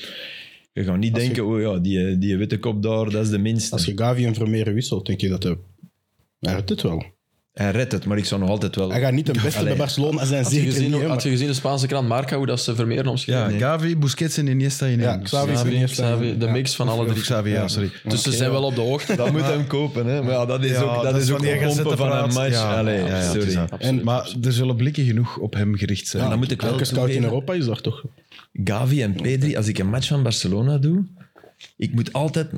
[SPEAKER 2] Je gaat niet
[SPEAKER 4] Als je-
[SPEAKER 2] denken, oh ja, die, die witte kop daar, dat is de minste.
[SPEAKER 4] Als je Gavi en Vermeer wisselt, denk je dat hij... Hij redt het wel.
[SPEAKER 2] Hij redt het, maar ik zou nog altijd wel...
[SPEAKER 4] Hij gaat niet de beste
[SPEAKER 2] Allee.
[SPEAKER 4] bij Barcelona zijn,
[SPEAKER 3] Had je,
[SPEAKER 4] zeker
[SPEAKER 3] gezien,
[SPEAKER 4] niet. hè,
[SPEAKER 3] had
[SPEAKER 4] maar-
[SPEAKER 3] je gezien de Spaanse krant Marca, hoe dat ze Vermeer omschreven?
[SPEAKER 1] Ja, Gavi, Busquets en Iniesta in
[SPEAKER 4] Ja,
[SPEAKER 1] één.
[SPEAKER 4] Xavi,
[SPEAKER 1] Of-
[SPEAKER 3] Xavi,
[SPEAKER 4] Xavi,
[SPEAKER 3] Xavi, de
[SPEAKER 4] ja.
[SPEAKER 3] mix van alle
[SPEAKER 1] of
[SPEAKER 3] drie.
[SPEAKER 1] Xavi, ja, sorry.
[SPEAKER 3] Dus ze zijn wel op de hoogte.
[SPEAKER 2] Dat moet hem kopen, hè. Maar ja, dat is
[SPEAKER 1] Ja,
[SPEAKER 2] ook, dat
[SPEAKER 1] dat is
[SPEAKER 2] is
[SPEAKER 1] van
[SPEAKER 2] ook
[SPEAKER 1] die
[SPEAKER 2] pompen van een
[SPEAKER 1] gazettenpraat.
[SPEAKER 2] match.
[SPEAKER 1] Ja,
[SPEAKER 2] Allee,
[SPEAKER 1] ja, ja, het is
[SPEAKER 2] sorry.
[SPEAKER 1] dat.
[SPEAKER 3] Absoluut.
[SPEAKER 1] Maar er zullen blikken genoeg op hem gericht zijn.
[SPEAKER 4] Ja,
[SPEAKER 2] dan moet ik wel
[SPEAKER 4] Elke scout in
[SPEAKER 2] toegeven-
[SPEAKER 4] Europa is daar toch.
[SPEAKER 2] Gavi en Pedri, als ik een match van Barcelona doe, ik moet altijd,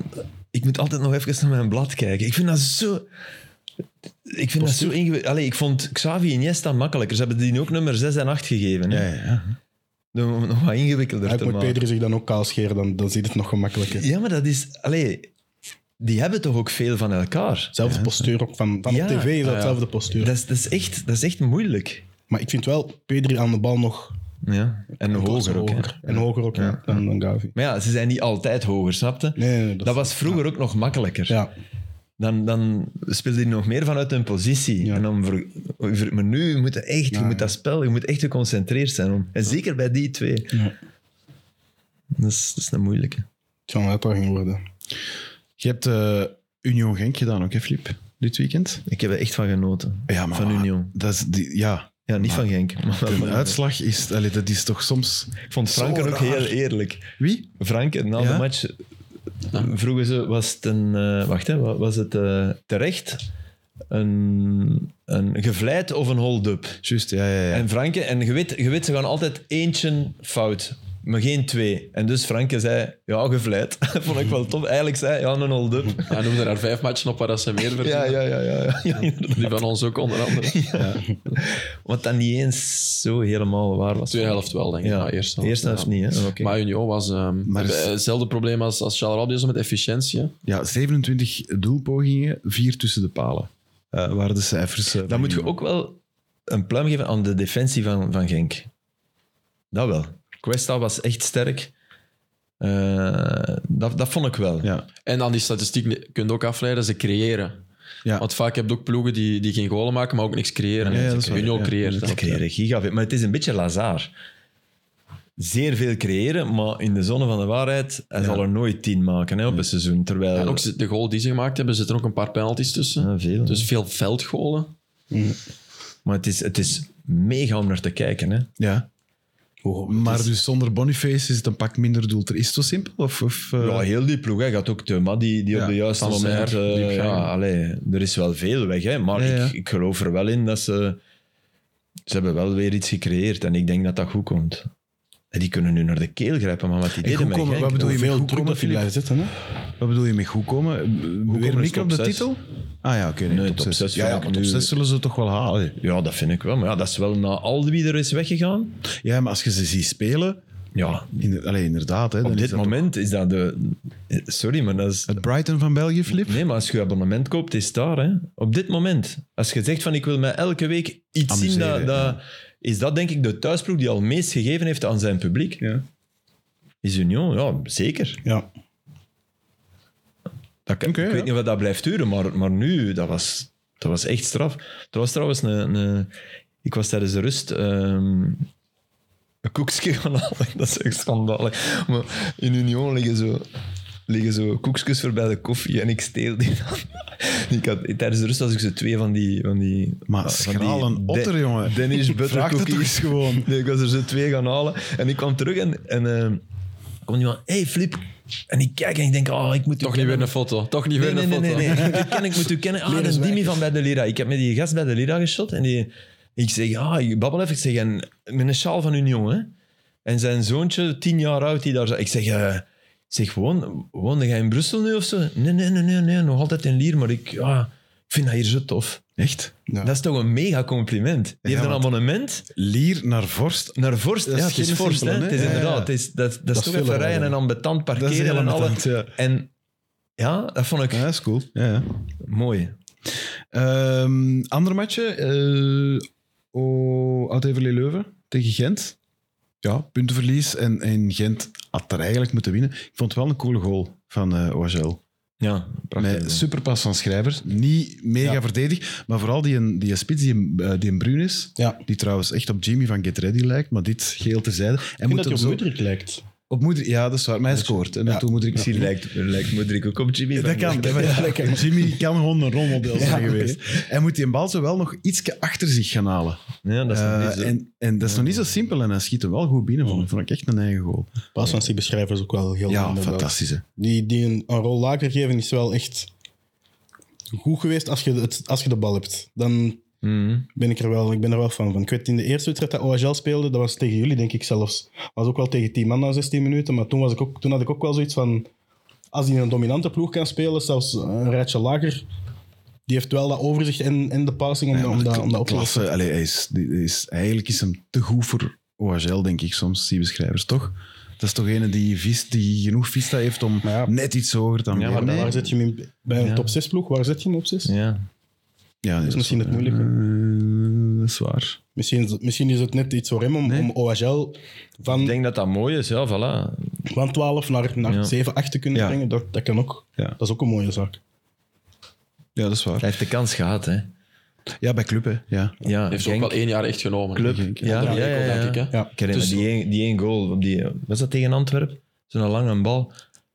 [SPEAKER 2] ik moet altijd nog even naar mijn blad kijken. Ik vind dat zo... Ik vind dat zo ingewikkeld. Allee, ik vond Xavi en Iniesta makkelijker. Ze hebben die ook nummer 6 en 8 gegeven.
[SPEAKER 1] Ja,
[SPEAKER 2] Hè?
[SPEAKER 1] ja, ja.
[SPEAKER 2] Dan Om het nog wat ingewikkelder
[SPEAKER 4] Hij
[SPEAKER 2] te
[SPEAKER 4] moet
[SPEAKER 2] maken.
[SPEAKER 4] Pedri zich dan ook kaal scheren, dan, dan ziet het nog gemakkelijker.
[SPEAKER 2] Ja, maar dat is... Allee, die hebben toch ook veel van elkaar?
[SPEAKER 4] Hetzelfde postuur ook van, van
[SPEAKER 2] Ja.
[SPEAKER 4] op tv is dat hetzelfde postuur.
[SPEAKER 2] Dat is, dat is, echt, dat is echt moeilijk.
[SPEAKER 4] Maar ik vind wel Pedri aan de bal nog
[SPEAKER 2] Ja. En hoger ook. hè.
[SPEAKER 4] En hoger ook ja, dan, dan Gavi.
[SPEAKER 2] Maar ja, ze zijn niet altijd hoger, snapte?
[SPEAKER 4] Nee, nee, nee, dat,
[SPEAKER 2] Dat was vroeger ook nog makkelijker.
[SPEAKER 4] ja.
[SPEAKER 2] dan, dan speelde hij nog meer vanuit hun positie.
[SPEAKER 4] Ja.
[SPEAKER 2] En dan ver- ver- maar nu moet je echt, je moet dat spel, je moet echt geconcentreerd zijn. Om, en zeker bij die twee.
[SPEAKER 4] Ja.
[SPEAKER 2] Dat, is, dat is een moeilijke.
[SPEAKER 4] Het zou een uitdaging worden.
[SPEAKER 1] Je hebt eh, Union Genk gedaan ook, hè, Flip? Dit weekend?
[SPEAKER 2] Ik heb er echt van genoten.
[SPEAKER 1] Ja, maar-
[SPEAKER 2] van Union.
[SPEAKER 1] Dat is die, ja,
[SPEAKER 2] Ja, niet van Genk. Maar
[SPEAKER 1] de
[SPEAKER 2] van-
[SPEAKER 1] uitslag is... Allee, dat is toch soms...
[SPEAKER 2] ik vond Franken
[SPEAKER 1] Zo
[SPEAKER 2] ook
[SPEAKER 1] raar.
[SPEAKER 2] heel eerlijk.
[SPEAKER 1] Wie?
[SPEAKER 2] Franken, na
[SPEAKER 1] Ja?
[SPEAKER 2] de match vroegen ze, was het een... eh, wacht, hè, wa- was het eh, terecht? Een, een gevleid of een hold-up?
[SPEAKER 1] Juist, ja, ja, ja.
[SPEAKER 2] En Franke, en je weet, je weet, ze gaan altijd eentje fout, maar geen twee. En dus Franke zei, ja, gevleid. Vond ik wel tof. Eigenlijk zei, ja, een hold-up.
[SPEAKER 3] Hij noemde daar vijf matchen op waar dat ze meer verdienen.
[SPEAKER 2] Ja, ja, ja, ja. ja. ja, inderdaad.
[SPEAKER 3] Die van ons ook onder andere.
[SPEAKER 2] Wat dan niet eens zo helemaal waar was.
[SPEAKER 3] Tweede helft wel, denk ik.
[SPEAKER 2] Ja,
[SPEAKER 3] maar eerst
[SPEAKER 2] eerste
[SPEAKER 3] helft,
[SPEAKER 2] helft,
[SPEAKER 3] ja.
[SPEAKER 2] niet, hè. Oké.
[SPEAKER 3] Maar Union was ehm,
[SPEAKER 1] Maar is-
[SPEAKER 3] eh, hetzelfde probleem als, als Charleroi met efficiëntie. hè.
[SPEAKER 1] Ja, 27 doelpogingen, vier tussen de palen. Eh waren de cijfers. eh, van
[SPEAKER 2] Dan moet je
[SPEAKER 1] Union.
[SPEAKER 2] ook wel een pluim geven aan de defensie van, van Genk. Dat wel. Questa was echt sterk. Eh, dat, dat vond ik wel.
[SPEAKER 1] Ja,
[SPEAKER 3] En aan die statistiek ne- kun je ook afleiden, ze creëren.
[SPEAKER 1] ja.
[SPEAKER 3] Want vaak heb je ook ploegen die, die geen goalen maken, maar ook niks creëren.
[SPEAKER 1] Ja, ja, dat is waar,
[SPEAKER 3] Union
[SPEAKER 1] ja.
[SPEAKER 3] creëert.
[SPEAKER 2] Ze
[SPEAKER 3] dat.
[SPEAKER 2] creëren gigaveel. Maar het is een beetje Lazar. zeer veel creëren, maar in de zonne van de waarheid, hij zal er nooit tien maken hè, op een seizoen. Terwijl...
[SPEAKER 3] En ook de goal die ze gemaakt hebben, zitten ook een paar penalties tussen.
[SPEAKER 2] Ja, veel, hè.
[SPEAKER 3] dus veel veldgolen.
[SPEAKER 2] Maar het is, het is mega om naar te kijken. Hè.
[SPEAKER 1] Ja.
[SPEAKER 2] Oh,
[SPEAKER 1] Maar dus zonder Boniface is het een pak minder doelter. Is het zo simpel? Of, of, eh,
[SPEAKER 2] Ja, heel die ploeg. Hij gaat ook Teuma, die, die
[SPEAKER 1] Ja,
[SPEAKER 2] op de juiste
[SPEAKER 3] Van
[SPEAKER 2] moment...
[SPEAKER 3] Zijr,
[SPEAKER 2] eh,
[SPEAKER 3] die op gang.
[SPEAKER 2] ja, allee, er is wel veel weg, hè, maar
[SPEAKER 1] Ja, ja.
[SPEAKER 2] Ik, ik geloof er wel in dat ze... Ze hebben wel weer iets gecreëerd en ik denk dat dat goed komt. En die kunnen nu naar de keel grijpen, maar wat die deden
[SPEAKER 1] goed
[SPEAKER 2] met
[SPEAKER 1] komen,
[SPEAKER 2] Genk,
[SPEAKER 1] wat bedoel je met
[SPEAKER 4] Hoeveel
[SPEAKER 1] goed
[SPEAKER 4] druk
[SPEAKER 1] komen,
[SPEAKER 4] dat die
[SPEAKER 1] Filip?
[SPEAKER 4] blijven zitten, hè?
[SPEAKER 1] Wat bedoel je met goed komen? Hoe Weer
[SPEAKER 2] is
[SPEAKER 1] mikken op
[SPEAKER 2] top
[SPEAKER 1] de
[SPEAKER 2] zes.
[SPEAKER 1] titel? Ah ja, oké.
[SPEAKER 2] Nee,
[SPEAKER 1] top
[SPEAKER 2] top
[SPEAKER 1] 6.
[SPEAKER 2] zes
[SPEAKER 1] ja, ja,
[SPEAKER 2] vind ik
[SPEAKER 1] maar top
[SPEAKER 2] nu-
[SPEAKER 1] 6 zullen ze toch wel halen.
[SPEAKER 2] Ja, dat vind ik wel. Maar ja, dat is wel na al wie er is weggegaan.
[SPEAKER 1] Ja, maar als je ze ziet spelen...
[SPEAKER 2] Ja,
[SPEAKER 1] In, allee, inderdaad. Hè, dan
[SPEAKER 2] op
[SPEAKER 1] is
[SPEAKER 2] dit
[SPEAKER 1] dat
[SPEAKER 2] moment is dat de... Sorry, maar dat is...
[SPEAKER 1] toch- Het Brighton van België, Flip?
[SPEAKER 2] Nee, maar als je abonnement koopt, is het daar. Hè. Op dit moment. Als je zegt van ik wil mij elke week iets zien,
[SPEAKER 1] Amuseren,
[SPEAKER 2] dat, dat, is dat denk ik de thuisploeg die al meest gegeven heeft aan zijn publiek.
[SPEAKER 1] Ja.
[SPEAKER 2] Is Union, ja, zeker.
[SPEAKER 4] Ja.
[SPEAKER 2] Dat, kan-
[SPEAKER 1] Oké,
[SPEAKER 2] ik
[SPEAKER 1] ja.
[SPEAKER 2] weet niet wat dat blijft duren, maar, maar nu, dat was, dat was echt straf. Er was trouwens een... een- ik was tijdens de rust... ehm, een koekje gaan halen. Dat is echt schandalig. Maar in Union liggen zo, liggen zo koekjes voor bij de koffie en ik steel die dan. Ik had, tijdens de rust had ik zo twee van die... Van die
[SPEAKER 1] Maar
[SPEAKER 2] van
[SPEAKER 1] schraal een
[SPEAKER 2] De-
[SPEAKER 1] otter, jongen.
[SPEAKER 2] Danish butter
[SPEAKER 1] Vraag dat toch eens
[SPEAKER 2] cookies.
[SPEAKER 1] gewoon.
[SPEAKER 2] Nee, ik was er zo twee gaan halen. En ik kwam terug en... en ehm kwam iemand... hey, Flip. En ik kijk en ik denk... Oh, ik moet u
[SPEAKER 3] Toch niet
[SPEAKER 2] kennen.
[SPEAKER 3] weer een foto. Toch niet weer
[SPEAKER 2] Nee,
[SPEAKER 3] een
[SPEAKER 2] nee,
[SPEAKER 3] foto.
[SPEAKER 2] nee, nee. nee. Ik, ken, ik moet u kennen. Ah, dat is Dimi van bij de Lira. Ik heb met die gast bij de Lira geschot. En die, ik zeg, ah, ik babbel even. Ik zeg, en met een sjaal van hun jongen. En zijn zoontje, tien jaar oud, die daar... zat. Ik zeg, eh, zeg woon, woonde jij in Brussel nu of zo? Nee, nee, nee, nee, nee nog altijd in Lier. Maar ik, ah, ik vind dat hier zo tof.
[SPEAKER 1] Echt?
[SPEAKER 4] Ja.
[SPEAKER 2] Dat is toch een mega compliment. Die heeft
[SPEAKER 1] Ja,
[SPEAKER 2] een
[SPEAKER 1] want-
[SPEAKER 2] abonnement
[SPEAKER 1] Lier naar Vorst.
[SPEAKER 2] naar Vorst.
[SPEAKER 1] Dat is
[SPEAKER 2] ja, het is
[SPEAKER 1] geen
[SPEAKER 2] Vorst, hè.
[SPEAKER 1] simpele, hè?
[SPEAKER 2] Het
[SPEAKER 1] Ja,
[SPEAKER 2] is
[SPEAKER 1] ja, ja.
[SPEAKER 2] inderdaad. Het is, dat, dat,
[SPEAKER 1] is
[SPEAKER 2] is toch
[SPEAKER 1] veel
[SPEAKER 2] even rijden en
[SPEAKER 1] rijden.
[SPEAKER 2] ambetant
[SPEAKER 1] Dat is
[SPEAKER 2] parkeren
[SPEAKER 1] heel
[SPEAKER 2] en alle...
[SPEAKER 1] irritant, ja.
[SPEAKER 2] En ja, dat vond ik
[SPEAKER 1] Ja, is cool. Ja, ja.
[SPEAKER 2] mooi.
[SPEAKER 1] Ehm, andere matchen. eh o- Oud-Everlee Leuven tegen Gent. Ja, puntenverlies. En, en Gent had er eigenlijk moeten winnen. Ik vond het wel een coole goal van eh OHL.
[SPEAKER 2] Ja, prachtig.
[SPEAKER 1] Met superpas van Schrijver. Niet mega
[SPEAKER 4] Ja.
[SPEAKER 1] verdedigd, maar vooral die, een- die een spits, die, een- eh, die een bruin is.
[SPEAKER 4] Ja.
[SPEAKER 1] Die trouwens echt op Jimmy van Get Ready lijkt, maar dit geel terzijde. En
[SPEAKER 4] Ik
[SPEAKER 1] moet
[SPEAKER 4] vind dat je
[SPEAKER 1] hem
[SPEAKER 4] op
[SPEAKER 1] zo-
[SPEAKER 4] Moederik lijkt.
[SPEAKER 1] op moeder. Dus- Ja, dat is waar. Maar hij scoort. En
[SPEAKER 4] Ja.
[SPEAKER 1] toen moeder ik
[SPEAKER 2] Misschien lijkt, lijkt Modric ook op Jimmy.
[SPEAKER 1] Dat kan.
[SPEAKER 2] Van-
[SPEAKER 1] maar ja, Jimmy kan gewoon een rolmodel zijn geweest. Hij moet die bal zo wel nog ietsje achter zich gaan halen.
[SPEAKER 2] Ja, dat is nog
[SPEAKER 1] Eh,
[SPEAKER 2] niet zo.
[SPEAKER 1] en, en dat is nog niet zo simpel. En hij schiet hem wel goed binnen. Vond ik, vond ik echt een eigen goal.
[SPEAKER 4] Pas van die beschrijver is ook wel heel
[SPEAKER 1] Ja,
[SPEAKER 4] ander wel.
[SPEAKER 1] fantastisch. Hè?
[SPEAKER 4] Die, die een, een rol lager geven is wel echt goed geweest als je, het, als je de bal hebt. Dan
[SPEAKER 2] Mhm.
[SPEAKER 4] ben ik er wel, ik ben er wel fan van. Ik weet in de eerste wedstrijd dat OHL speelde, dat was tegen jullie denk ik zelfs. was ook wel tegen 10 man na 16 minuten, maar toen, was ik ook, toen had ik ook wel zoiets van... Als die in een dominante ploeg kan spelen, zelfs een rijtje lager, die heeft wel dat overzicht en, en de passing om,
[SPEAKER 1] Ja,
[SPEAKER 4] dat-
[SPEAKER 1] maar
[SPEAKER 4] om, dat,
[SPEAKER 1] kla-
[SPEAKER 4] om dat op te lossen.
[SPEAKER 1] klasse, allee, hij is, die- die is, eigenlijk is hem te goed voor OHL, denk ik soms, die beschrijvers, toch? Dat is toch ene die, vis, die genoeg vista heeft om
[SPEAKER 4] Maar ja.
[SPEAKER 1] net iets hoger dan
[SPEAKER 2] Ja,
[SPEAKER 1] meer.
[SPEAKER 2] maar
[SPEAKER 4] Maar
[SPEAKER 2] nee.
[SPEAKER 4] Waar zet je hem in, bij een
[SPEAKER 2] Ja.
[SPEAKER 4] top 6 ploeg? Waar zet je hem op 6?
[SPEAKER 2] Ja.
[SPEAKER 1] Ja, nee, dat
[SPEAKER 4] misschien
[SPEAKER 1] wel-
[SPEAKER 4] het moeilijke.
[SPEAKER 1] Eh, dat is waar.
[SPEAKER 4] Misschien, is het- misschien is het net iets voor hem om,
[SPEAKER 1] Nee.
[SPEAKER 4] om OHL
[SPEAKER 2] Ik
[SPEAKER 4] van,
[SPEAKER 2] denk dat dat mooi is, ja, voilà.
[SPEAKER 4] van 12 naar, naar
[SPEAKER 2] Ja.
[SPEAKER 4] 7, 8 te kunnen
[SPEAKER 1] Ja.
[SPEAKER 4] brengen. Dat, dat kan ook.
[SPEAKER 1] Ja.
[SPEAKER 4] Dat is ook een mooie zaak.
[SPEAKER 1] Ja, dat is
[SPEAKER 2] Hij
[SPEAKER 1] waar.
[SPEAKER 2] heeft de kans gehad, hè.
[SPEAKER 1] Ja, bij club, hè. Ja.
[SPEAKER 2] Ja,
[SPEAKER 3] Heeft ze ook
[SPEAKER 2] Genk,
[SPEAKER 3] wel één jaar echt genomen.
[SPEAKER 2] club.
[SPEAKER 1] Genk,
[SPEAKER 2] ja, ja, ja, ja.
[SPEAKER 3] denk ik. Hè?
[SPEAKER 4] Ja.
[SPEAKER 2] Ik herinner
[SPEAKER 3] Dus-
[SPEAKER 2] me die één, die één goal. Op die, was dat tegen Antwerpen? Zo'n lange bal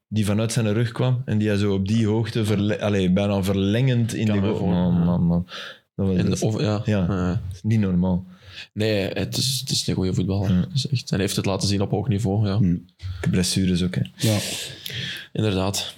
[SPEAKER 2] die vanuit zijn rug kwam en die hij zo op die hoogte verle- allee, bijna verlengend in
[SPEAKER 3] Kan
[SPEAKER 2] de
[SPEAKER 3] me
[SPEAKER 2] goal.
[SPEAKER 3] voor-
[SPEAKER 2] Man, man, man. Dat was
[SPEAKER 3] En
[SPEAKER 2] dat
[SPEAKER 3] de,
[SPEAKER 2] is-
[SPEAKER 3] of, ja.
[SPEAKER 2] Ja.
[SPEAKER 3] Ja.
[SPEAKER 2] dat is niet normaal.
[SPEAKER 3] Nee, het is, het is een goede voetballer. Dat is echt. En hij heeft het laten zien op hoog niveau. Ja.
[SPEAKER 2] Mm. Blessures ook, hè.
[SPEAKER 4] Ja.
[SPEAKER 3] Inderdaad.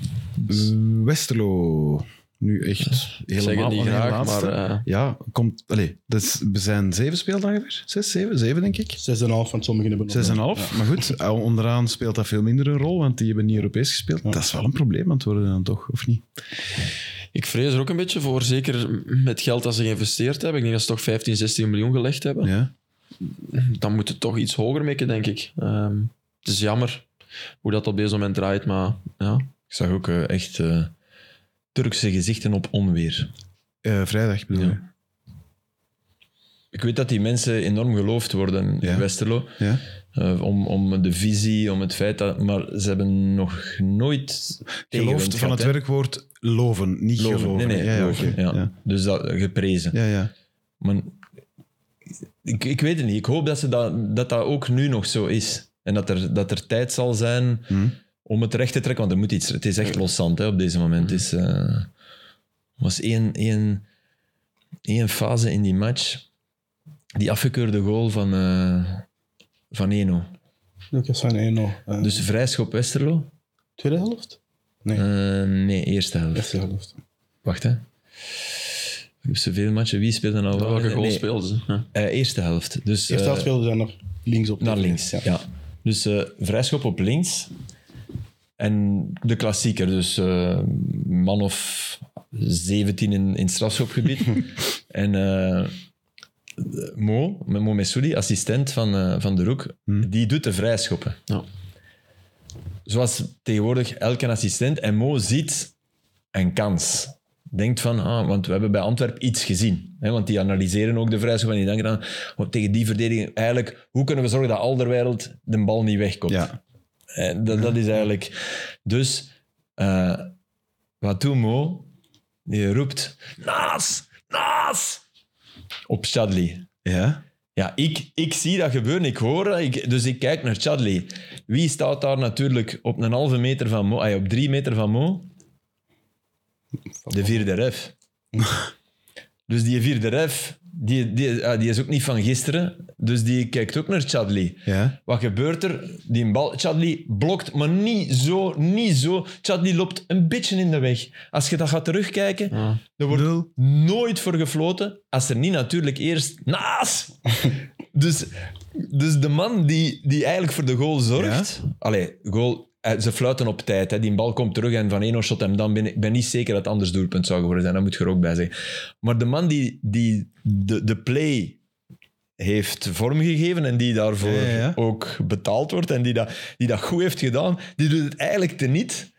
[SPEAKER 1] Eh, Westerlo. Nu echt
[SPEAKER 3] Ik zeg het
[SPEAKER 1] helemaal
[SPEAKER 3] niet
[SPEAKER 1] alleen
[SPEAKER 3] graag,
[SPEAKER 1] laatste.
[SPEAKER 3] maar eh,
[SPEAKER 1] Ja, komt... Allee, dat is, we zijn zeven speeldagen weer. Zes, zeven, zeven denk ik.
[SPEAKER 4] 6,5 van sommigen hebben nog
[SPEAKER 1] Zes en
[SPEAKER 4] wel.
[SPEAKER 1] half. Maar goed, eh, onderaan speelt dat veel minder een rol, want die hebben niet Europees gespeeld. Dat is wel een probleem aan het worden dan toch, of niet?
[SPEAKER 3] eh, ik vrees er ook een beetje voor. Zeker met geld dat ze geïnvesteerd hebben. Ik denk dat ze toch 15, 16 miljoen gelegd hebben.
[SPEAKER 1] Ja.
[SPEAKER 3] Dan moet het toch iets hoger mikken, denk ik. Ehm, het is jammer hoe dat op deze moment draait, maar ja.
[SPEAKER 2] Ik zag ook eh, echt eh, Turkse gezichten op onweer.
[SPEAKER 1] Eh, vrijdag bedoel je?
[SPEAKER 2] Ik weet dat die mensen enorm geloofd worden in
[SPEAKER 1] Ja.
[SPEAKER 2] Westerlo.
[SPEAKER 1] Ja.
[SPEAKER 2] Eh, om, om de visie, om het feit dat... Maar ze hebben nog nooit tegenwind
[SPEAKER 1] Gelooft van
[SPEAKER 2] gehad,
[SPEAKER 1] het
[SPEAKER 2] hè.
[SPEAKER 1] werkwoord loven, niet
[SPEAKER 2] Geloven.
[SPEAKER 1] geloven.
[SPEAKER 2] Nee, nee,
[SPEAKER 1] ja, ja,
[SPEAKER 2] geloven,
[SPEAKER 1] oké.
[SPEAKER 2] ja.
[SPEAKER 1] ja.
[SPEAKER 2] Dus dat, geprezen.
[SPEAKER 1] Ja, ja.
[SPEAKER 2] Maar ik, ik weet het niet. Ik hoop dat, ze dat, dat dat ook nu nog zo is. Hè, En dat er, dat er tijd zal zijn
[SPEAKER 1] Hmm.
[SPEAKER 2] om het recht te trekken. Want er moet iets... Het is echt loszand hè, op deze moment. Het is, eh, er was één, één, één fase in die match. Die afgekeurde goal van, eh, van Eno.
[SPEAKER 4] Lucas van 1-0. Eh,
[SPEAKER 2] Dus vrijschop Westerlo?
[SPEAKER 4] tweede helft? Nee,
[SPEAKER 2] Eh, nee, eerste helft.
[SPEAKER 4] eerste helft.
[SPEAKER 2] Wacht, hè. Ik heb zoveel matchen. Wie speelde nou wel?
[SPEAKER 3] Welke goal
[SPEAKER 2] Nee,
[SPEAKER 3] speelden ze? Ja.
[SPEAKER 2] eh, eerste helft. Dus,
[SPEAKER 4] Eerste
[SPEAKER 2] eh,
[SPEAKER 4] helft speelden zij naar links op.
[SPEAKER 2] Naar links, ja.
[SPEAKER 4] Ja.
[SPEAKER 2] Dus eh, vrijschop op links. En de klassieker, dus eh, man of 17 in, in het strafschopgebied. en eh, Mo, Mo Messoudi, assistent van, eh, van de Roek, die doet de vrijschoppen.
[SPEAKER 3] Ja.
[SPEAKER 2] Zoals tegenwoordig elke assistent. En Mo ziet een kans. Denkt van, ah, want we hebben bij Antwerpen iets gezien. Hè, want die analyseren ook de vrijschop en die denken dan, want tegen die verdediging, eigenlijk, hoe kunnen we zorgen dat Alderwereld de bal niet wegkomt?
[SPEAKER 1] Ja.
[SPEAKER 2] Eh, dat, dat is eigenlijk... Dus, eh, wat doet Mo? Die roept, naas, naas, op Chadli.
[SPEAKER 1] Ja?
[SPEAKER 2] Ja, ik, ik zie dat gebeuren, ik hoor dat, ik, dus ik kijk naar Chadli. Wie staat daar natuurlijk op een halve meter van Mo, ay, op drie meter van Mo? De vierde ref. dus die vierde ref, die, die, ah, die is ook niet van gisteren, dus die kijkt ook naar Chadli.
[SPEAKER 1] Ja?
[SPEAKER 2] Wat gebeurt er? Die bal, Chadli blokt, maar niet zo, niet zo. Chadli loopt een beetje in de weg. Als je dat gaat terugkijken,
[SPEAKER 3] Ja.
[SPEAKER 2] er wordt
[SPEAKER 1] Nul.
[SPEAKER 2] nooit voor gefloten als er niet natuurlijk eerst naast. dus, dus de man die, die eigenlijk voor de goal zorgt. Allee, goal, eh, ze fluiten op tijd. Hè. Die bal komt terug en van Eno shot hem dan. binnen. Ik ben niet zeker dat het anders doelpunt zou geworden zijn. Daar moet je er ook bij zeggen. Maar de man die, die de, de play heeft vormgegeven en die daarvoor
[SPEAKER 1] Ja, ja, ja.
[SPEAKER 2] ook betaald wordt en die dat, die dat goed heeft gedaan, die doet het eigenlijk teniet.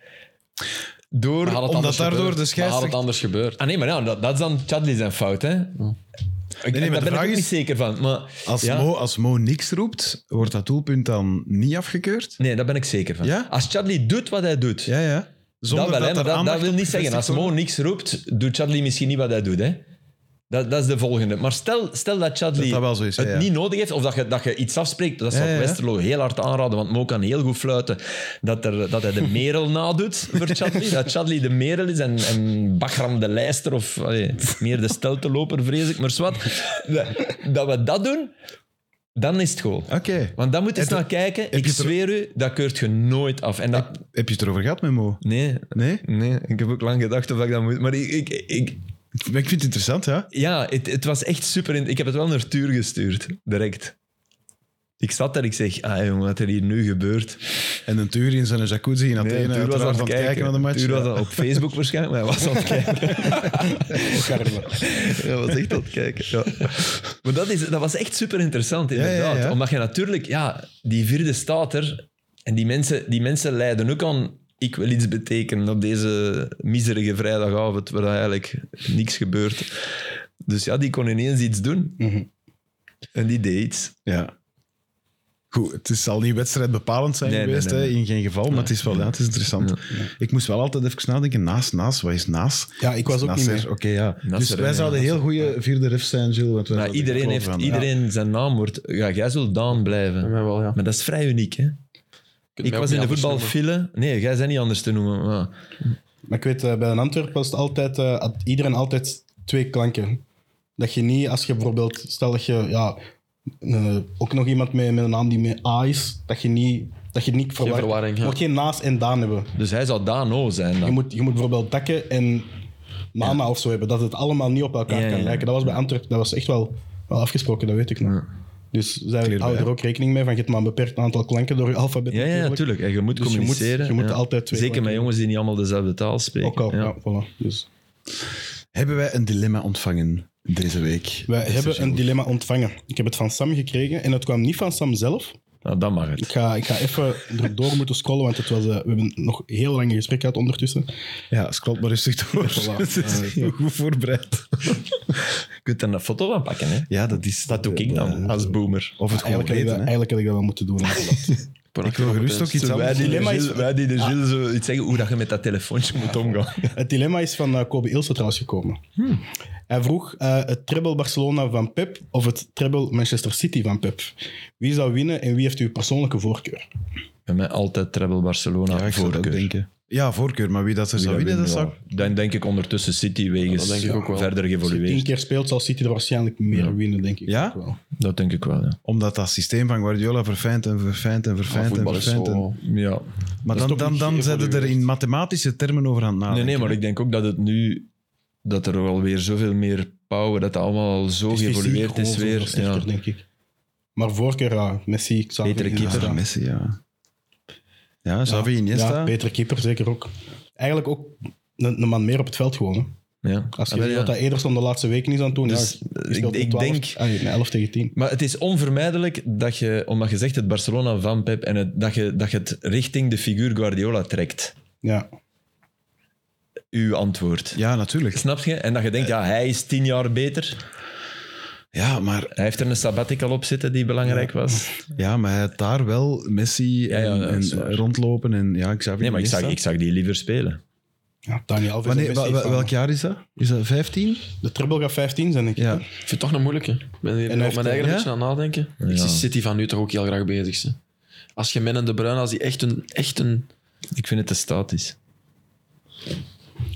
[SPEAKER 2] Door,
[SPEAKER 3] Maar had het
[SPEAKER 1] Omdat
[SPEAKER 3] anders
[SPEAKER 1] daardoor
[SPEAKER 3] gebeurd?
[SPEAKER 1] de scheidsrechter-
[SPEAKER 3] Maar had het anders gebeurd?
[SPEAKER 2] Ah nee, maar ja, dat, dat is dan Chadli zijn fout, hè?
[SPEAKER 1] nee,
[SPEAKER 2] Ik,
[SPEAKER 1] maar
[SPEAKER 2] daar
[SPEAKER 1] de
[SPEAKER 2] ben ik
[SPEAKER 1] vraag
[SPEAKER 2] ook
[SPEAKER 1] is-
[SPEAKER 2] niet zeker van. Maar,
[SPEAKER 1] Als,
[SPEAKER 2] ja.
[SPEAKER 1] Mo, als Mo niks roept, wordt dat doelpunt dan niet afgekeurd?
[SPEAKER 2] Nee, daar ben ik zeker van.
[SPEAKER 1] Ja?
[SPEAKER 2] Als Chadli doet wat hij doet,
[SPEAKER 1] Ja, ja.
[SPEAKER 2] dat wel, hè,
[SPEAKER 1] er
[SPEAKER 2] maar dat, dat
[SPEAKER 1] aandacht
[SPEAKER 2] wil
[SPEAKER 1] op
[SPEAKER 2] niet zeggen. Als
[SPEAKER 1] gevestigd
[SPEAKER 2] Mo
[SPEAKER 1] wordt.
[SPEAKER 2] niks roept, doet Chadli misschien niet wat hij doet, hè? Dat, dat is de volgende. Maar stel, stel dat Chadli
[SPEAKER 1] Dat dat wel zo is,
[SPEAKER 2] het
[SPEAKER 1] ja, ja.
[SPEAKER 2] niet nodig heeft, of dat je, dat je iets afspreekt, dat zou
[SPEAKER 1] Ja, ja, ja.
[SPEAKER 2] Westerlo heel hard aanraden, want Mo kan heel goed fluiten dat, er, dat hij de merel nadoet voor Chadli. dat Chadli de merel is en, en Bagram de lijster, of allee, meer de stelteloper, vrees ik, maar zwart. Dat, dat we dat doen, dan is het goal.
[SPEAKER 1] Oké.
[SPEAKER 2] Want dan moet je eens
[SPEAKER 1] Heb je-
[SPEAKER 2] naar kijken. Ik
[SPEAKER 1] je er-
[SPEAKER 2] zweer u, dat keurt je nooit af. En dat,
[SPEAKER 1] Heb je het erover gehad met Mo?
[SPEAKER 2] nee,
[SPEAKER 1] Nee?
[SPEAKER 2] nee, ik heb ook lang gedacht of ik dat moet. Maar ik, ik, ik,
[SPEAKER 1] Ik vind het interessant, ja.
[SPEAKER 2] ja, het, het was echt super. in- Ik heb het wel naar Tuur gestuurd, direct. Ik zat daar, ik zeg, ah jongen, wat er hier nu gebeurt.
[SPEAKER 1] En een tuur in zijn jacuzzi in Athene.
[SPEAKER 2] Nee, Tuur was
[SPEAKER 1] uiteraard
[SPEAKER 2] aan het
[SPEAKER 1] van
[SPEAKER 2] kijken.
[SPEAKER 1] naar de match.
[SPEAKER 2] Tuur was
[SPEAKER 1] ja.
[SPEAKER 2] aan- op Facebook waarschijnlijk, maar hij was aan het kijken.
[SPEAKER 4] Scherpe.
[SPEAKER 2] Ja, was echt aan het kijken. Ja. Maar dat, is, dat was echt super interessant,
[SPEAKER 1] ja,
[SPEAKER 2] inderdaad.
[SPEAKER 1] ja.
[SPEAKER 2] Omdat je natuurlijk, ja, die vierde staat er. En die mensen, die mensen lijden ook aan. Ik wil iets betekenen op deze miserige vrijdagavond, waar eigenlijk niks gebeurt. Dus ja, die kon ineens iets doen.
[SPEAKER 4] Mhm.
[SPEAKER 2] En die deed iets.
[SPEAKER 1] Ja. Goed, het is- zal niet wedstrijdbepalend zijn
[SPEAKER 2] Nee,
[SPEAKER 1] geweest,
[SPEAKER 2] nee, nee,
[SPEAKER 1] hè, in geen geval, maar het is wel ja, het is interessant. Ik moest wel altijd even nadenken, naast, naast, wat is naast?
[SPEAKER 4] Ja, ik was ook niet
[SPEAKER 1] Nasser,
[SPEAKER 4] meer.
[SPEAKER 1] Oké, ja. dus
[SPEAKER 2] Nasser,
[SPEAKER 1] wij
[SPEAKER 2] hè,
[SPEAKER 1] zouden heel goede vierde ref zijn, Gilles. Want wij
[SPEAKER 2] Maar
[SPEAKER 1] zouden
[SPEAKER 2] iedereen,
[SPEAKER 1] kloven
[SPEAKER 2] heeft,
[SPEAKER 1] van-
[SPEAKER 2] iedereen zijn naam wordt... Ja, jij zult Daan blijven.
[SPEAKER 3] Ja, wel, ja.
[SPEAKER 2] Maar dat is vrij uniek, hè?
[SPEAKER 3] kunt
[SPEAKER 2] Ik
[SPEAKER 3] mij ook
[SPEAKER 2] was in
[SPEAKER 3] niet
[SPEAKER 2] de
[SPEAKER 3] anders
[SPEAKER 2] voetbalfile... Nee, jij bent niet anders te noemen. Maar...
[SPEAKER 4] Maar ik weet, eh, bij een Antwerp was het altijd, eh, had iedereen altijd twee klanken. Dat je niet, als je bijvoorbeeld, stel dat je ja, eh, ook nog iemand met, met een naam die met A is, dat je niet, dat je niet verwar-
[SPEAKER 3] verwarring, ja.
[SPEAKER 4] Je moet geen naast en Daan hebben.
[SPEAKER 2] Dus hij zou Dano zijn
[SPEAKER 4] Je
[SPEAKER 2] dan.
[SPEAKER 4] moet, je moet bijvoorbeeld Dekken en Mama of zo hebben, dat het allemaal niet op elkaar
[SPEAKER 2] Ja,
[SPEAKER 4] kan
[SPEAKER 2] ja.
[SPEAKER 4] lijken. Dat was bij Antwerp, dat was echt wel, wel afgesproken, dat weet ik nog. Dus zij houden er ook rekening mee, van je hebt maar een beperkt aantal klanken door je alfabet.
[SPEAKER 2] Ja, ja,
[SPEAKER 4] natuurlijk.
[SPEAKER 2] natuurlijk. En je moet
[SPEAKER 4] Dus je moet-
[SPEAKER 2] communiceren.
[SPEAKER 4] je moet
[SPEAKER 2] ja.
[SPEAKER 4] altijd twee
[SPEAKER 2] Zeker met
[SPEAKER 4] maken.
[SPEAKER 2] jongens die niet allemaal dezelfde taal spreken.
[SPEAKER 4] Ook al,
[SPEAKER 2] Ja.
[SPEAKER 4] ja, voilà. Dus.
[SPEAKER 1] Hebben wij een dilemma ontvangen deze week?
[SPEAKER 4] Wij
[SPEAKER 1] Beste
[SPEAKER 2] dus
[SPEAKER 4] hebben een
[SPEAKER 1] Gilles.
[SPEAKER 4] dilemma ontvangen. Ik heb het van Sam gekregen en het kwam niet van Sam zelf.
[SPEAKER 2] Nou, dan mag
[SPEAKER 4] Ik
[SPEAKER 2] het.
[SPEAKER 4] ga, ik ga even erdoor moeten scrollen, want het was, eh, we hebben nog heel lang een gesprek gehad ondertussen.
[SPEAKER 1] Ja, scroll maar rustig door.
[SPEAKER 4] Voilà.
[SPEAKER 1] Het is heel goed voorbereid.
[SPEAKER 2] Je kunt er een foto van pakken, hè.
[SPEAKER 1] Ja, dat is...
[SPEAKER 2] Dat doe ik dan, als boomer.
[SPEAKER 1] Of het gewoon
[SPEAKER 4] Eigenlijk, had ik dat-
[SPEAKER 1] weten, hè.
[SPEAKER 4] eigenlijk had ik dat wel moeten doen. inderdaad.
[SPEAKER 3] Ik ben
[SPEAKER 1] Ik wil gerust ook iets
[SPEAKER 2] Zo, wij,
[SPEAKER 1] anders.
[SPEAKER 2] die de
[SPEAKER 4] dilemma is-
[SPEAKER 2] Gilles, wij die de Gilles zo iets zeggen hoe dat je met dat telefoontje moet omgaan. Hmm.
[SPEAKER 4] het dilemma is van eh, Kobe Ilse trouwens gekomen. Hij vroeg eh, het treble Barcelona van Pep of het treble Manchester City van Pep. Wie zou winnen en wie heeft uw persoonlijke voorkeur?
[SPEAKER 2] Bij mij altijd treble Barcelona
[SPEAKER 1] Ja, ik zou dat
[SPEAKER 2] voorkeur.
[SPEAKER 1] ook denken. Ja, voorkeur, maar wie dat er
[SPEAKER 2] Wie
[SPEAKER 1] zou
[SPEAKER 2] dat
[SPEAKER 1] winnen, dat
[SPEAKER 2] wint,
[SPEAKER 1] zou...
[SPEAKER 2] ja. Dan denk ik ondertussen City wegens
[SPEAKER 3] dat denk ik ook wel.
[SPEAKER 2] verder
[SPEAKER 4] Als je tien
[SPEAKER 2] geëvolueerd.
[SPEAKER 4] keer speelt, zal City er waarschijnlijk meer winnen, denk ik.
[SPEAKER 1] Ja?
[SPEAKER 4] ook wel.
[SPEAKER 2] Dat denk ik wel, ja.
[SPEAKER 1] Omdat dat systeem van Guardiola verfijnt en verfijnt en
[SPEAKER 3] Maar
[SPEAKER 2] Ah,
[SPEAKER 1] verfijnt en
[SPEAKER 3] voetbal is
[SPEAKER 1] verfijnt. en-
[SPEAKER 3] zo...
[SPEAKER 2] ja.
[SPEAKER 1] Maar
[SPEAKER 4] Dat
[SPEAKER 1] dan,
[SPEAKER 4] is toch
[SPEAKER 1] dan,
[SPEAKER 4] niet
[SPEAKER 1] dan zijn er
[SPEAKER 4] geëvolueerd?
[SPEAKER 1] in mathematische termen over aan het
[SPEAKER 2] Nee,
[SPEAKER 4] Ah,
[SPEAKER 1] nadenken.
[SPEAKER 2] nee, maar ik denk ook dat het nu... Dat er alweer zoveel meer power, dat het allemaal al zo
[SPEAKER 4] Het is
[SPEAKER 2] geëvolueerd
[SPEAKER 4] fysiek
[SPEAKER 2] is
[SPEAKER 4] gewoon
[SPEAKER 2] weer.
[SPEAKER 4] zoveel sterker,
[SPEAKER 2] Ja.
[SPEAKER 4] denk ik. Maar voorkeur, ja, Messi, Xavi.
[SPEAKER 2] Betere
[SPEAKER 1] Ja,
[SPEAKER 4] Iniesta.
[SPEAKER 2] keeper.
[SPEAKER 1] Messi, ja. Ja, Xavi Iniesta.
[SPEAKER 4] Ja, betere keeper, zeker ook. Eigenlijk ook een, een man meer op het veld gewoon. hè.
[SPEAKER 2] Ja.
[SPEAKER 4] Als je
[SPEAKER 2] Ah, wel,
[SPEAKER 4] ziet
[SPEAKER 2] ja.
[SPEAKER 4] wat dat Ederson de laatste weken is aan het doen,
[SPEAKER 2] Dus,
[SPEAKER 4] ja, je
[SPEAKER 2] eh,
[SPEAKER 4] speelt
[SPEAKER 2] ik-
[SPEAKER 4] met
[SPEAKER 2] ik
[SPEAKER 4] 12
[SPEAKER 2] denk-
[SPEAKER 4] ah, met 11 tegen 10.
[SPEAKER 2] Maar het is onvermijdelijk dat je, omdat je zegt het Barcelona van Pep, en het, dat, je, dat je het richting de figuur Guardiola trekt.
[SPEAKER 4] Ja.
[SPEAKER 2] Uw antwoord.
[SPEAKER 1] Ja, natuurlijk.
[SPEAKER 2] Snap je? En dat je denkt, ja, hij is tien jaar beter.
[SPEAKER 1] Ja, maar,
[SPEAKER 2] Hij heeft er een sabbatical op zitten die belangrijk was.
[SPEAKER 1] ja, maar hij had daar wel Messi
[SPEAKER 2] Ja, ja,
[SPEAKER 1] en,
[SPEAKER 2] dat
[SPEAKER 1] en
[SPEAKER 2] is waar.
[SPEAKER 1] rondlopen en ja, Xavi
[SPEAKER 2] Nee, maar ik
[SPEAKER 1] Iniesta.
[SPEAKER 2] zag, ik zag die liever spelen.
[SPEAKER 4] ja, Daniel Alves
[SPEAKER 1] Wanneer,
[SPEAKER 4] en Messi
[SPEAKER 1] wel- wel-
[SPEAKER 4] samen.
[SPEAKER 1] welk jaar is dat? Is dat 15?
[SPEAKER 4] De treble gaat 15 zijn, denk ik.
[SPEAKER 1] Ja.
[SPEAKER 4] hè.
[SPEAKER 3] Ik vind het toch een moeilijke. Ik ben hier
[SPEAKER 4] En
[SPEAKER 3] op mijn
[SPEAKER 4] hij heeft-
[SPEAKER 3] eigen een
[SPEAKER 1] ja?
[SPEAKER 3] beetje aan het nadenken.
[SPEAKER 2] Ja.
[SPEAKER 3] Ik zie City van nu toch ook heel graag bezig. ze. Als je Men en De Bruyne, als die echt een... Echt een
[SPEAKER 2] Ik vind het te statisch.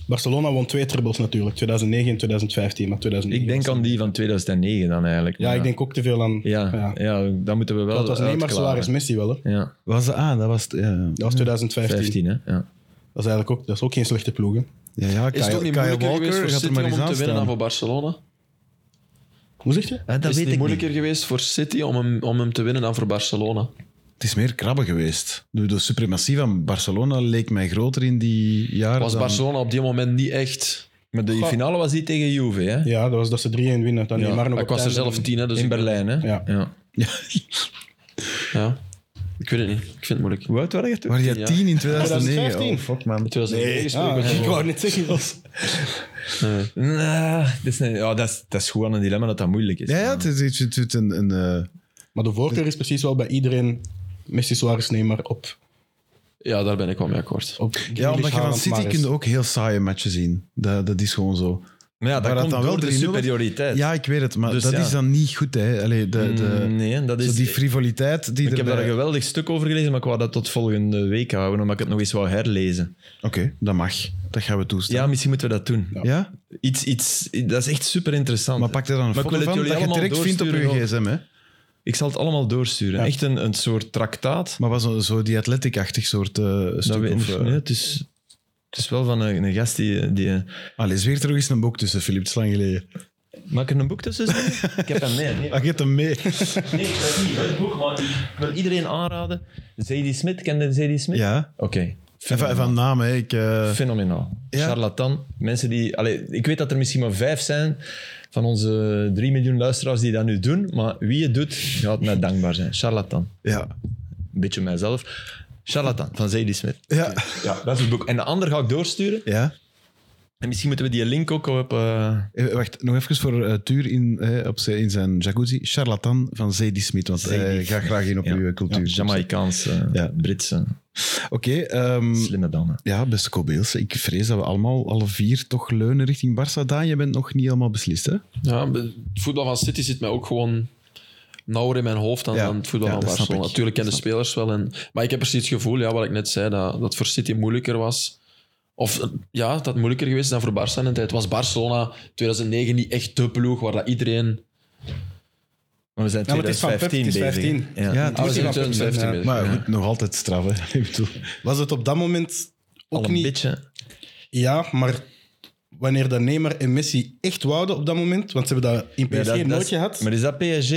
[SPEAKER 4] Barcelona won twee trebles natuurlijk, 2009 en 2015. Maar 2009
[SPEAKER 2] Ik denk
[SPEAKER 4] was-
[SPEAKER 2] aan die van 2009 dan eigenlijk.
[SPEAKER 4] Ja,
[SPEAKER 2] Maar
[SPEAKER 4] ik denk ook te veel aan...
[SPEAKER 2] Ja, ja. dan moeten we wel
[SPEAKER 4] Dat was Neymar,
[SPEAKER 2] uitklaren.
[SPEAKER 4] Suarez, Messi wel, hè.
[SPEAKER 2] Ja,
[SPEAKER 1] Was dat? Ah, dat was het. Ja, ja.
[SPEAKER 4] Dat was 2015.
[SPEAKER 2] 15 hè. Ja.
[SPEAKER 4] Dat, is eigenlijk ook, dat is ook geen slechte ploeg, hè.
[SPEAKER 1] ja, ja
[SPEAKER 3] is het
[SPEAKER 1] Kyle,
[SPEAKER 3] ook niet
[SPEAKER 1] Kyle
[SPEAKER 3] moeilijker
[SPEAKER 1] Walker
[SPEAKER 3] geweest voor
[SPEAKER 1] gaat er
[SPEAKER 3] City
[SPEAKER 1] maar
[SPEAKER 3] om
[SPEAKER 1] eens
[SPEAKER 3] hem
[SPEAKER 1] aan
[SPEAKER 3] te winnen dan
[SPEAKER 1] staan.
[SPEAKER 3] voor Barcelona?
[SPEAKER 4] Hoe zeg je?
[SPEAKER 2] Ah, dat
[SPEAKER 3] is het
[SPEAKER 2] weet
[SPEAKER 3] niet
[SPEAKER 2] ik niet.
[SPEAKER 3] moeilijker geweest voor City om hem, om hem te winnen dan voor Barcelona?
[SPEAKER 1] Het is meer krabben geweest. De, de suprematie van Barcelona leek mij groter in die jaren
[SPEAKER 3] Was
[SPEAKER 1] dan-
[SPEAKER 3] Barcelona op die moment niet echt...
[SPEAKER 2] Maar de finale was die tegen Juve, hè?
[SPEAKER 4] Ja, dat was dat ze 3-1 winnen. Dan Neymar nog
[SPEAKER 3] Ik
[SPEAKER 4] op
[SPEAKER 3] was er
[SPEAKER 4] het einde.
[SPEAKER 3] zelf tien, hè, dus
[SPEAKER 2] In
[SPEAKER 3] ik-
[SPEAKER 2] Berlijn, hè?
[SPEAKER 4] Ja.
[SPEAKER 3] Ja. Ik weet het niet. Ik vind het moeilijk.
[SPEAKER 2] Hoe oud waren je toen?
[SPEAKER 1] Waar jij
[SPEAKER 3] Ja.
[SPEAKER 1] 10 in 2009?
[SPEAKER 4] 2015.
[SPEAKER 1] Oh, fuck man.
[SPEAKER 3] 2009 gesproken.
[SPEAKER 4] Ah, ik wou net zeggen. dat-
[SPEAKER 3] Nee.
[SPEAKER 2] Nah, dat, is een- ja, dat, is, dat is gewoon een dilemma dat dat moeilijk is.
[SPEAKER 1] Ja, ja, het is, het is- het is een... een eh,
[SPEAKER 4] Maar de voorkeur is precies wel bij iedereen Messi, Suarez, Neymar op.
[SPEAKER 3] Ja, daar ben ik wel mee akkoord.
[SPEAKER 4] op
[SPEAKER 1] ja, omdat je van
[SPEAKER 4] Haaland,
[SPEAKER 1] City
[SPEAKER 4] Mahrez.
[SPEAKER 1] kunt ook heel saaie matchen zien. Dat, dat is gewoon zo.
[SPEAKER 2] Maar ja, dat
[SPEAKER 1] Maar dat
[SPEAKER 2] komt
[SPEAKER 1] dan wel
[SPEAKER 2] door de
[SPEAKER 1] 3-0 was?
[SPEAKER 2] superioriteit.
[SPEAKER 1] Ja, ik weet het, maar
[SPEAKER 2] Dus
[SPEAKER 1] dat
[SPEAKER 2] ja.
[SPEAKER 1] is dan niet goed. Hè. Allee, de, de,
[SPEAKER 2] Mm, nee, dat
[SPEAKER 1] zo
[SPEAKER 2] is...
[SPEAKER 1] die eh, frivoliteit die
[SPEAKER 2] ik heb
[SPEAKER 1] erbij-
[SPEAKER 2] daar een geweldig stuk over gelezen, maar ik wou dat tot volgende week houden, omdat ik het nog eens wou herlezen.
[SPEAKER 1] Oké, dat mag. Dat gaan we toestaan.
[SPEAKER 2] Ja, misschien moeten we dat doen.
[SPEAKER 4] Ja.
[SPEAKER 1] Ja?
[SPEAKER 2] Iets, iets, dat is echt super interessant.
[SPEAKER 1] Maar pak er dan een
[SPEAKER 2] Maar ik
[SPEAKER 1] foto
[SPEAKER 2] wil het
[SPEAKER 1] van dat
[SPEAKER 2] jullie
[SPEAKER 1] je het
[SPEAKER 2] allemaal
[SPEAKER 1] direct vindt op je
[SPEAKER 2] doorsturen
[SPEAKER 1] gsm. Hè?
[SPEAKER 2] Ik zal het allemaal doorsturen.
[SPEAKER 4] Ja.
[SPEAKER 2] Echt een, een soort traktaat.
[SPEAKER 1] Maar was zo, zo die athletic-achtig soort eh
[SPEAKER 2] Dat
[SPEAKER 1] stuk.
[SPEAKER 2] we,
[SPEAKER 1] of, eh,
[SPEAKER 2] nee, het, is, het is wel van een, een gast die... die eh,
[SPEAKER 1] Allee, zweer terug eens een boek tussen, Filip. Het is lang geleden.
[SPEAKER 2] maak er een boek tussen? zetten? ik heb hem mee. Nee,
[SPEAKER 1] Ah, je hebt hem mee.
[SPEAKER 2] nee, dat is niet het boek, maar ik wil iedereen aanraden. Zadie Smith, kende Zadie Smith?
[SPEAKER 1] ja.
[SPEAKER 2] Oké.
[SPEAKER 1] En Van, van naam, hè. Ik, eh,
[SPEAKER 2] Fenomenaal.
[SPEAKER 1] Ja.
[SPEAKER 2] Charlatan. Mensen die... Allee, ik weet dat er misschien maar vijf zijn van onze drie miljoen luisteraars die dat nu doen. Maar wie het doet, gaat mij dankbaar zijn. Charlatan.
[SPEAKER 1] ja.
[SPEAKER 2] Een beetje mijzelf. Charlatan van Zadie Smith.
[SPEAKER 1] Ja.
[SPEAKER 2] Ja, dat is het boek. En de ander ga ik doorsturen.
[SPEAKER 1] ja.
[SPEAKER 2] En misschien moeten we die link ook op... eh,
[SPEAKER 1] Eh, Wacht, nog even voor eh, Tuur in, eh, op zijn, in zijn jacuzzi. Charlatan van Zadie Smit, want
[SPEAKER 2] Zadie
[SPEAKER 1] hij gaat graag in op
[SPEAKER 2] Ja.
[SPEAKER 1] uw eh, cultuur.
[SPEAKER 2] Jamaicaanse,
[SPEAKER 1] Ja.
[SPEAKER 2] Britse,
[SPEAKER 1] Oké, ehm,
[SPEAKER 2] slimme dame.
[SPEAKER 1] ja, beste Kobeels. Ik vrees dat we allemaal alle vier toch leunen richting Barça. Daan, je bent nog niet helemaal beslist, hè?
[SPEAKER 3] Ja, be- het voetbal van City zit mij ook gewoon nauwer in mijn hoofd dan,
[SPEAKER 1] Ja.
[SPEAKER 3] dan het voetbal
[SPEAKER 1] Ja,
[SPEAKER 3] van
[SPEAKER 1] dat snap
[SPEAKER 3] Barcelona.
[SPEAKER 1] ik.
[SPEAKER 3] Natuurlijk kennen de spelers wel. En, maar ik heb precies het gevoel, ja, wat ik net zei, dat, dat het voor City moeilijker was. Of eh, ja, dat het moeilijker geweest is dan voor Barça in de tijd. Was Barcelona 2009 niet echt de ploeg waar dat iedereen...
[SPEAKER 2] Maar we zijn
[SPEAKER 4] Ja, maar het is van Pep,
[SPEAKER 2] 2015
[SPEAKER 4] het is
[SPEAKER 2] bezig.
[SPEAKER 4] 15.
[SPEAKER 1] Ja,
[SPEAKER 3] Ah, we zijn in
[SPEAKER 4] wel
[SPEAKER 3] 2015
[SPEAKER 4] punt,
[SPEAKER 3] bezig.
[SPEAKER 1] Maar
[SPEAKER 3] ja.
[SPEAKER 1] goed, nog altijd straf, hè? Ik bedoel,
[SPEAKER 4] Was het op dat moment ook
[SPEAKER 2] al een
[SPEAKER 4] niet...
[SPEAKER 2] beetje.
[SPEAKER 4] Ja, maar wanneer dat Neymar en Messi echt wouden op dat moment, want ze hebben dat in PSG
[SPEAKER 2] Ja, dat- dat
[SPEAKER 4] nooit
[SPEAKER 2] is-
[SPEAKER 4] gehad.
[SPEAKER 2] Maar is dat PSG?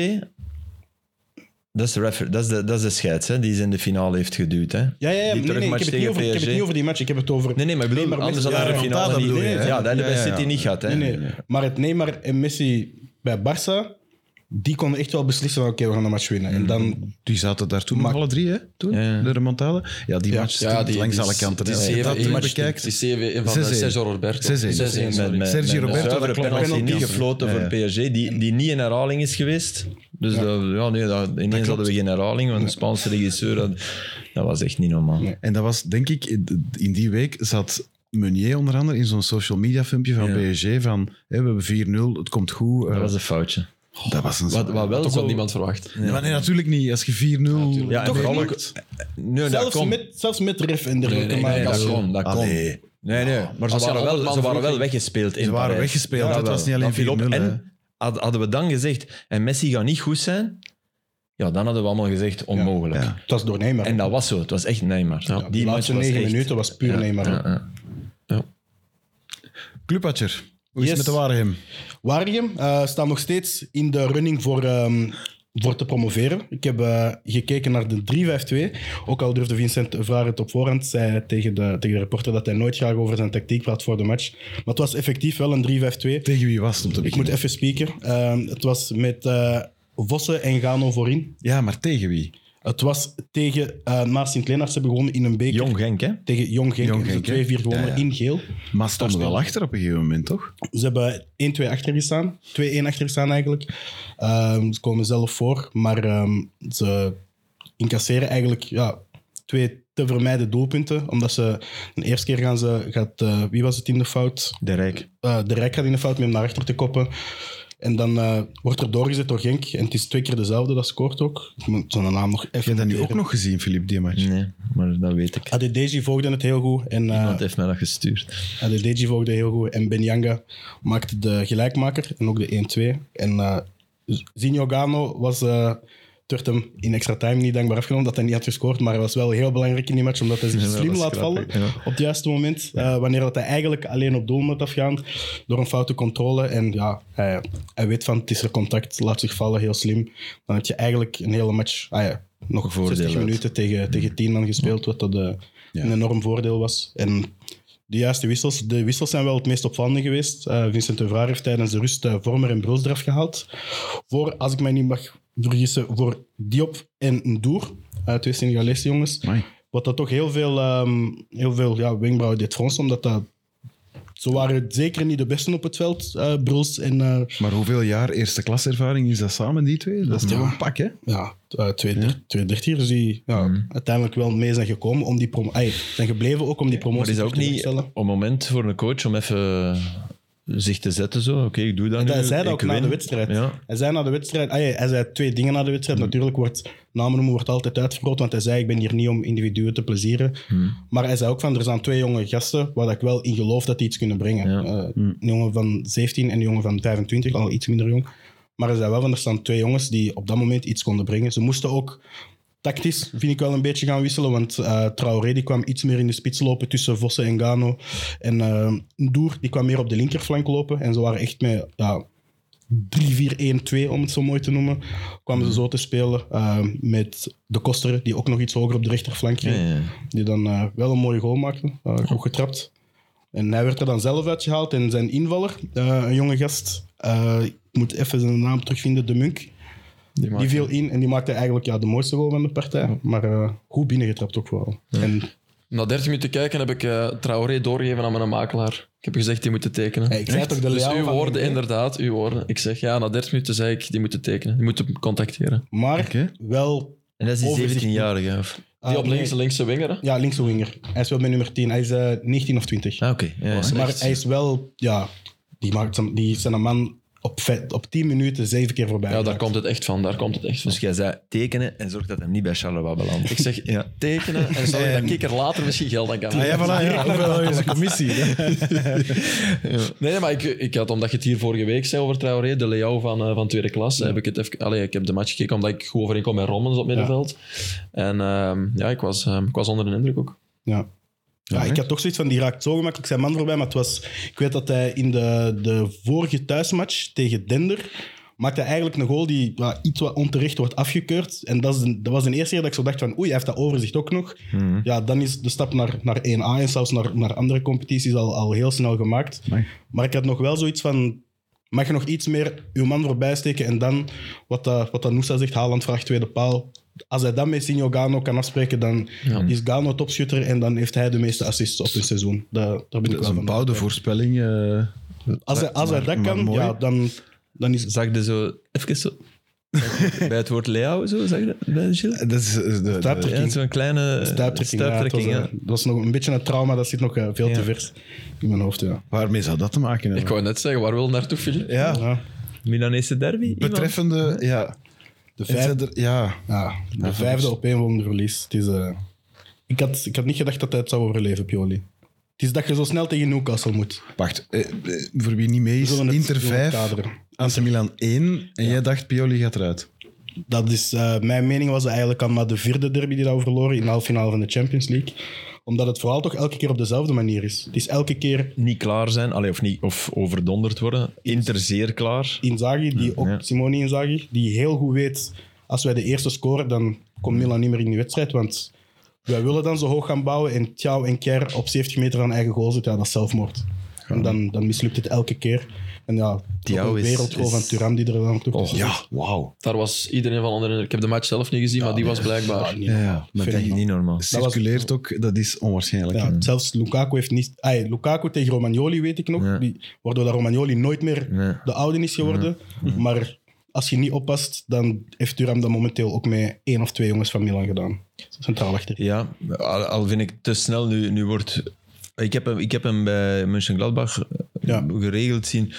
[SPEAKER 2] Dat is de, refer, dat is de, dat is de scheids hè, die ze in de finale heeft geduwd. Hè.
[SPEAKER 4] Ja, ja, ja.
[SPEAKER 2] Die
[SPEAKER 4] Nee, nee, ik,
[SPEAKER 2] terugmatch
[SPEAKER 4] heb het
[SPEAKER 2] tegen
[SPEAKER 4] niet over, ik heb het
[SPEAKER 2] PSG.
[SPEAKER 4] niet over die match, ik heb het over...
[SPEAKER 2] Nee, nee, maar ik bedoel,
[SPEAKER 4] Neymar,
[SPEAKER 2] anders
[SPEAKER 4] Messi-
[SPEAKER 2] hadden we de
[SPEAKER 1] Ja,
[SPEAKER 2] finale
[SPEAKER 1] remontada
[SPEAKER 2] niet.
[SPEAKER 1] bedoel je, hè?
[SPEAKER 2] ja, dat hebben we
[SPEAKER 1] Ja,
[SPEAKER 2] bij
[SPEAKER 1] ja,
[SPEAKER 2] City
[SPEAKER 1] ja.
[SPEAKER 2] niet gehad. Hè.
[SPEAKER 4] Nee, nee. Maar het Neymar en Messi bij Barça, die konden echt wel beslissen van oké, we gaan de match winnen. En dan...
[SPEAKER 1] die zaten daar toen nog
[SPEAKER 4] Maar-
[SPEAKER 1] alle drie, hè? Toen,
[SPEAKER 2] Ja.
[SPEAKER 1] de remontade. Ja, die
[SPEAKER 4] Ja.
[SPEAKER 1] match stond langs alle kanten.
[SPEAKER 3] Die
[SPEAKER 1] hè. Als je
[SPEAKER 3] 7-1
[SPEAKER 1] dat terug bekijkt...
[SPEAKER 3] die 7-1 van
[SPEAKER 1] 6-1.
[SPEAKER 3] Sergio Roberto.
[SPEAKER 1] 6-1.
[SPEAKER 3] 6-1,
[SPEAKER 2] Met,
[SPEAKER 3] sorry.
[SPEAKER 2] met,
[SPEAKER 1] Sergio
[SPEAKER 2] met
[SPEAKER 1] Roberto,
[SPEAKER 2] een
[SPEAKER 1] dat
[SPEAKER 2] zuivere
[SPEAKER 1] klopt,
[SPEAKER 2] penalty
[SPEAKER 1] dat
[SPEAKER 2] niet
[SPEAKER 1] klopt.
[SPEAKER 2] gefloten
[SPEAKER 1] Ja, ja.
[SPEAKER 2] voor PSG, die, die niet in herhaling is geweest. Dus dat, ja, nee, dat, ineens hadden we geen herhaling, want de Spaanse regisseur, had, dat was echt niet normaal.
[SPEAKER 4] Nee.
[SPEAKER 1] En dat was, denk ik, in die week zat Meunier onder andere in zo'n social media filmpje van
[SPEAKER 2] Ja.
[SPEAKER 1] PSG van hè, we hebben 4-0, het komt goed. eh,
[SPEAKER 2] Dat was een foutje.
[SPEAKER 1] dat was een...
[SPEAKER 2] Wat, wat wel
[SPEAKER 3] Toch
[SPEAKER 2] zo...
[SPEAKER 3] wat niemand verwacht.
[SPEAKER 2] Ja.
[SPEAKER 1] Maar nee, natuurlijk niet. Als je 4-0...
[SPEAKER 3] natuurlijk.
[SPEAKER 2] Ja, en
[SPEAKER 1] Toch
[SPEAKER 2] vooral
[SPEAKER 1] niet.
[SPEAKER 2] ook- Nee, dat
[SPEAKER 4] Zelfs
[SPEAKER 2] kon.
[SPEAKER 4] met, zelfs met ref en
[SPEAKER 3] Nee,
[SPEAKER 4] dergelijke.
[SPEAKER 3] nee,
[SPEAKER 4] maar
[SPEAKER 2] Nee,
[SPEAKER 4] als
[SPEAKER 2] dat
[SPEAKER 4] je-
[SPEAKER 2] kon. Dat kon.
[SPEAKER 1] Allee.
[SPEAKER 2] Nee, nee. Maar ze
[SPEAKER 3] Als je
[SPEAKER 2] waren,
[SPEAKER 3] honderd
[SPEAKER 2] wel,
[SPEAKER 3] man
[SPEAKER 2] ze waren wel
[SPEAKER 3] vroeg ging-
[SPEAKER 2] weggespeeld in
[SPEAKER 1] Ze waren
[SPEAKER 2] Parijs.
[SPEAKER 1] weggespeeld,
[SPEAKER 2] Dat
[SPEAKER 1] het
[SPEAKER 2] wel.
[SPEAKER 1] was niet alleen
[SPEAKER 2] Dat viel op.
[SPEAKER 1] 4-0, hè.
[SPEAKER 2] En had- hadden we dan gezegd, en Messi gaat niet goed zijn, ja, dan hadden we allemaal gezegd, onmogelijk.
[SPEAKER 1] Ja.
[SPEAKER 4] Het was door Neymar.
[SPEAKER 2] En dat was zo. Het was echt Neymar.
[SPEAKER 3] Ja,
[SPEAKER 4] die laatste
[SPEAKER 2] match was
[SPEAKER 4] negen
[SPEAKER 2] echt-
[SPEAKER 4] minuten was puur
[SPEAKER 2] Ja,
[SPEAKER 4] Neymar.
[SPEAKER 2] ja, ja.
[SPEAKER 1] Clubwatcher, hoe is het
[SPEAKER 4] Yes.
[SPEAKER 1] met de Waregem?
[SPEAKER 4] Waregem eh, staat nog steeds in de running voor, ehm, voor te promoveren. Ik heb eh, gekeken naar de 3-5-2. Ook al durfde Vincent Vraag het op voorhand, zei hij tegen de, tegen de reporter dat hij nooit graag over zijn tactiek praat voor de match. Maar het was effectief wel een 3-5-2.
[SPEAKER 1] Tegen wie was het om te
[SPEAKER 4] Ik moet
[SPEAKER 1] beginnen?
[SPEAKER 4] even spieken. Ehm, het was met eh Vossen en Gano voorin.
[SPEAKER 1] Ja, maar tegen wie?
[SPEAKER 4] Het was tegen eh Maas Sint-Leenaars. Ze begonnen in een beker.
[SPEAKER 2] Jong Genk, hè?
[SPEAKER 4] Tegen Jong Genk. Dus
[SPEAKER 1] Jong
[SPEAKER 4] Ze
[SPEAKER 1] Genk, hè?
[SPEAKER 4] 2-4 gewonnen
[SPEAKER 1] Ja, ja.
[SPEAKER 4] in geel.
[SPEAKER 1] Maar stonden wel achter op een gegeven moment, toch?
[SPEAKER 4] Ze hebben 1-2 achter gestaan. 2-1 achter staan eigenlijk. Ehm, ze komen zelf voor, maar ehm, ze incasseren eigenlijk ja, twee te vermijden doelpunten. Omdat ze de eerste keer gaan ze... Gaat, eh, wie was het in de fout?
[SPEAKER 2] De Rijk.
[SPEAKER 4] Eh, de Rijk gaat in de fout met hem naar achter te koppen. En dan eh, wordt er doorgezet door Genk. En het is twee keer dezelfde, dat scoort ook. Ik moet zijn naam nog
[SPEAKER 1] Heb je
[SPEAKER 4] even...
[SPEAKER 1] dat nu ook
[SPEAKER 4] noteren.
[SPEAKER 1] nog gezien, Filip, die match?
[SPEAKER 2] Nee, maar dat weet
[SPEAKER 4] Ah.
[SPEAKER 2] ik.
[SPEAKER 4] Adedeji volgde het heel goed. En, eh,
[SPEAKER 2] Iemand heeft mij dat gestuurd.
[SPEAKER 4] Adedeji volgde heel goed en Benyanga maakte de gelijkmaker en ook de 1-2. En eh Zinho Gano was eh werd hem in extra time niet dankbaar afgenomen dat hij niet had gescoord, maar hij was wel heel belangrijk in die match omdat hij zich
[SPEAKER 2] Ja, dat
[SPEAKER 4] slim
[SPEAKER 2] is
[SPEAKER 4] laat
[SPEAKER 2] knap,
[SPEAKER 4] vallen
[SPEAKER 2] hè. Ja.
[SPEAKER 4] op het juiste moment, eh, wanneer dat hij eigenlijk alleen op doel moet afgaan door een foute controle. En ja, hij, hij weet van het is er contact, laat zich vallen, heel slim. Dan heb je eigenlijk een hele match, ah ja, nog
[SPEAKER 2] Voordeel
[SPEAKER 4] 60
[SPEAKER 2] uit.
[SPEAKER 4] minuten tegen, tegen 10 man gespeeld, wat dat eh,
[SPEAKER 1] Ja.
[SPEAKER 4] een enorm voordeel was. En de juiste wissels. De wissels zijn wel het meest opvallende geweest. Eh, Vincent de Vraag heeft tijdens de rust eh, Vormer en Bruls eraf gehaald. Voor, als ik mij niet mag vergissen, voor Diop en Ndour. eh, twee Senegalese jongens.
[SPEAKER 1] Amai.
[SPEAKER 4] Wat dat toch heel veel, ehm, heel veel ja, wenkbrauwen deed fronsen, omdat dat... Ze waren zeker niet de besten op het veld, eh Bruls en... eh,
[SPEAKER 1] Maar hoeveel jaar eerste klaservaring is dat samen, die twee? Dat is toch een pak, hè?
[SPEAKER 4] ja, eh, twee, der- twee dertigers die ja,
[SPEAKER 2] Mm.
[SPEAKER 4] uiteindelijk wel mee zijn gekomen om die promo... Ay, zijn gebleven ook om die promotie
[SPEAKER 2] Maar is dat ook
[SPEAKER 4] terug te
[SPEAKER 2] niet
[SPEAKER 4] stellen.
[SPEAKER 2] een moment voor een coach om even eh, zich te zetten? zo? Oké, ik doe dat nu.
[SPEAKER 4] Hij zei
[SPEAKER 2] ik
[SPEAKER 4] dat ook na
[SPEAKER 2] win.
[SPEAKER 4] de wedstrijd.
[SPEAKER 2] Ja.
[SPEAKER 4] Hij zei na de wedstrijd, ah, ja, hij zei twee dingen na de wedstrijd. Natuurlijk wordt namen noemen wordt altijd uitvergroot, want hij zei ik ben hier niet om individuen te plezieren. Maar hij zei ook van er zijn twee jonge gasten waar ik wel in geloof dat die iets kunnen brengen.
[SPEAKER 2] Ja.
[SPEAKER 4] Eh, Een jongen van 17 en een jongen van 25, al iets minder jong. Maar hij zei wel van er staan twee jongens die op dat moment iets konden brengen. Ze moesten ook tactisch vind ik wel een beetje gaan wisselen. Want eh Traoré die kwam iets meer in de spits lopen tussen Vossen en Gano. En eh Ndour die kwam meer op de linkerflank lopen. En ze waren echt met ja, 3-4-1-2, om het zo mooi te noemen. Kwamen ze zo te spelen eh, met de Koster, die ook nog iets hoger op de rechterflank
[SPEAKER 2] Ja,
[SPEAKER 4] ging.
[SPEAKER 2] ja.
[SPEAKER 4] Die dan eh, wel een mooie goal maakte. eh, goed getrapt. En hij werd er dan zelf uitgehaald. En zijn invaller, eh, een jonge gast, eh, ik moet even zijn naam terugvinden, De Munk.
[SPEAKER 3] Die
[SPEAKER 4] Die
[SPEAKER 3] maakt-
[SPEAKER 4] viel in en die maakte eigenlijk ja, de mooiste goal van de partij. Maar eh, goed binnengetrapt ook wel. En
[SPEAKER 3] Na 30 minuten kijken heb ik eh, Traoré doorgegeven aan mijn makelaar. Ik heb gezegd, die moeten tekenen.
[SPEAKER 4] Hey, ik zei toch de
[SPEAKER 3] dus
[SPEAKER 4] Leao
[SPEAKER 3] uw
[SPEAKER 4] van
[SPEAKER 3] woorden,
[SPEAKER 4] Genk, hè?
[SPEAKER 3] inderdaad, uw woorden. Ik zeg, ja, na 30 minuten zei ik, die moeten tekenen. Die moeten contacteren.
[SPEAKER 4] Maar
[SPEAKER 1] Oké.
[SPEAKER 4] wel
[SPEAKER 2] En dat is die
[SPEAKER 4] Overzicht.
[SPEAKER 2] 17-jarige. of-
[SPEAKER 3] Die op
[SPEAKER 4] Ah, nee.
[SPEAKER 3] links, linkse winger, hè?
[SPEAKER 4] ja, linkse winger. Hij speelt met nummer 10. Hij is eh, 19 of 20.
[SPEAKER 2] Ah, oké. Ja, ja.
[SPEAKER 3] Was er-
[SPEAKER 4] maar
[SPEAKER 3] echt.
[SPEAKER 4] hij is wel... Ja, die, maakt zijn, die zijn een man op, vijf- op 10 minuten zeven keer voorbij.
[SPEAKER 3] Ja, daar
[SPEAKER 4] geraakt.
[SPEAKER 3] komt het echt van. Daar komt het echt van.
[SPEAKER 2] Dus jij zei tekenen en zorg dat hem niet bij Charleroi belandt.
[SPEAKER 3] Ik zeg,
[SPEAKER 2] Ja.
[SPEAKER 3] tekenen en sorry dat ik er later misschien geld aan kan
[SPEAKER 1] Ah ja, voilà, ja. Overal is een commissie. hè.
[SPEAKER 3] Nee, nee, maar ik, ik had, omdat je het hier vorige week zei over Traoré, de layout van, eh, van tweede klas, heb ik het even... Allee, ik heb de match gekeken omdat ik goed overeenkom met Rommens op middenveld. En ehm, ja, ik was, ehm, ik was onder de indruk ook.
[SPEAKER 4] Ja. Ja,
[SPEAKER 1] hè?
[SPEAKER 4] ik had toch zoiets van, die raakt zo gemakkelijk zijn man voorbij. Maar het was, ik weet dat hij in de, de vorige thuismatch tegen Dender maakte hij eigenlijk een goal die ja, iets wat onterecht wordt afgekeurd. En dat, is de- dat was de eerste keer dat ik zo dacht van, oei, hij heeft dat overzicht ook nog.
[SPEAKER 3] Mhm.
[SPEAKER 4] Ja, dan is de stap naar, naar 1A en zelfs naar, naar andere competities al, al heel snel gemaakt.
[SPEAKER 1] Amai.
[SPEAKER 4] Maar ik had nog wel zoiets van, mag je nog iets meer uw man voorbij steken? En dan, wat, dat wat dat Noosa zegt, Haaland vraagt tweede paal. Als hij dan met Sinjo Gano kan afspreken, dan is Gano topschutter en dan heeft hij de meeste assists op een seizoen. Daar, daar ben ik
[SPEAKER 1] Dat is
[SPEAKER 4] wel
[SPEAKER 1] een
[SPEAKER 4] van.
[SPEAKER 1] bouwde voorspelling. eh.
[SPEAKER 4] Als hij, als hij
[SPEAKER 1] maar-
[SPEAKER 4] dat
[SPEAKER 1] maar
[SPEAKER 4] kan,
[SPEAKER 1] mooi.
[SPEAKER 4] ja, dan, dan is
[SPEAKER 2] Zag je zo even zo Bij het woord Leao, zo zeg je dat? Bij Gilles?
[SPEAKER 1] Dat is eh, de, de,
[SPEAKER 2] Ja, zo'n kleine eh,
[SPEAKER 4] Stuiptrekking, ja, het was,
[SPEAKER 2] stuiptrekking,
[SPEAKER 4] eh,
[SPEAKER 2] ja.
[SPEAKER 4] dat was nog een beetje een trauma, dat zit nog eh, veel
[SPEAKER 2] Ja.
[SPEAKER 4] te vers in mijn hoofd. Ja.
[SPEAKER 1] waarmee zou dat te maken
[SPEAKER 3] Ik
[SPEAKER 1] hebben?
[SPEAKER 3] wou net zeggen, waar wil je naartoe, Filip?
[SPEAKER 1] ja,
[SPEAKER 4] Ja.
[SPEAKER 2] Milanese derby? iemand?
[SPEAKER 1] betreffende... Ja,
[SPEAKER 4] De,
[SPEAKER 1] het
[SPEAKER 4] vijf,
[SPEAKER 1] zijn er- ja.
[SPEAKER 4] ja, de vijfde opeenvolgende verlies. Het is, eh, ik, had, ik had niet gedacht dat hij het zou overleven, Pioli. Het is dat je zo snel tegen Newcastle moet.
[SPEAKER 1] Wacht, eh, eh, voor wie niet mee
[SPEAKER 4] We
[SPEAKER 1] is,
[SPEAKER 4] zullen het-
[SPEAKER 1] Inter
[SPEAKER 4] we zullen het
[SPEAKER 1] 5,
[SPEAKER 4] kaderen.
[SPEAKER 1] AC Milan 1 en jij dacht Pioli gaat eruit.
[SPEAKER 4] Dat is, eh, mijn mening was dat eigenlijk al maar de vierde derby die dat we verloren in de halve finale van de Champions League. Omdat het verhaal toch elke keer op dezelfde manier is. Het is elke keer
[SPEAKER 2] Niet klaar zijn, allee, of, niet, of overdonderd worden. Inter zeer klaar.
[SPEAKER 4] Inzaghi, die ook,
[SPEAKER 2] ja.
[SPEAKER 4] Simone Inzaghi, die heel goed weet, als wij de eerste scoren, dan komt Milan niet meer in die wedstrijd, want wij willen dan zo hoog gaan bouwen en Tjauw en Kier op 70 meter van eigen goal zitten, ja, dat is zelfmoord. En dan, dan mislukt het elke keer. En ja,
[SPEAKER 2] Thiaw
[SPEAKER 4] ook een
[SPEAKER 2] is-
[SPEAKER 4] wereldgoal
[SPEAKER 2] is- Oh.
[SPEAKER 4] van Turam die er dan toe komt.
[SPEAKER 2] ja, wauw.
[SPEAKER 3] Daar was iedereen van onder. de- Ik heb de match zelf niet gezien, maar die was blijkbaar.
[SPEAKER 4] niet
[SPEAKER 1] Ja,
[SPEAKER 4] normaal.
[SPEAKER 1] ja, maar
[SPEAKER 4] Vind
[SPEAKER 1] dat
[SPEAKER 4] ik
[SPEAKER 2] Niet normaal.
[SPEAKER 1] Circuleert ook, dat is onwaarschijnlijk.
[SPEAKER 2] Mm.
[SPEAKER 4] Ja, zelfs Lukaku heeft niet... Ay, Lukaku tegen Romagnoli weet ik nog,
[SPEAKER 2] Ja.
[SPEAKER 4] die, waardoor dat Romagnoli nooit meer
[SPEAKER 2] Nee.
[SPEAKER 4] de oude is geworden. Maar als je niet oppast, dan heeft Turam dat momenteel ook met één of twee jongens van Milan gedaan. Centraal achter.
[SPEAKER 2] Ja, al, al vind ik te snel nu, nu wordt. Ik heb hem, ik heb hem bij Mönchengladbach eh,
[SPEAKER 4] Ja.
[SPEAKER 2] geregeld zien.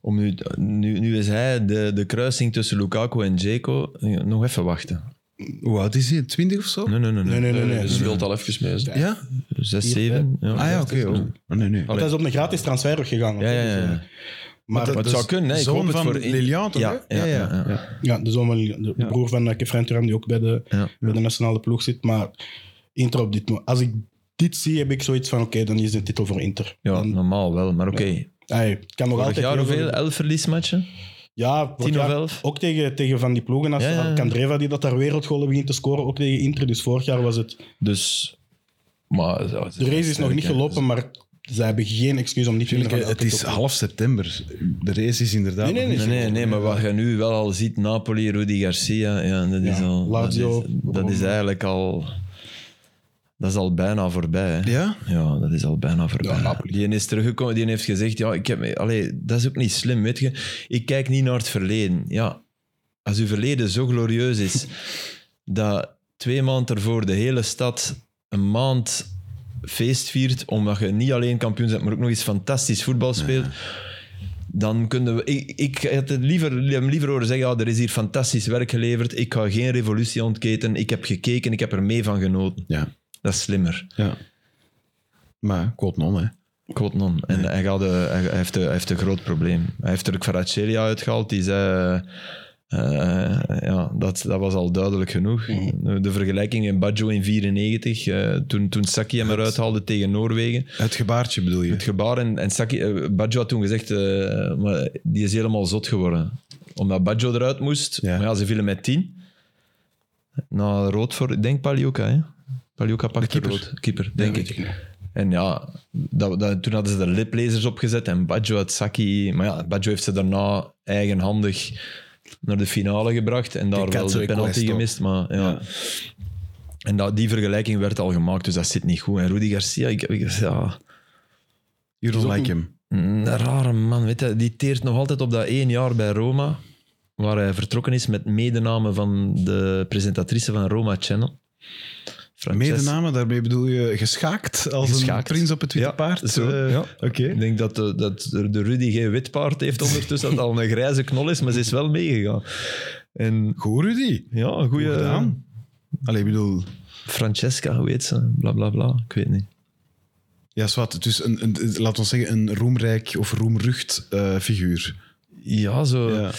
[SPEAKER 2] Om nu, nu, nu is hij de, de kruising tussen Lukaku en Dzeko. eh, Nog even wachten.
[SPEAKER 1] Hoe oud is hij? 20 of zo?
[SPEAKER 2] Nee, nee, nee. nee.
[SPEAKER 4] Nee, nee, nee. Dus nee.
[SPEAKER 3] Ze speelt al even mee.
[SPEAKER 1] Ja?
[SPEAKER 2] Zes, zeven. Ja,
[SPEAKER 1] Ah ja, oké. oh. Nee, nee.
[SPEAKER 4] Want hij is op een gratis transfer weggegaan.
[SPEAKER 2] Ja, ja, ja, ja.
[SPEAKER 4] Maar,
[SPEAKER 2] Maar het zou kunnen, hè. Ik
[SPEAKER 1] zoon
[SPEAKER 2] hoop het
[SPEAKER 1] van
[SPEAKER 2] voor-
[SPEAKER 1] Lilian, toch?
[SPEAKER 2] Ja,
[SPEAKER 1] hè?
[SPEAKER 2] ja, ja, ja.
[SPEAKER 4] ja, de, zoon van, de
[SPEAKER 1] Ja.
[SPEAKER 4] broer van eh, Kefren Turam, die ook bij de,
[SPEAKER 2] Ja.
[SPEAKER 4] bij de nationale ploeg zit. Maar Inter op dit moment. Als ik dit zie, heb ik zoiets van: oké, dan is de titel voor Inter.
[SPEAKER 2] Ja,
[SPEAKER 4] Dan-
[SPEAKER 2] normaal wel, maar oké.
[SPEAKER 4] ay, het kan nog
[SPEAKER 2] Vorig
[SPEAKER 4] altijd.
[SPEAKER 2] jaar
[SPEAKER 4] heel
[SPEAKER 2] hoeveel?
[SPEAKER 4] veel-
[SPEAKER 2] Elf verliesmatchen?
[SPEAKER 4] Ja, vorig
[SPEAKER 2] Tien of
[SPEAKER 4] jaar
[SPEAKER 2] elf?
[SPEAKER 4] Ook tegen, tegen van die ploegen als
[SPEAKER 2] Ja, ja, ja.
[SPEAKER 4] Candreva die dat daar wereldgolen begint te scoren, ook tegen Inter. Dus vorig jaar was het...
[SPEAKER 2] Dus... Maar, ja, het
[SPEAKER 4] De race is nog niet gelopen, maar ze hebben geen excuus om niet te winnen.
[SPEAKER 1] Tuurlijk,
[SPEAKER 4] van
[SPEAKER 1] het
[SPEAKER 4] elke
[SPEAKER 1] is
[SPEAKER 4] top.
[SPEAKER 1] half september. De race is inderdaad...
[SPEAKER 4] Nee, nee,
[SPEAKER 2] Nee, nee, nee, maar wat je nu wel al ziet, Napoli, Rudy Garcia, ja, dat is
[SPEAKER 4] Ja,
[SPEAKER 2] al...
[SPEAKER 4] Lazio,
[SPEAKER 2] dat, is, dat is
[SPEAKER 4] Rome.
[SPEAKER 2] eigenlijk al... Dat is al bijna voorbij. Hè.
[SPEAKER 1] Ja?
[SPEAKER 2] Ja, dat is al bijna voorbij.
[SPEAKER 4] Ja, Napoli.
[SPEAKER 2] die is teruggekomen, die heeft gezegd, ja, ik heb... Allee, dat is ook niet slim, weet je. Ik kijk niet naar het verleden. Ja, als uw verleden zo glorieus is, dat twee maanden ervoor de hele stad een maand feest viert, omdat je niet alleen kampioen bent, maar ook nog eens fantastisch voetbal speelt dan kunnen we... Ik, ik had het liever, hem liever horen zeggen, ja, er is hier fantastisch werk geleverd, ik ga geen revolutie ontketen, ik heb gekeken, ik heb er mee van genoten.
[SPEAKER 1] Ja,
[SPEAKER 2] Dat is slimmer.
[SPEAKER 1] ja. Maar, quote non, hè.
[SPEAKER 2] God non. En hij, gaat, eh, hij, hij heeft, een- hij heeft een groot probleem. Hij heeft er ook Kvaratskhelia uitgehaald, die zei... eh, eh, ja, dat, dat was al duidelijk genoeg. De vergelijking in Baggio in 94, eh, toen, toen Saki hem eruit haalde tegen Noorwegen.
[SPEAKER 1] Het gebaartje bedoel je?
[SPEAKER 2] Het gebaar en, en Saki, eh, Baggio had toen gezegd, eh, maar die is helemaal zot geworden. Omdat Baggio eruit moest,
[SPEAKER 1] Ja.
[SPEAKER 2] maar ja, ze vielen met tien. Na rood voor, ik denk Paliuka, hè? Paliuka pakte
[SPEAKER 1] keeper.
[SPEAKER 2] rood. Keeper, denk
[SPEAKER 4] weet
[SPEAKER 2] ik.
[SPEAKER 4] ik niet.
[SPEAKER 2] En ja, dat, dat, toen hadden ze de liplezers opgezet en Baggio had Saki... Maar ja, Baggio heeft ze daarna eigenhandig naar de finale gebracht en daar
[SPEAKER 1] Ik
[SPEAKER 2] wel
[SPEAKER 1] had
[SPEAKER 2] de
[SPEAKER 1] zo'n
[SPEAKER 2] penalty
[SPEAKER 1] quest op.
[SPEAKER 2] gemist, maar ja. En dat, die vergelijking werd al gemaakt, dus dat zit niet goed. En Rudy Garcia, ik, ik, ja,
[SPEAKER 1] You
[SPEAKER 4] is
[SPEAKER 1] don't
[SPEAKER 4] ook
[SPEAKER 1] like
[SPEAKER 4] een-
[SPEAKER 1] him.
[SPEAKER 2] een rare man, weet je, die teert nog altijd op dat één jaar bij Roma, waar hij vertrokken is met medename van de presentatrice van Roma Channel. Frances-
[SPEAKER 1] Medenamen, daarmee bedoel je geschaakt als
[SPEAKER 2] Geschaakt.
[SPEAKER 1] een prins op het witte
[SPEAKER 2] Ja,
[SPEAKER 1] paard?
[SPEAKER 2] zo,
[SPEAKER 1] Eh,
[SPEAKER 2] ja.
[SPEAKER 1] Oké.
[SPEAKER 2] Ik denk dat de, dat de Rudy geen wit paard heeft ondertussen, dat het al een grijze knol is, maar ze is wel meegegaan. En
[SPEAKER 1] Goed, Rudy.
[SPEAKER 2] ja, een
[SPEAKER 1] Goed
[SPEAKER 2] goede...
[SPEAKER 1] gedaan. Allee, ik bedoel...
[SPEAKER 2] Francesca, hoe heet ze? Bla, bla, bla. Ik weet niet.
[SPEAKER 1] Ja, zwart. Dus een, een, laten we zeggen, een roemrijk of roemrucht eh, figuur.
[SPEAKER 2] Ja, zo...
[SPEAKER 1] Ja.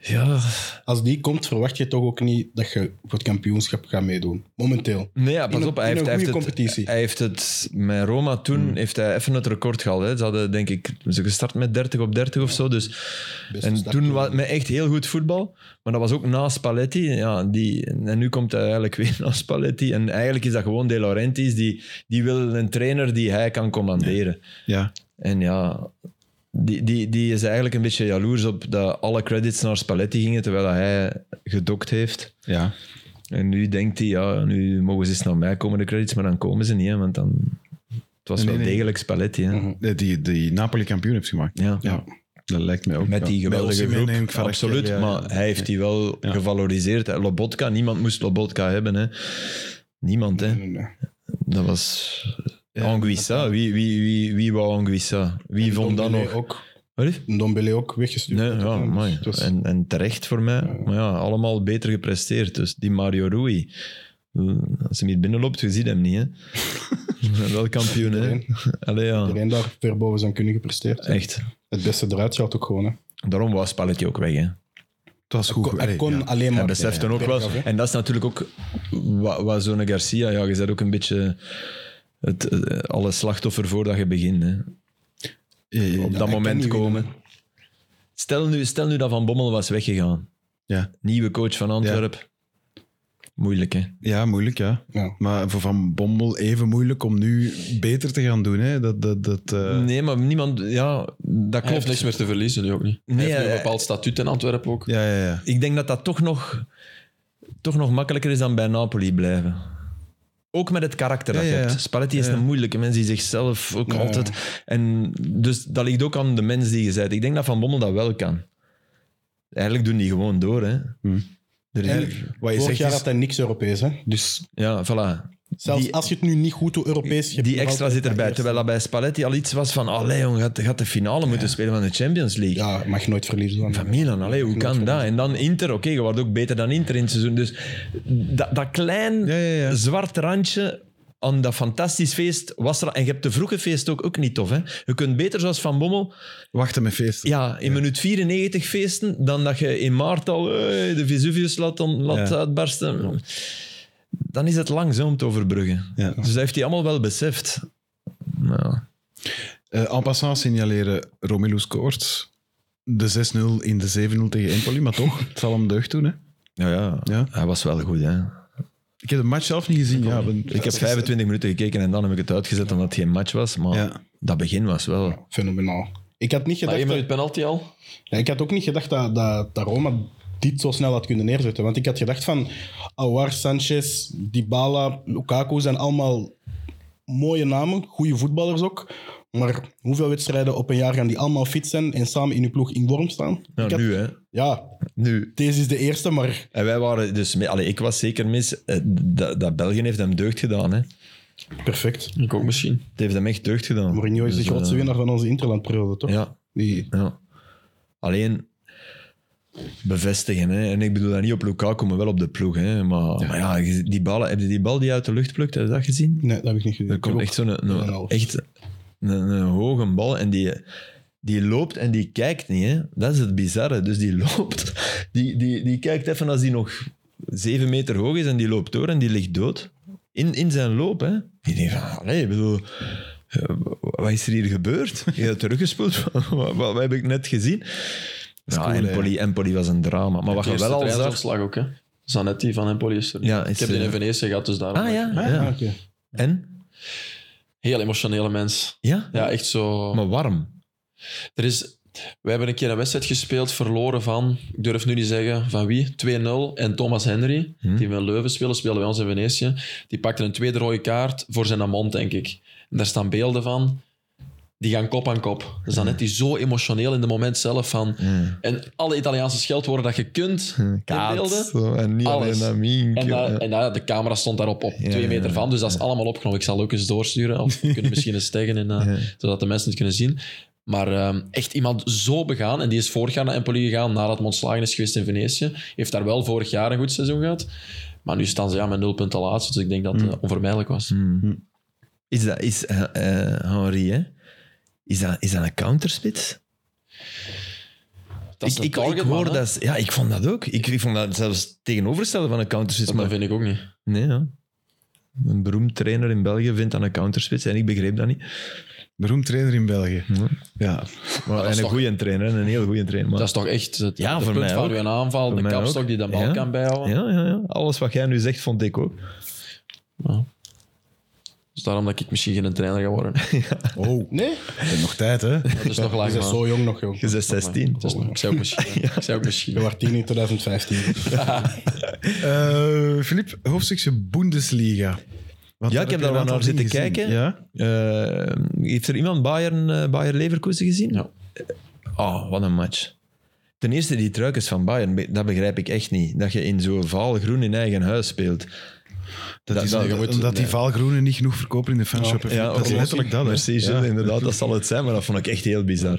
[SPEAKER 2] Ja.
[SPEAKER 4] Als die komt, verwacht je toch ook niet dat je voor het kampioenschap gaat meedoen. Momenteel.
[SPEAKER 2] Nee, ja, pas
[SPEAKER 4] In een-
[SPEAKER 2] op. Hij
[SPEAKER 4] in
[SPEAKER 2] heeft,
[SPEAKER 4] een
[SPEAKER 2] hij, heeft
[SPEAKER 4] goede
[SPEAKER 2] het,
[SPEAKER 4] competitie. Hmm.
[SPEAKER 2] hij heeft het... Met Roma toen heeft hij even het record gehaald. Hè. Ze hadden, denk ik, ze gestart met 30 op 30 of zo. Dus, en
[SPEAKER 4] start
[SPEAKER 2] toen
[SPEAKER 4] toen.
[SPEAKER 2] was met echt heel goed voetbal. Maar dat was ook na Spalletti. Ja, die, en nu komt hij eigenlijk weer na Spalletti. En eigenlijk is dat gewoon De Laurentiis. Die, die wil een trainer die hij kan commanderen.
[SPEAKER 1] Ja.
[SPEAKER 2] En ja, die, die, die is eigenlijk een beetje jaloers op dat alle credits naar Spalletti gingen, terwijl dat hij gedokt heeft.
[SPEAKER 1] Ja.
[SPEAKER 2] En nu denkt hij, ja, nu mogen ze eens naar mij komen, de credits, maar dan komen ze niet, hè, want dan... Het was
[SPEAKER 1] Nee,
[SPEAKER 2] wel
[SPEAKER 1] nee.
[SPEAKER 2] degelijk Spalletti, hè.
[SPEAKER 1] Die, die Napoli kampioen heeft gemaakt.
[SPEAKER 2] Ja.
[SPEAKER 1] Ja. Dat lijkt mij ook.
[SPEAKER 2] Met die geweldige
[SPEAKER 1] Osimhen
[SPEAKER 2] groep,
[SPEAKER 1] en Kvaratskhelia,
[SPEAKER 2] absoluut.
[SPEAKER 1] ja, ja.
[SPEAKER 2] Maar hij heeft die wel gevaloriseerd. hè. Lobotka, niemand moest Lobotka hebben. Hè. Niemand, hè.
[SPEAKER 4] Nee, nee.
[SPEAKER 2] Dat was... Anguissa, wie, wie, wie, wie wou Anguissa? Wie vond dat
[SPEAKER 4] Dombele
[SPEAKER 2] nog?
[SPEAKER 4] Ook,
[SPEAKER 2] Wat is?
[SPEAKER 4] Dombele ook weggestuurd.
[SPEAKER 2] Nee, ja,
[SPEAKER 4] Dus
[SPEAKER 2] mooi.
[SPEAKER 4] het was-
[SPEAKER 2] En, en terecht voor mij. Maar ja, allemaal beter gepresteerd. Dus die Mario Rui. Als hij hier binnenloopt, je ziet hem niet, hè. wel kampioen, hè. Allee, ja.
[SPEAKER 4] Iedereen daar ver boven zijn kunnen gepresteerd.
[SPEAKER 2] Echt.
[SPEAKER 4] Het beste eruit gaat ook gewoon. Hè.
[SPEAKER 2] Daarom was Spalletti ook weg, hè.
[SPEAKER 1] Het was goed.
[SPEAKER 4] Kon- Hij
[SPEAKER 1] Allee,
[SPEAKER 4] kon
[SPEAKER 1] ja.
[SPEAKER 4] alleen maar...
[SPEAKER 2] Hij beseft dan ook wel. En dat is natuurlijk ook wat, wat zo'n Garcia. Ja, je bent ook een beetje het, eh, alle slachtoffer voordat je begint. Hè.
[SPEAKER 1] Eh, eh,
[SPEAKER 2] Op dat
[SPEAKER 4] kan
[SPEAKER 2] moment
[SPEAKER 4] niet
[SPEAKER 2] komen. Stel nu, stel nu dat Van Bommel was weggegaan.
[SPEAKER 1] Ja.
[SPEAKER 2] Nieuwe coach van Antwerpen. Moeilijk, hè?
[SPEAKER 1] ja, moeilijk, ja.
[SPEAKER 4] Ja.
[SPEAKER 1] Maar voor Van Bommel even moeilijk om nu beter te gaan doen. Hè? Dat, dat, dat, eh,
[SPEAKER 2] nee, maar niemand. Ja, dat
[SPEAKER 3] Hij heeft
[SPEAKER 2] klopt.
[SPEAKER 3] niks meer te verliezen nu ook niet.
[SPEAKER 2] Nee, eh,
[SPEAKER 3] hij heeft nu
[SPEAKER 2] hij-
[SPEAKER 3] een bepaald statuut in Antwerpen ook.
[SPEAKER 1] Ja, ja, ja.
[SPEAKER 2] Ik denk dat dat toch nog, toch nog makkelijker is dan bij Napoli blijven. Ook met het karakter dat
[SPEAKER 1] Ja,
[SPEAKER 2] je
[SPEAKER 1] ja, ja.
[SPEAKER 2] hebt. Spalletti is
[SPEAKER 1] Ja.
[SPEAKER 2] een moeilijke mens die zichzelf ook
[SPEAKER 4] Ja,
[SPEAKER 2] altijd... En dus dat ligt ook aan de mens die je bent. Ik denk dat Van Bommel dat wel kan. Eigenlijk doen die gewoon door, hè.
[SPEAKER 1] Hm.
[SPEAKER 2] Er is-
[SPEAKER 4] En
[SPEAKER 1] Wat je
[SPEAKER 4] vorig
[SPEAKER 1] zegt
[SPEAKER 4] jaar
[SPEAKER 1] is-
[SPEAKER 4] had hij niks Europees. Hè? Dus
[SPEAKER 2] ja, voilà.
[SPEAKER 4] zelfs
[SPEAKER 2] Die-
[SPEAKER 4] als je het nu niet goed doet, Europees... je hebt
[SPEAKER 2] Die
[SPEAKER 4] nog
[SPEAKER 2] extra
[SPEAKER 4] altijd
[SPEAKER 2] zit erbij.
[SPEAKER 4] dat
[SPEAKER 2] Terwijl dat bij Spalletti al iets was van... Allee, jong, gaat, gaat de finale moeten spelen van de Champions League.
[SPEAKER 4] eerste- Ja, mag je nooit verliezen. Dan.
[SPEAKER 2] Van Milan, Ah, allee, hoe
[SPEAKER 4] Moet
[SPEAKER 2] kan
[SPEAKER 4] voor
[SPEAKER 2] dat? En dan Inter, oké, je wordt ook beter dan Inter in het seizoen. Dus dat, dat klein
[SPEAKER 1] Ja, ja, ja.
[SPEAKER 2] zwart randje aan dat fantastisch feest was er. En je hebt de vroege feest ook, ook niet tof. Hè? Je kunt beter zoals Van Bommel
[SPEAKER 1] Wachten met feesten.
[SPEAKER 2] ja, in minuut 94 feesten dan dat je in maart al eh, de Vesuvius laat, on- laat
[SPEAKER 1] Ja.
[SPEAKER 2] uitbarsten. Dan is het lang zo om te overbruggen.
[SPEAKER 1] Ja.
[SPEAKER 2] Dus dat heeft hij allemaal wel beseft. Nou,
[SPEAKER 1] Eh, en passant signaleren Romelu scoort de 6-0 in de 7-0 tegen Empoli, maar toch, het zal hem deugd doen. Hè?
[SPEAKER 2] ja, ja,
[SPEAKER 1] Ja.
[SPEAKER 2] hij was wel goed. Hè?
[SPEAKER 1] Ik heb de match zelf niet gezien. Ja, want-
[SPEAKER 2] Dus Ik heb 25 minuten gekeken en dan heb ik het uitgezet omdat het geen match was. Maar
[SPEAKER 1] Ja.
[SPEAKER 2] dat begin was wel.
[SPEAKER 4] Fenomenaal. Ik had niet
[SPEAKER 3] Na
[SPEAKER 4] gedacht...
[SPEAKER 3] één
[SPEAKER 4] dat-
[SPEAKER 3] minuut penalty al.
[SPEAKER 4] Ja, ik had ook niet gedacht dat, dat, dat Roma dit zo snel had kunnen neerzetten. Want ik had gedacht van Awar, Sanchez, Dybala, Lukaku zijn allemaal mooie namen, goede voetballers ook. Maar hoeveel wedstrijden op een jaar gaan die allemaal fit zijn en samen in uw ploeg in vorm staan?
[SPEAKER 2] Nou,
[SPEAKER 4] Ik had-
[SPEAKER 2] nu hè.
[SPEAKER 4] Ja,
[SPEAKER 2] Nu.
[SPEAKER 4] deze is de eerste, maar
[SPEAKER 2] En wij waren dus. mee- Allee, ik was zeker mis. eh, Dat, dat België heeft hem deugd gedaan. Hè. Het
[SPEAKER 4] perfect.
[SPEAKER 3] Ik ook misschien.
[SPEAKER 2] heeft hem echt deugd gedaan.
[SPEAKER 4] Mourinho is de
[SPEAKER 2] Dus,
[SPEAKER 4] grootste
[SPEAKER 2] eh,
[SPEAKER 4] winnaar van onze interlandperiode, toch?
[SPEAKER 2] Ja,
[SPEAKER 4] Die,
[SPEAKER 2] ja. Alleen bevestigen. Hè. En ik bedoel dat niet op Lukaku, maar wel op de ploeg. Hè. Maar ja, maar ja je- die ballen, heb je die bal die uit de lucht plukt? Heb je dat gezien?
[SPEAKER 4] nee, dat heb ik niet gezien.
[SPEAKER 2] Er komt echt zo'n een,
[SPEAKER 4] een half.
[SPEAKER 2] echt een, een hoge bal en die, die loopt en die kijkt niet. Hè? Dat is het bizarre. Dus die loopt, die, die, die kijkt even als die nog zeven meter hoog is en die loopt door en die ligt dood. In, in zijn loop, hè. Ik denk van, allee, ik bedoel, eh, wat is er hier gebeurd? Je hebt teruggespoeld, wat, wat heb ik net gezien? Ja,
[SPEAKER 1] cool, hè.
[SPEAKER 2] Empoli, Empoli was een drama. Maar wat je wel al zag...
[SPEAKER 3] slag ook, hè? Zanetti van Empoli is er.
[SPEAKER 2] Ja,
[SPEAKER 3] ik
[SPEAKER 2] is,
[SPEAKER 3] heb die
[SPEAKER 2] eh,
[SPEAKER 3] in Venetië gehad, dus daar.
[SPEAKER 2] Ah ja,
[SPEAKER 4] Ah,
[SPEAKER 2] ja.
[SPEAKER 4] oké.
[SPEAKER 2] En?
[SPEAKER 3] Heel emotionele mens.
[SPEAKER 2] Ja?
[SPEAKER 3] Ja, echt zo.
[SPEAKER 2] Maar warm.
[SPEAKER 3] Er is, wij hebben een keer een wedstrijd gespeeld, verloren van, ik durf nu niet zeggen van wie, 2-0. En Thomas Henry, die we in Leuven spelen, speelde bij ons in Venetië. Die pakte een tweede rode kaart voor zijn amont, denk ik. En daar staan beelden van. Die gaan kop aan kop. Dus dan net die zo emotioneel in de moment zelf van. En alle Italiaanse scheldwoorden dat je kunt inbeelden.
[SPEAKER 2] Zo, en niet
[SPEAKER 3] Alles.
[SPEAKER 2] alleen Amien.
[SPEAKER 3] En, daar- en daar- de camera stond daarop op
[SPEAKER 2] Ja,
[SPEAKER 3] twee
[SPEAKER 2] ja,
[SPEAKER 3] meter
[SPEAKER 2] ja.
[SPEAKER 3] van. Dus dat is allemaal opgenomen. Ik zal het ook eens doorsturen. Of we kunnen misschien eens taggen, in, eh, zodat de mensen het kunnen zien. Maar ehm, echt iemand zo begaan. En die is vorig jaar naar Empoli gegaan, nadat hij ontslagen is geweest in Venetië. Heeft daar wel vorig jaar een goed seizoen gehad. Maar nu staan ze ja, met nul punten laatst. Dus ik denk dat het
[SPEAKER 2] Mm.
[SPEAKER 3] eh, onvermijdelijk was.
[SPEAKER 2] Hmm.
[SPEAKER 3] Hmm.
[SPEAKER 2] Is dat, is eh eh, Henri, hè? Is dat, is dat een counterspits?
[SPEAKER 3] Dat is
[SPEAKER 2] ik,
[SPEAKER 3] een
[SPEAKER 2] ik, ik
[SPEAKER 3] targetman,
[SPEAKER 2] hoor
[SPEAKER 3] hè?
[SPEAKER 2] dat... Ja, ik vond dat ook. Ik, ik vond dat zelfs tegenoverstellen van een counterspits.
[SPEAKER 3] Dat
[SPEAKER 2] Maar,
[SPEAKER 3] vind ik ook niet.
[SPEAKER 2] nee, ja. Een beroemd trainer in België vindt dat een counterspits. En ik begreep dat niet.
[SPEAKER 1] Beroemd trainer in België. Ja.
[SPEAKER 2] Maar, en
[SPEAKER 3] is
[SPEAKER 2] een
[SPEAKER 3] toch-
[SPEAKER 2] goede trainer, hè, een heel goede trainer. Maar,
[SPEAKER 3] Dat is toch echt het,
[SPEAKER 2] Ja,
[SPEAKER 3] het
[SPEAKER 2] voor
[SPEAKER 3] punt
[SPEAKER 2] mij
[SPEAKER 3] van
[SPEAKER 2] ook.
[SPEAKER 3] uw aanval.
[SPEAKER 2] Voor
[SPEAKER 3] de
[SPEAKER 2] mij
[SPEAKER 3] kapstok
[SPEAKER 2] ook.
[SPEAKER 3] die de bal
[SPEAKER 2] Ja.
[SPEAKER 3] kan bijhouden.
[SPEAKER 2] ja, ja, ja, alles wat jij nu zegt, vond ik ook.
[SPEAKER 3] Dus daarom dat ik misschien geen trainer ga worden.
[SPEAKER 1] Oh,
[SPEAKER 4] Nee?
[SPEAKER 1] we hebben nog tijd, hè?
[SPEAKER 3] Dat is nog
[SPEAKER 4] Je
[SPEAKER 2] Dus
[SPEAKER 3] lang,
[SPEAKER 4] bent
[SPEAKER 3] man.
[SPEAKER 4] zo jong nog, jong.
[SPEAKER 2] Je bent 16.
[SPEAKER 3] Het is nog- Ik zei ook misschien. Ik zei ook misschien.
[SPEAKER 4] Je was tien in 2015.
[SPEAKER 1] Eh, Filip, hoofdstukje Bundesliga. Want
[SPEAKER 2] Ja, ik heb
[SPEAKER 1] je
[SPEAKER 2] daar wel
[SPEAKER 1] een aantal
[SPEAKER 2] naar zitten
[SPEAKER 1] niet gezien.
[SPEAKER 2] kijken.
[SPEAKER 1] Ja?
[SPEAKER 2] Ehm, Eh, heeft er iemand Bayern, eh, Bayern Leverkusen gezien?
[SPEAKER 3] Ja.
[SPEAKER 2] oh, wat een match. Ten eerste, die truikens van Bayern, be- dat begrijp ik echt niet. Dat je in zo'n vaal groen in eigen huis speelt.
[SPEAKER 1] Dat,
[SPEAKER 2] Dat-
[SPEAKER 1] is,
[SPEAKER 2] dat-
[SPEAKER 1] dat,
[SPEAKER 2] je moet-
[SPEAKER 1] die
[SPEAKER 2] nee.
[SPEAKER 1] vaalgroenen niet genoeg verkopen in de fanshop. hè. dat is
[SPEAKER 2] oké.
[SPEAKER 1] letterlijk dat. hè.
[SPEAKER 2] Merci, Gilles,
[SPEAKER 1] Ja.
[SPEAKER 2] inderdaad, dat zal het zijn, maar dat vond ik echt heel bizar.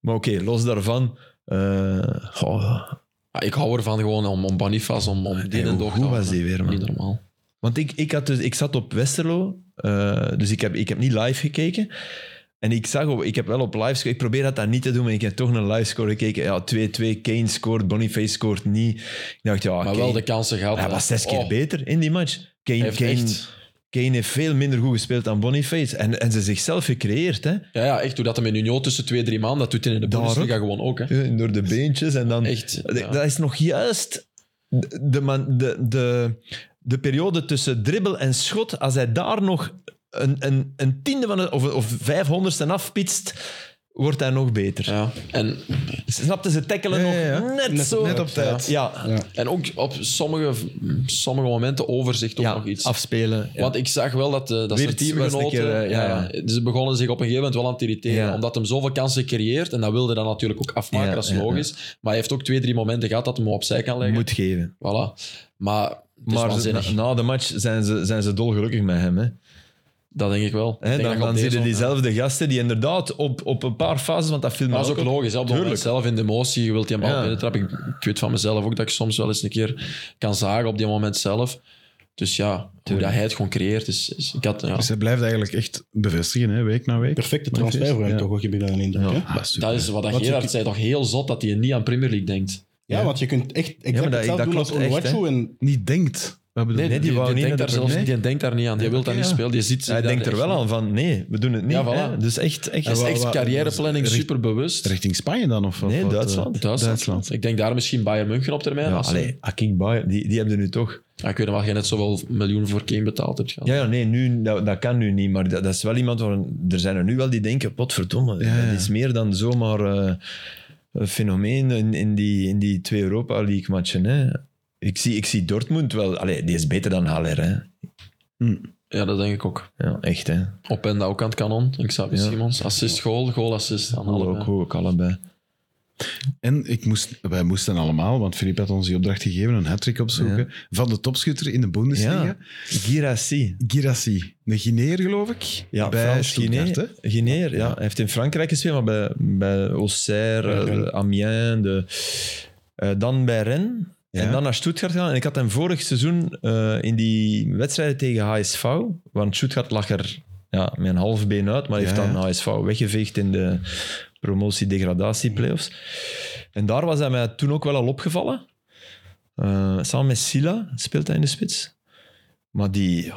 [SPEAKER 2] Maar oké, los daarvan. eh, goh,
[SPEAKER 3] Ja, ik hou ervan gewoon om, om Boniface, om, om dit
[SPEAKER 2] Hey,
[SPEAKER 3] en
[SPEAKER 2] Ah, hoe
[SPEAKER 3] dat.
[SPEAKER 2] goed was die weer, man?
[SPEAKER 3] Niet normaal.
[SPEAKER 2] want ik, ik, had dus, ik zat op Westerlo, eh, dus ik heb, ik heb niet live gekeken. En ik zag, op, ik heb wel op live score, ik probeer dat dan niet te doen, maar ik heb toch naar live score gekeken. Ja, 2-2, Kane scoort, Boniface scoort niet. Ik dacht, ja,
[SPEAKER 3] Maar
[SPEAKER 2] Kane-
[SPEAKER 3] wel de kansen gehad.
[SPEAKER 2] hij
[SPEAKER 3] hè.
[SPEAKER 2] was zes keer
[SPEAKER 3] Oh,
[SPEAKER 2] beter in die match.
[SPEAKER 3] hij
[SPEAKER 2] Kane,
[SPEAKER 3] heeft
[SPEAKER 2] Kane,
[SPEAKER 3] echt-
[SPEAKER 2] Kane heeft veel minder goed gespeeld dan Boniface. En, en ze zichzelf gecreëerd, hè.
[SPEAKER 3] Ja, ja, echt. Doe dat hem in Union tussen twee, drie man. Dat doet hij in de
[SPEAKER 2] Daar
[SPEAKER 3] Bundesliga gewoon ook. Hè.
[SPEAKER 2] Ja, Door de beentjes en dan...
[SPEAKER 3] Echt.
[SPEAKER 2] D-
[SPEAKER 3] ja.
[SPEAKER 2] Dat is nog juist de, de, man- de, de, de periode tussen dribbel en schot. Als hij daar nog een, een, een tiende van het, of, of vijfhonderdste afpitst, wordt hij nog beter.
[SPEAKER 3] Ja. En,
[SPEAKER 2] Snapte ze tackelen
[SPEAKER 1] Ja,
[SPEAKER 2] nog
[SPEAKER 1] ja, ja.
[SPEAKER 2] net,
[SPEAKER 4] Net-
[SPEAKER 2] zo.
[SPEAKER 1] Net op tijd.
[SPEAKER 2] ja, ja,
[SPEAKER 3] en ook op sommige, sommige momenten overzicht ook nog iets.
[SPEAKER 2] afspelen. Ja.
[SPEAKER 3] Want ik zag wel dat, eh dat zijn
[SPEAKER 2] Wirtz was een
[SPEAKER 3] teamgenoten...
[SPEAKER 2] keer, eh, ja,
[SPEAKER 3] ja,
[SPEAKER 2] ja.
[SPEAKER 3] Ze begonnen zich op een gegeven moment wel aan te irriteren.
[SPEAKER 2] Ja.
[SPEAKER 3] Omdat hem zoveel kansen creëert. En dat wilde dan natuurlijk ook afmaken,
[SPEAKER 2] Ja,
[SPEAKER 3] dat is
[SPEAKER 2] ja, ja.
[SPEAKER 3] logisch. Maar hij heeft ook twee, drie momenten gehad dat hij hem opzij kan leggen.
[SPEAKER 2] Moet geven.
[SPEAKER 3] Voilà. Maar het is
[SPEAKER 2] Maar ze-
[SPEAKER 3] waanzinnig.
[SPEAKER 2] na, na de match zijn ze, zijn ze dolgelukkig met hem. Hè.
[SPEAKER 3] dat denk ik wel. Ik
[SPEAKER 2] Hè,
[SPEAKER 3] denk
[SPEAKER 2] dan
[SPEAKER 3] dat
[SPEAKER 2] dan
[SPEAKER 3] je op
[SPEAKER 2] zie je
[SPEAKER 3] deze-
[SPEAKER 2] diezelfde gasten die inderdaad op, op een paar fases, want dat viel me
[SPEAKER 3] Maar dat is ook
[SPEAKER 2] op.
[SPEAKER 3] logisch. Hè? Op dat moment zelf in de emotie, je wilt die bal
[SPEAKER 2] Ja.
[SPEAKER 3] binnentrappen. Ik, ik weet van mezelf ook dat ik soms wel eens een keer kan zagen op die moment zelf. Dus ja, hoe dat hij het gewoon creëert. Is, is- ik had, ja,
[SPEAKER 1] Dus hij blijft eigenlijk echt bevestigen, hè, week na week.
[SPEAKER 4] Perfecte transfer voor hem
[SPEAKER 1] Ja.
[SPEAKER 4] toch, wat je bij een indruk.
[SPEAKER 2] Ja.
[SPEAKER 4] hè?
[SPEAKER 1] Ah, super.
[SPEAKER 3] dat is wat dat
[SPEAKER 4] Wat
[SPEAKER 3] Gerard
[SPEAKER 4] ik-
[SPEAKER 3] zei, toch heel zot dat hij niet aan Premier League denkt.
[SPEAKER 4] Ja, want je kunt echt exact
[SPEAKER 2] maar dat-
[SPEAKER 4] hetzelfde
[SPEAKER 2] dat
[SPEAKER 4] doen als
[SPEAKER 2] klopt echt,
[SPEAKER 4] Onwachu. En
[SPEAKER 1] Niet denkt. Wat bedoel
[SPEAKER 2] Nee,
[SPEAKER 1] je?
[SPEAKER 2] die wou niet
[SPEAKER 3] denkt
[SPEAKER 2] naar
[SPEAKER 3] daar
[SPEAKER 2] de
[SPEAKER 3] zelfs,
[SPEAKER 2] Premier
[SPEAKER 3] die denkt daar niet aan. Die wil dat
[SPEAKER 1] Oké,
[SPEAKER 3] niet
[SPEAKER 1] ja.
[SPEAKER 3] spelen. Die ziet zich
[SPEAKER 2] Hij
[SPEAKER 3] daar
[SPEAKER 2] denkt er
[SPEAKER 3] echt
[SPEAKER 2] wel
[SPEAKER 3] niet.
[SPEAKER 2] aan van, nee, we doen het niet.
[SPEAKER 3] Ja, voilà.
[SPEAKER 2] hè. Dus echt... echt
[SPEAKER 3] Dat is
[SPEAKER 1] En wa-
[SPEAKER 3] echt
[SPEAKER 1] wa-
[SPEAKER 3] carrièreplanning,
[SPEAKER 1] richt-
[SPEAKER 3] superbewust.
[SPEAKER 1] Richting Spanje dan? Of, of
[SPEAKER 2] Nee,
[SPEAKER 1] wat, eh,
[SPEAKER 2] Duitsland.
[SPEAKER 3] Duitsland.
[SPEAKER 1] Duitsland.
[SPEAKER 3] Ik denk daar misschien Bayern München op termijn.
[SPEAKER 2] ja,
[SPEAKER 3] als ze-
[SPEAKER 2] allee, Aking Bayer, die, die hebben nu toch...
[SPEAKER 3] Ja, ik weet nog wel, jij net zoveel miljoen voor Kane betaald hebt. gehad.
[SPEAKER 2] Ja, ja nee, nu, dat, dat kan nu niet, maar dat, dat is wel iemand waar... Er zijn er nu wel die denken, potverdomme,
[SPEAKER 1] Ja, ja.
[SPEAKER 2] dat is meer dan zomaar eh, een fenomeen in, in, die, in die twee Europa League-matchen. Hè. Ik, zie, ik zie Dortmund wel... Allee, die is beter dan Haller, hè.
[SPEAKER 3] ja, dat denk ik ook.
[SPEAKER 2] Ja, echt, hè.
[SPEAKER 3] Op en ook aan het kanon. Ik zag
[SPEAKER 2] Ja.
[SPEAKER 3] Simons. Assist, goal, goal, assist. Aan
[SPEAKER 2] Haller ook,
[SPEAKER 3] allebei.
[SPEAKER 2] ook allebei.
[SPEAKER 1] En ik moest, wij moesten allemaal, want Filip had ons die opdracht gegeven, een hat-trick opzoeken van de topschutter in de Bundesliga.
[SPEAKER 2] Ja, Girassi.
[SPEAKER 1] Girassi, een Guineer geloof ik,
[SPEAKER 2] Ja,
[SPEAKER 1] bij
[SPEAKER 2] Frans
[SPEAKER 1] Stuttgart.
[SPEAKER 2] Guineer.
[SPEAKER 1] hè?
[SPEAKER 2] Guineer, ja. Hij heeft in Frankrijk gespeeld, maar bij, bij Auxerre,
[SPEAKER 4] Ja,
[SPEAKER 2] eh,
[SPEAKER 4] Rennes.
[SPEAKER 2] Amiens, de, eh, dan bij Rennes.
[SPEAKER 1] Ja.
[SPEAKER 2] En dan naar Stuttgart gaan. En ik had hem vorig seizoen eh, in die wedstrijden tegen HSV, want Stuttgart lag er ja, met een half been uit, maar heeft
[SPEAKER 1] Ja,
[SPEAKER 2] dan
[SPEAKER 1] ja.
[SPEAKER 2] HSV weggeveegd in de promotie-degradatie-playoffs. En daar was hij mij toen ook wel al opgevallen. Eh, samen met Silla speelt hij in de spits. Maar die,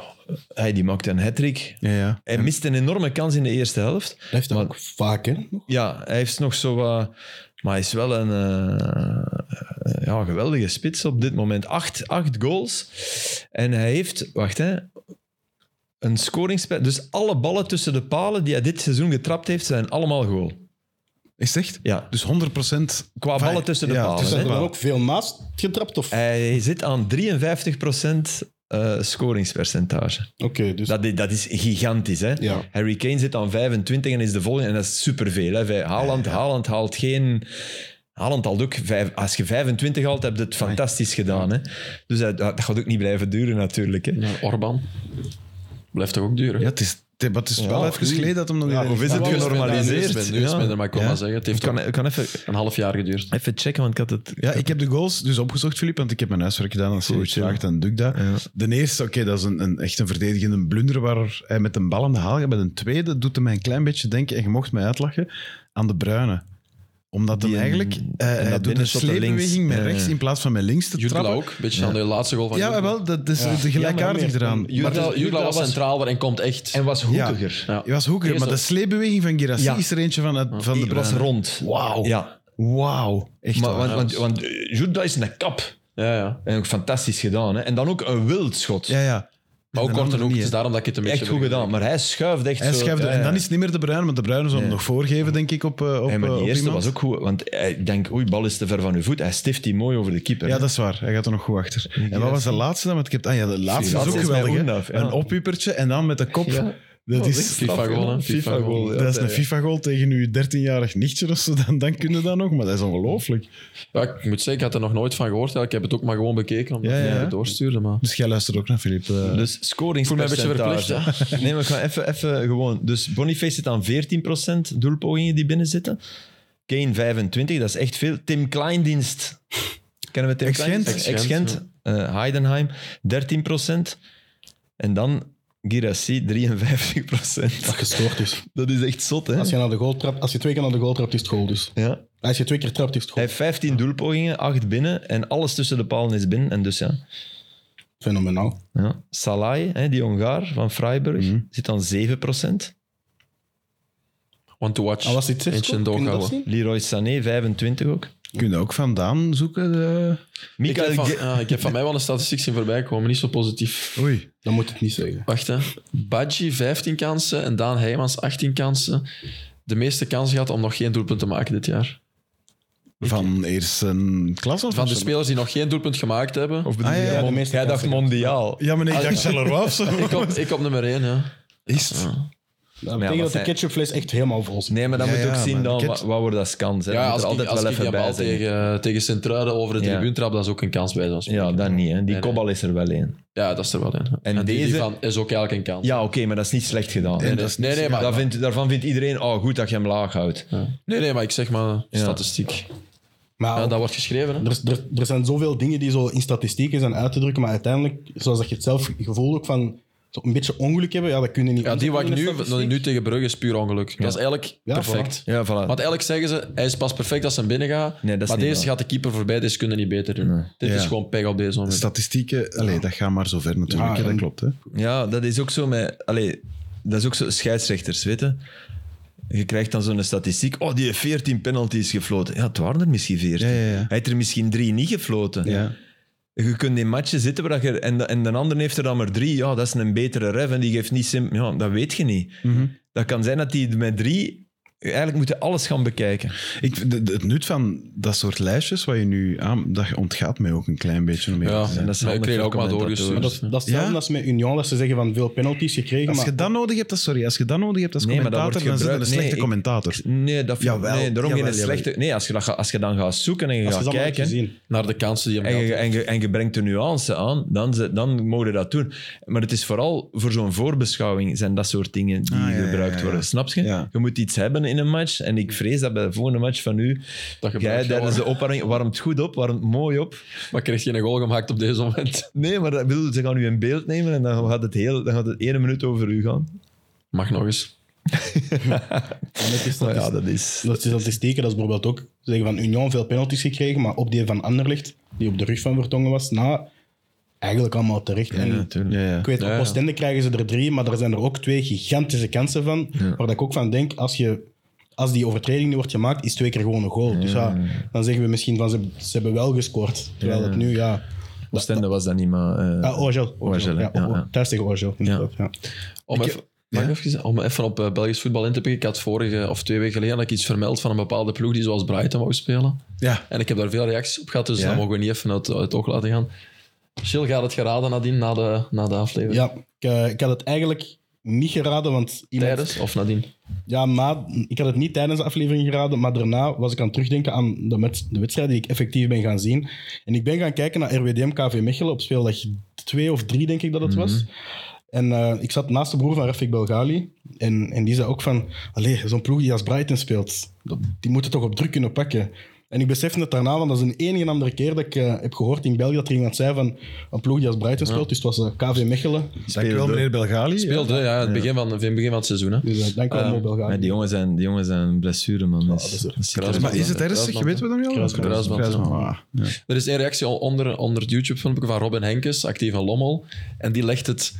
[SPEAKER 2] hij die maakte een hat-trick.
[SPEAKER 1] Ja, ja.
[SPEAKER 2] Hij miste een enorme kans in de eerste helft.
[SPEAKER 4] blijft dat
[SPEAKER 2] Maar-
[SPEAKER 4] ook vaak, hè? Dus nog.
[SPEAKER 2] Ja, hij heeft nog zo wat... Maar hij is wel een eh, ja, geweldige spits op dit moment. Acht, acht goals. En hij heeft... Wacht, hè. Een scoringspel. Dus alle ballen tussen de palen die hij dit seizoen getrapt heeft, zijn allemaal goal.
[SPEAKER 1] Is het echt?
[SPEAKER 2] Ja.
[SPEAKER 1] Dus 100
[SPEAKER 2] Qua
[SPEAKER 1] Enfin,
[SPEAKER 2] ballen tussen de
[SPEAKER 1] ja,
[SPEAKER 2] palen.
[SPEAKER 1] tussen
[SPEAKER 4] Zijn
[SPEAKER 2] hè.
[SPEAKER 4] er dan ook veel naast getrapt? Of... Oké,
[SPEAKER 2] Hij zit aan 53% eh, scoringspercentage.
[SPEAKER 4] dus...
[SPEAKER 2] Dat is, dat is gigantisch, hè?
[SPEAKER 4] Ja.
[SPEAKER 2] Harry Kane zit aan 25 en is de volgende. En dat is superveel. Hè? Vij- Haaland, Haaland haalt geen... Haaland haalt ook... Vijf, als je 25 haalt, heb je het fantastisch gedaan. Hè? Dus dat, dat gaat ook niet blijven duren, natuurlijk. Hè?
[SPEAKER 3] Ja, Orban. Blijft toch ook duur?
[SPEAKER 1] Ja, het is, het- maar het is wel even geleden dat hem nog...
[SPEAKER 4] Ja,
[SPEAKER 1] in-
[SPEAKER 4] of
[SPEAKER 2] Of is het
[SPEAKER 4] Nu is het
[SPEAKER 2] genormaliseerd?
[SPEAKER 3] Nu is het minder,
[SPEAKER 2] Ja.
[SPEAKER 3] maar ik wil
[SPEAKER 1] Ja.
[SPEAKER 3] maar zeggen. Het
[SPEAKER 2] Ik
[SPEAKER 3] heeft
[SPEAKER 2] kan,
[SPEAKER 3] ook
[SPEAKER 2] ik kan even,
[SPEAKER 3] een half jaar geduurd.
[SPEAKER 2] even checken, want ik had het...
[SPEAKER 1] Ja, ik heb de goals dus opgezocht, Filip, want ik heb mijn huiswerk gedaan. Als je
[SPEAKER 2] Goed,
[SPEAKER 1] iets
[SPEAKER 2] ja.
[SPEAKER 1] vraagt, dan doe ik dat.
[SPEAKER 2] Ja.
[SPEAKER 1] De eerste, oké, dat is een, een, echt een verdedigende blunder waar hij met een bal aan de haal gaat. Bij de tweede doet hij mij een klein beetje denken, en je mocht mij uitlachen, aan de Bruine. Omdat hij
[SPEAKER 2] Die
[SPEAKER 1] eigenlijk...
[SPEAKER 2] een-
[SPEAKER 1] eh,
[SPEAKER 2] en
[SPEAKER 1] hij
[SPEAKER 2] dat
[SPEAKER 1] doet een
[SPEAKER 2] binnenschot naar links.
[SPEAKER 1] sleepbeweging met
[SPEAKER 2] Ja, ja.
[SPEAKER 1] rechts in plaats van met links te
[SPEAKER 3] Jurla
[SPEAKER 1] trappen.
[SPEAKER 3] ook. Een beetje aan de laatste goal van
[SPEAKER 1] Ja,
[SPEAKER 3] Jurla.
[SPEAKER 1] wel, dat is
[SPEAKER 4] Ja.
[SPEAKER 1] de
[SPEAKER 4] Ja,
[SPEAKER 1] gelijkaardig
[SPEAKER 4] maar meer.
[SPEAKER 1] eraan.
[SPEAKER 3] Jurla,
[SPEAKER 2] Maar
[SPEAKER 3] Jurla,
[SPEAKER 2] dat- Jurla
[SPEAKER 3] was
[SPEAKER 2] was-
[SPEAKER 3] centraal en komt echt.
[SPEAKER 2] En was
[SPEAKER 1] hoekiger.
[SPEAKER 3] Ja.
[SPEAKER 1] Je was hoekiger, maar de sleepbeweging van Girassi
[SPEAKER 2] Ja.
[SPEAKER 1] is er eentje van, het- van de
[SPEAKER 2] Die eh, was
[SPEAKER 1] Bruine.
[SPEAKER 2] rond.
[SPEAKER 1] Wauw.
[SPEAKER 2] Ja.
[SPEAKER 1] Wauw. Echt
[SPEAKER 2] Maar,
[SPEAKER 1] waar.
[SPEAKER 2] want want, want Juda is een kap.
[SPEAKER 3] Ja, ja.
[SPEAKER 2] En ook fantastisch gedaan. Hè? En dan ook een wild schot.
[SPEAKER 1] ja, ja.
[SPEAKER 3] Maar ook
[SPEAKER 1] Een
[SPEAKER 3] kort en
[SPEAKER 1] andere
[SPEAKER 3] hoek.
[SPEAKER 1] niet,
[SPEAKER 3] Het is
[SPEAKER 1] hè.
[SPEAKER 3] daarom dat ik het een beetje...
[SPEAKER 2] Echt goed gedaan. Maar hij schuift echt
[SPEAKER 1] Hij
[SPEAKER 2] zo...
[SPEAKER 1] schuift er-
[SPEAKER 2] ja,
[SPEAKER 1] en dan
[SPEAKER 2] ja.
[SPEAKER 1] is het niet meer de Bruine, want de Bruine zal hem nog voorgeven, denk ik, op, eh, op,
[SPEAKER 2] Hey, maar
[SPEAKER 1] eh,
[SPEAKER 2] die
[SPEAKER 1] op
[SPEAKER 2] eerste
[SPEAKER 1] iemand.
[SPEAKER 2] was ook goed, want ik denk, oei, bal is te ver van uw voet. Hij stift die mooi over de keeper.
[SPEAKER 1] Ja,
[SPEAKER 2] hè.
[SPEAKER 1] dat is waar. Hij gaat er nog goed achter. En wat
[SPEAKER 2] Girassi.
[SPEAKER 1] was de laatste dan? Want ik heb, ah ja, de laatste is
[SPEAKER 2] Girassi
[SPEAKER 1] ook
[SPEAKER 2] is bij
[SPEAKER 1] geweldig. hè.
[SPEAKER 2] Oendaf, ja.
[SPEAKER 1] Een oppiepertje en dan met de kop
[SPEAKER 3] Ja. dus
[SPEAKER 1] Dat
[SPEAKER 2] is
[SPEAKER 1] is,
[SPEAKER 2] echt
[SPEAKER 3] FIFA goal, hè. FIFA goal.
[SPEAKER 1] dat is een FIFA-goal tegen uw 13-jarig nichtje of zo. Dan, dan kun je dat nog, maar dat is ongelooflijk.
[SPEAKER 3] Ja, ik moet zeggen, ik had er nog nooit van gehoord. Ja, ik heb het ook maar gewoon bekeken, omdat
[SPEAKER 1] Ja, ja,
[SPEAKER 3] jij
[SPEAKER 1] ja.
[SPEAKER 3] het doorstuurde. Maar...
[SPEAKER 1] Dus jij luistert ook naar Filip. eh.
[SPEAKER 2] Dus
[SPEAKER 3] Voel me een
[SPEAKER 2] scoringspercentage.
[SPEAKER 3] beetje
[SPEAKER 2] nee, maar ik ga even, even gewoon. Dus Boniface zit aan 14% doelpogingen die binnen zitten. Kane 25, dat is echt veel. Tim Kleindienst. Kennen we Tim
[SPEAKER 1] Ex-Gent.
[SPEAKER 2] Kleindienst?
[SPEAKER 3] Ex-Gent,
[SPEAKER 2] Ex-Gent. Eh, Heidenheim 13%. En dan Girassi 53%.
[SPEAKER 4] Dat gestoord is.
[SPEAKER 2] Dat is echt zot, hè?
[SPEAKER 4] Als je, naar de goal trapt, als je twee keer naar de goal trapt, is het goal dus.
[SPEAKER 2] Ja.
[SPEAKER 4] Als je twee keer trapt, is het
[SPEAKER 2] Hij
[SPEAKER 4] goal.
[SPEAKER 2] heeft 15 doelpogingen, 8 binnen. En alles tussen de palen is binnen. En dus ja.
[SPEAKER 4] Fenomenaal.
[SPEAKER 2] Ja. Salai, hè, die Hongaar van Freiburg,
[SPEAKER 1] Mhm.
[SPEAKER 2] zit aan 7%.
[SPEAKER 3] Want to watch.
[SPEAKER 4] Ah, was dit zes?
[SPEAKER 3] Eentje in
[SPEAKER 4] goal?
[SPEAKER 3] de
[SPEAKER 4] Kun je
[SPEAKER 3] oog
[SPEAKER 4] dat
[SPEAKER 3] houden.
[SPEAKER 4] zien?
[SPEAKER 2] Leroy Sané, 25 ook.
[SPEAKER 1] Kun je ook vandaan zoeken? eh?
[SPEAKER 3] Ik heb,
[SPEAKER 2] Michael
[SPEAKER 3] van,
[SPEAKER 2] Ge-
[SPEAKER 3] ja, ik heb van mij wel een statistiek zien voorbij komen, niet zo positief.
[SPEAKER 1] Oei.
[SPEAKER 4] Dan moet ik het niet zeggen.
[SPEAKER 3] Wacht hè. Badji 15 kansen en Daan Heijmans 18 kansen. De meeste kansen gehad om nog geen doelpunt te maken dit jaar.
[SPEAKER 1] Van eerst een klas of
[SPEAKER 3] Van de
[SPEAKER 1] zo?
[SPEAKER 3] spelers die nog geen doelpunt gemaakt hebben.
[SPEAKER 2] Of bedoel
[SPEAKER 1] Ah, ja,
[SPEAKER 2] je
[SPEAKER 1] ja, de
[SPEAKER 2] mon-
[SPEAKER 4] meeste
[SPEAKER 2] jij dacht
[SPEAKER 4] kansen.
[SPEAKER 2] mondiaal.
[SPEAKER 1] Ja, maar nee, ik dacht Charleroi of zo.
[SPEAKER 3] Ik op, ik op nummer 1, ja.
[SPEAKER 1] Is het?
[SPEAKER 2] maar
[SPEAKER 4] Dat betekent dat de
[SPEAKER 2] zij-
[SPEAKER 4] ketchupfles echt helemaal vol zit.
[SPEAKER 2] Nee, maar dan
[SPEAKER 1] Ja,
[SPEAKER 2] moet je ook
[SPEAKER 1] ja, maar
[SPEAKER 2] zien dan,
[SPEAKER 1] ik
[SPEAKER 2] wat,
[SPEAKER 1] heb-
[SPEAKER 2] wat wordt dat kans. Hè?
[SPEAKER 3] Ja,
[SPEAKER 2] Dat
[SPEAKER 3] als
[SPEAKER 2] moet altijd
[SPEAKER 3] ik, als
[SPEAKER 2] wel
[SPEAKER 3] ik die
[SPEAKER 2] even bij
[SPEAKER 3] bal
[SPEAKER 2] zijn.
[SPEAKER 3] tegen, eh, tegen Sint-Truiden over de
[SPEAKER 2] Ja.
[SPEAKER 3] tribune trap, dat is ook een kans bij ons.
[SPEAKER 2] Ja, dat niet. Hè. Die
[SPEAKER 3] nee.
[SPEAKER 2] kopbal is er wel één.
[SPEAKER 3] Ja, dat is er wel in.
[SPEAKER 2] En
[SPEAKER 3] die- die
[SPEAKER 2] deze-
[SPEAKER 3] van is ook eigenlijk een kans.
[SPEAKER 2] Ja, oké, maar dat is niet slecht gedaan.
[SPEAKER 1] Nee, dat is niet
[SPEAKER 3] nee, nee, maar-
[SPEAKER 2] Dat vindt- daarvan vindt iedereen, oh, goed dat je hem laag houdt.
[SPEAKER 3] Ja. Nee, nee, maar ik zeg maar
[SPEAKER 2] Ja.
[SPEAKER 3] statistiek.
[SPEAKER 4] Maar
[SPEAKER 3] Ja, dat wordt geschreven. Hè?
[SPEAKER 4] er, is- er, er zijn zoveel dingen die zo in statistieken zijn uit te drukken, maar uiteindelijk, zoals dat je het zelf gevoel ook van zo een beetje ongeluk hebben, ja, dat kun je niet
[SPEAKER 3] Ja, die wat ik
[SPEAKER 4] inzetten in de
[SPEAKER 3] nu,
[SPEAKER 4] statistiek.
[SPEAKER 3] nu tegen Brugge is puur ongeluk. Dat is eigenlijk
[SPEAKER 4] Ja,
[SPEAKER 3] perfect.
[SPEAKER 2] Ja, voilà.
[SPEAKER 3] Want eigenlijk zeggen ze, hij is pas perfect als hij binnen gaat.
[SPEAKER 2] Nee, dat is
[SPEAKER 3] maar
[SPEAKER 2] niet
[SPEAKER 3] deze
[SPEAKER 2] waar.
[SPEAKER 3] gaat de keeper voorbij, deze kunnen niet beter doen. Dit
[SPEAKER 1] Ja.
[SPEAKER 3] is gewoon pech op deze moment.
[SPEAKER 1] Statistieken, allee, dat gaat maar zo ver natuurlijk.
[SPEAKER 4] Ja,
[SPEAKER 1] hè, dat
[SPEAKER 4] en-
[SPEAKER 1] klopt. Hè.
[SPEAKER 2] Ja, dat is ook zo met... Allee, dat is ook zo scheidsrechters, weet je. Je krijgt dan zo'n statistiek. Oh, die heeft 14 penalties gefloten. Ja, het waren er misschien 14.
[SPEAKER 1] Ja, ja, ja.
[SPEAKER 2] Hij heeft er misschien drie niet gefloten.
[SPEAKER 1] Ja.
[SPEAKER 2] Je kunt in matchen zitten waar je, en, de- en de ander heeft er dan maar drie. Ja, dat is een betere ref en die geeft niet sim. Ja, dat weet je niet.
[SPEAKER 1] Mhm.
[SPEAKER 2] Dat kan zijn dat die met drie... Eigenlijk moeten alles gaan bekijken.
[SPEAKER 1] Ik, de- de- het nut van dat soort lijstjes wat je nu aan, dat ontgaat mij ook een klein beetje. Om eerlijk
[SPEAKER 3] Ja,
[SPEAKER 1] te zijn.
[SPEAKER 2] dat is
[SPEAKER 3] maar ik
[SPEAKER 2] handig
[SPEAKER 3] kreeg
[SPEAKER 2] voor
[SPEAKER 3] ook dus- maar
[SPEAKER 2] commentatoren.
[SPEAKER 3] doorgestuurd.
[SPEAKER 4] Maar dat, dat is hetzelfde
[SPEAKER 1] Ja?
[SPEAKER 4] als met Union, dat ze zeggen van veel penalties gekregen,
[SPEAKER 1] Als
[SPEAKER 4] maar
[SPEAKER 1] je dat nodig hebt, dat, sorry, als je dat nodig hebt als
[SPEAKER 2] Nee, maar dat
[SPEAKER 1] commentator, dan
[SPEAKER 2] wordt
[SPEAKER 1] zit je een
[SPEAKER 2] gebruikt-
[SPEAKER 1] slechte
[SPEAKER 2] nee, ik-
[SPEAKER 1] commentator.
[SPEAKER 2] Nee, dat
[SPEAKER 1] Jawel,
[SPEAKER 2] nee, daarom geen
[SPEAKER 1] jawel, jawel.
[SPEAKER 2] slechte... Nee, als je, dat, ga- als je dan gaat zoeken en je
[SPEAKER 4] als je
[SPEAKER 2] gaat
[SPEAKER 4] dat kijken,
[SPEAKER 2] kijken...
[SPEAKER 4] gezien.
[SPEAKER 3] Naar de kansen die hem
[SPEAKER 2] En
[SPEAKER 3] gaat.
[SPEAKER 2] je, en, je, en je brengt de nuance aan, dan, ze- dan mogen we dat doen. Maar het is vooral voor zo'n voorbeschouwing zijn dat soort dingen die
[SPEAKER 1] Ah, ja, ja,
[SPEAKER 2] gebruikt
[SPEAKER 1] ja, ja.
[SPEAKER 2] worden. Snap je?
[SPEAKER 1] Ja.
[SPEAKER 2] Je moet iets hebben in een match. En ik vrees dat bij de volgende match van u,
[SPEAKER 3] Dat gebruikt
[SPEAKER 2] jij
[SPEAKER 3] gaat
[SPEAKER 2] tijdens de
[SPEAKER 3] worden.
[SPEAKER 2] opwarming warmt goed op, warmt mooi op.
[SPEAKER 3] Maar kreeg geen goal gemaakt op deze moment.
[SPEAKER 2] Nee, maar dat bedoel, ze gaan u in beeld nemen en dan gaat het, heel, dan gaat het ene minuut over u gaan.
[SPEAKER 3] Mag nog eens.
[SPEAKER 4] En met
[SPEAKER 2] Nou
[SPEAKER 4] die statis-
[SPEAKER 2] ja, dat is...
[SPEAKER 4] Ah, Dat is statistieken, dat is bijvoorbeeld ook zeggen van Union veel penalties gekregen, maar op die van Anderlecht, die op de rug van Vertongen was, nou, eigenlijk allemaal terecht. en
[SPEAKER 2] natuurlijk.
[SPEAKER 4] Ik weet,
[SPEAKER 3] Ja, ja.
[SPEAKER 4] op Oostende krijgen ze er drie, maar er zijn er ook twee gigantische kansen van. Waar ik ook van denk, als, je, als die overtreding nu wordt gemaakt, is twee keer gewoon een goal. Dus ja, dan zeggen we misschien van ze, ze hebben wel gescoord. Terwijl het nu, ja...
[SPEAKER 2] Oostende was dat niet, maar... eh,
[SPEAKER 4] Ah, Orgel.
[SPEAKER 2] Orgel,
[SPEAKER 4] ja,
[SPEAKER 2] ja, ja.
[SPEAKER 4] Thuis tegen Orgel, inderdaad. Ja.
[SPEAKER 3] Om even, mag ik even zeggen? om even op eh, Belgisch voetbal in te pikken. Ik had vorige of twee weken geleden had ik iets vermeld van een bepaalde ploeg die zoals Brighton wou spelen.
[SPEAKER 1] Ja,
[SPEAKER 3] En ik heb daar veel reacties op gehad, dus
[SPEAKER 1] Ja?
[SPEAKER 3] dat mogen we niet even uit, uit het oog laten gaan. Chill gaat het geraden nadien, na de, na de aflevering.
[SPEAKER 4] Ja, ik, eh, ik had het eigenlijk niet geraden, want iemand...
[SPEAKER 3] Tijdens of nadien?
[SPEAKER 4] Ja, na, ik had het niet tijdens de aflevering geraden, maar daarna was ik aan het terugdenken aan de, met, de wedstrijd die ik effectief ben gaan zien. En ik ben gaan kijken naar RWDM KV Mechelen op speeldag 2 of 3, denk ik dat het was. En eh, ik zat naast de broer van Rafik Belgali. En, en die zei ook van, allee, zo'n ploeg die als Brighton speelt, dat- die moeten toch op druk kunnen pakken. En ik besefte het daarna, want dat is een enige andere keer dat ik eh, heb gehoord in België dat er iemand zei van een ploeg die als Brighton speelt. Dus het was eh, KV Mechelen.
[SPEAKER 1] dankjewel meneer Belgali.
[SPEAKER 3] Speelde, ja, het Begin van, in het begin van het seizoen. Hè.
[SPEAKER 4] Dus eh, dankjewel, mooi Belgali.
[SPEAKER 2] maar die jongens zijn, die jongens zijn blessure, man. Dat is-
[SPEAKER 4] dat is er.
[SPEAKER 2] dat ziet er-
[SPEAKER 3] Kruisband.
[SPEAKER 1] Maar is het ernstig? Je weet we dat nu al?
[SPEAKER 4] Kruisband.
[SPEAKER 1] Kruisband. Kruisband, ja.
[SPEAKER 3] Er is een reactie al onder, onder het YouTube-filmpje van Robin Henkes, actief in Lommel. En die legt het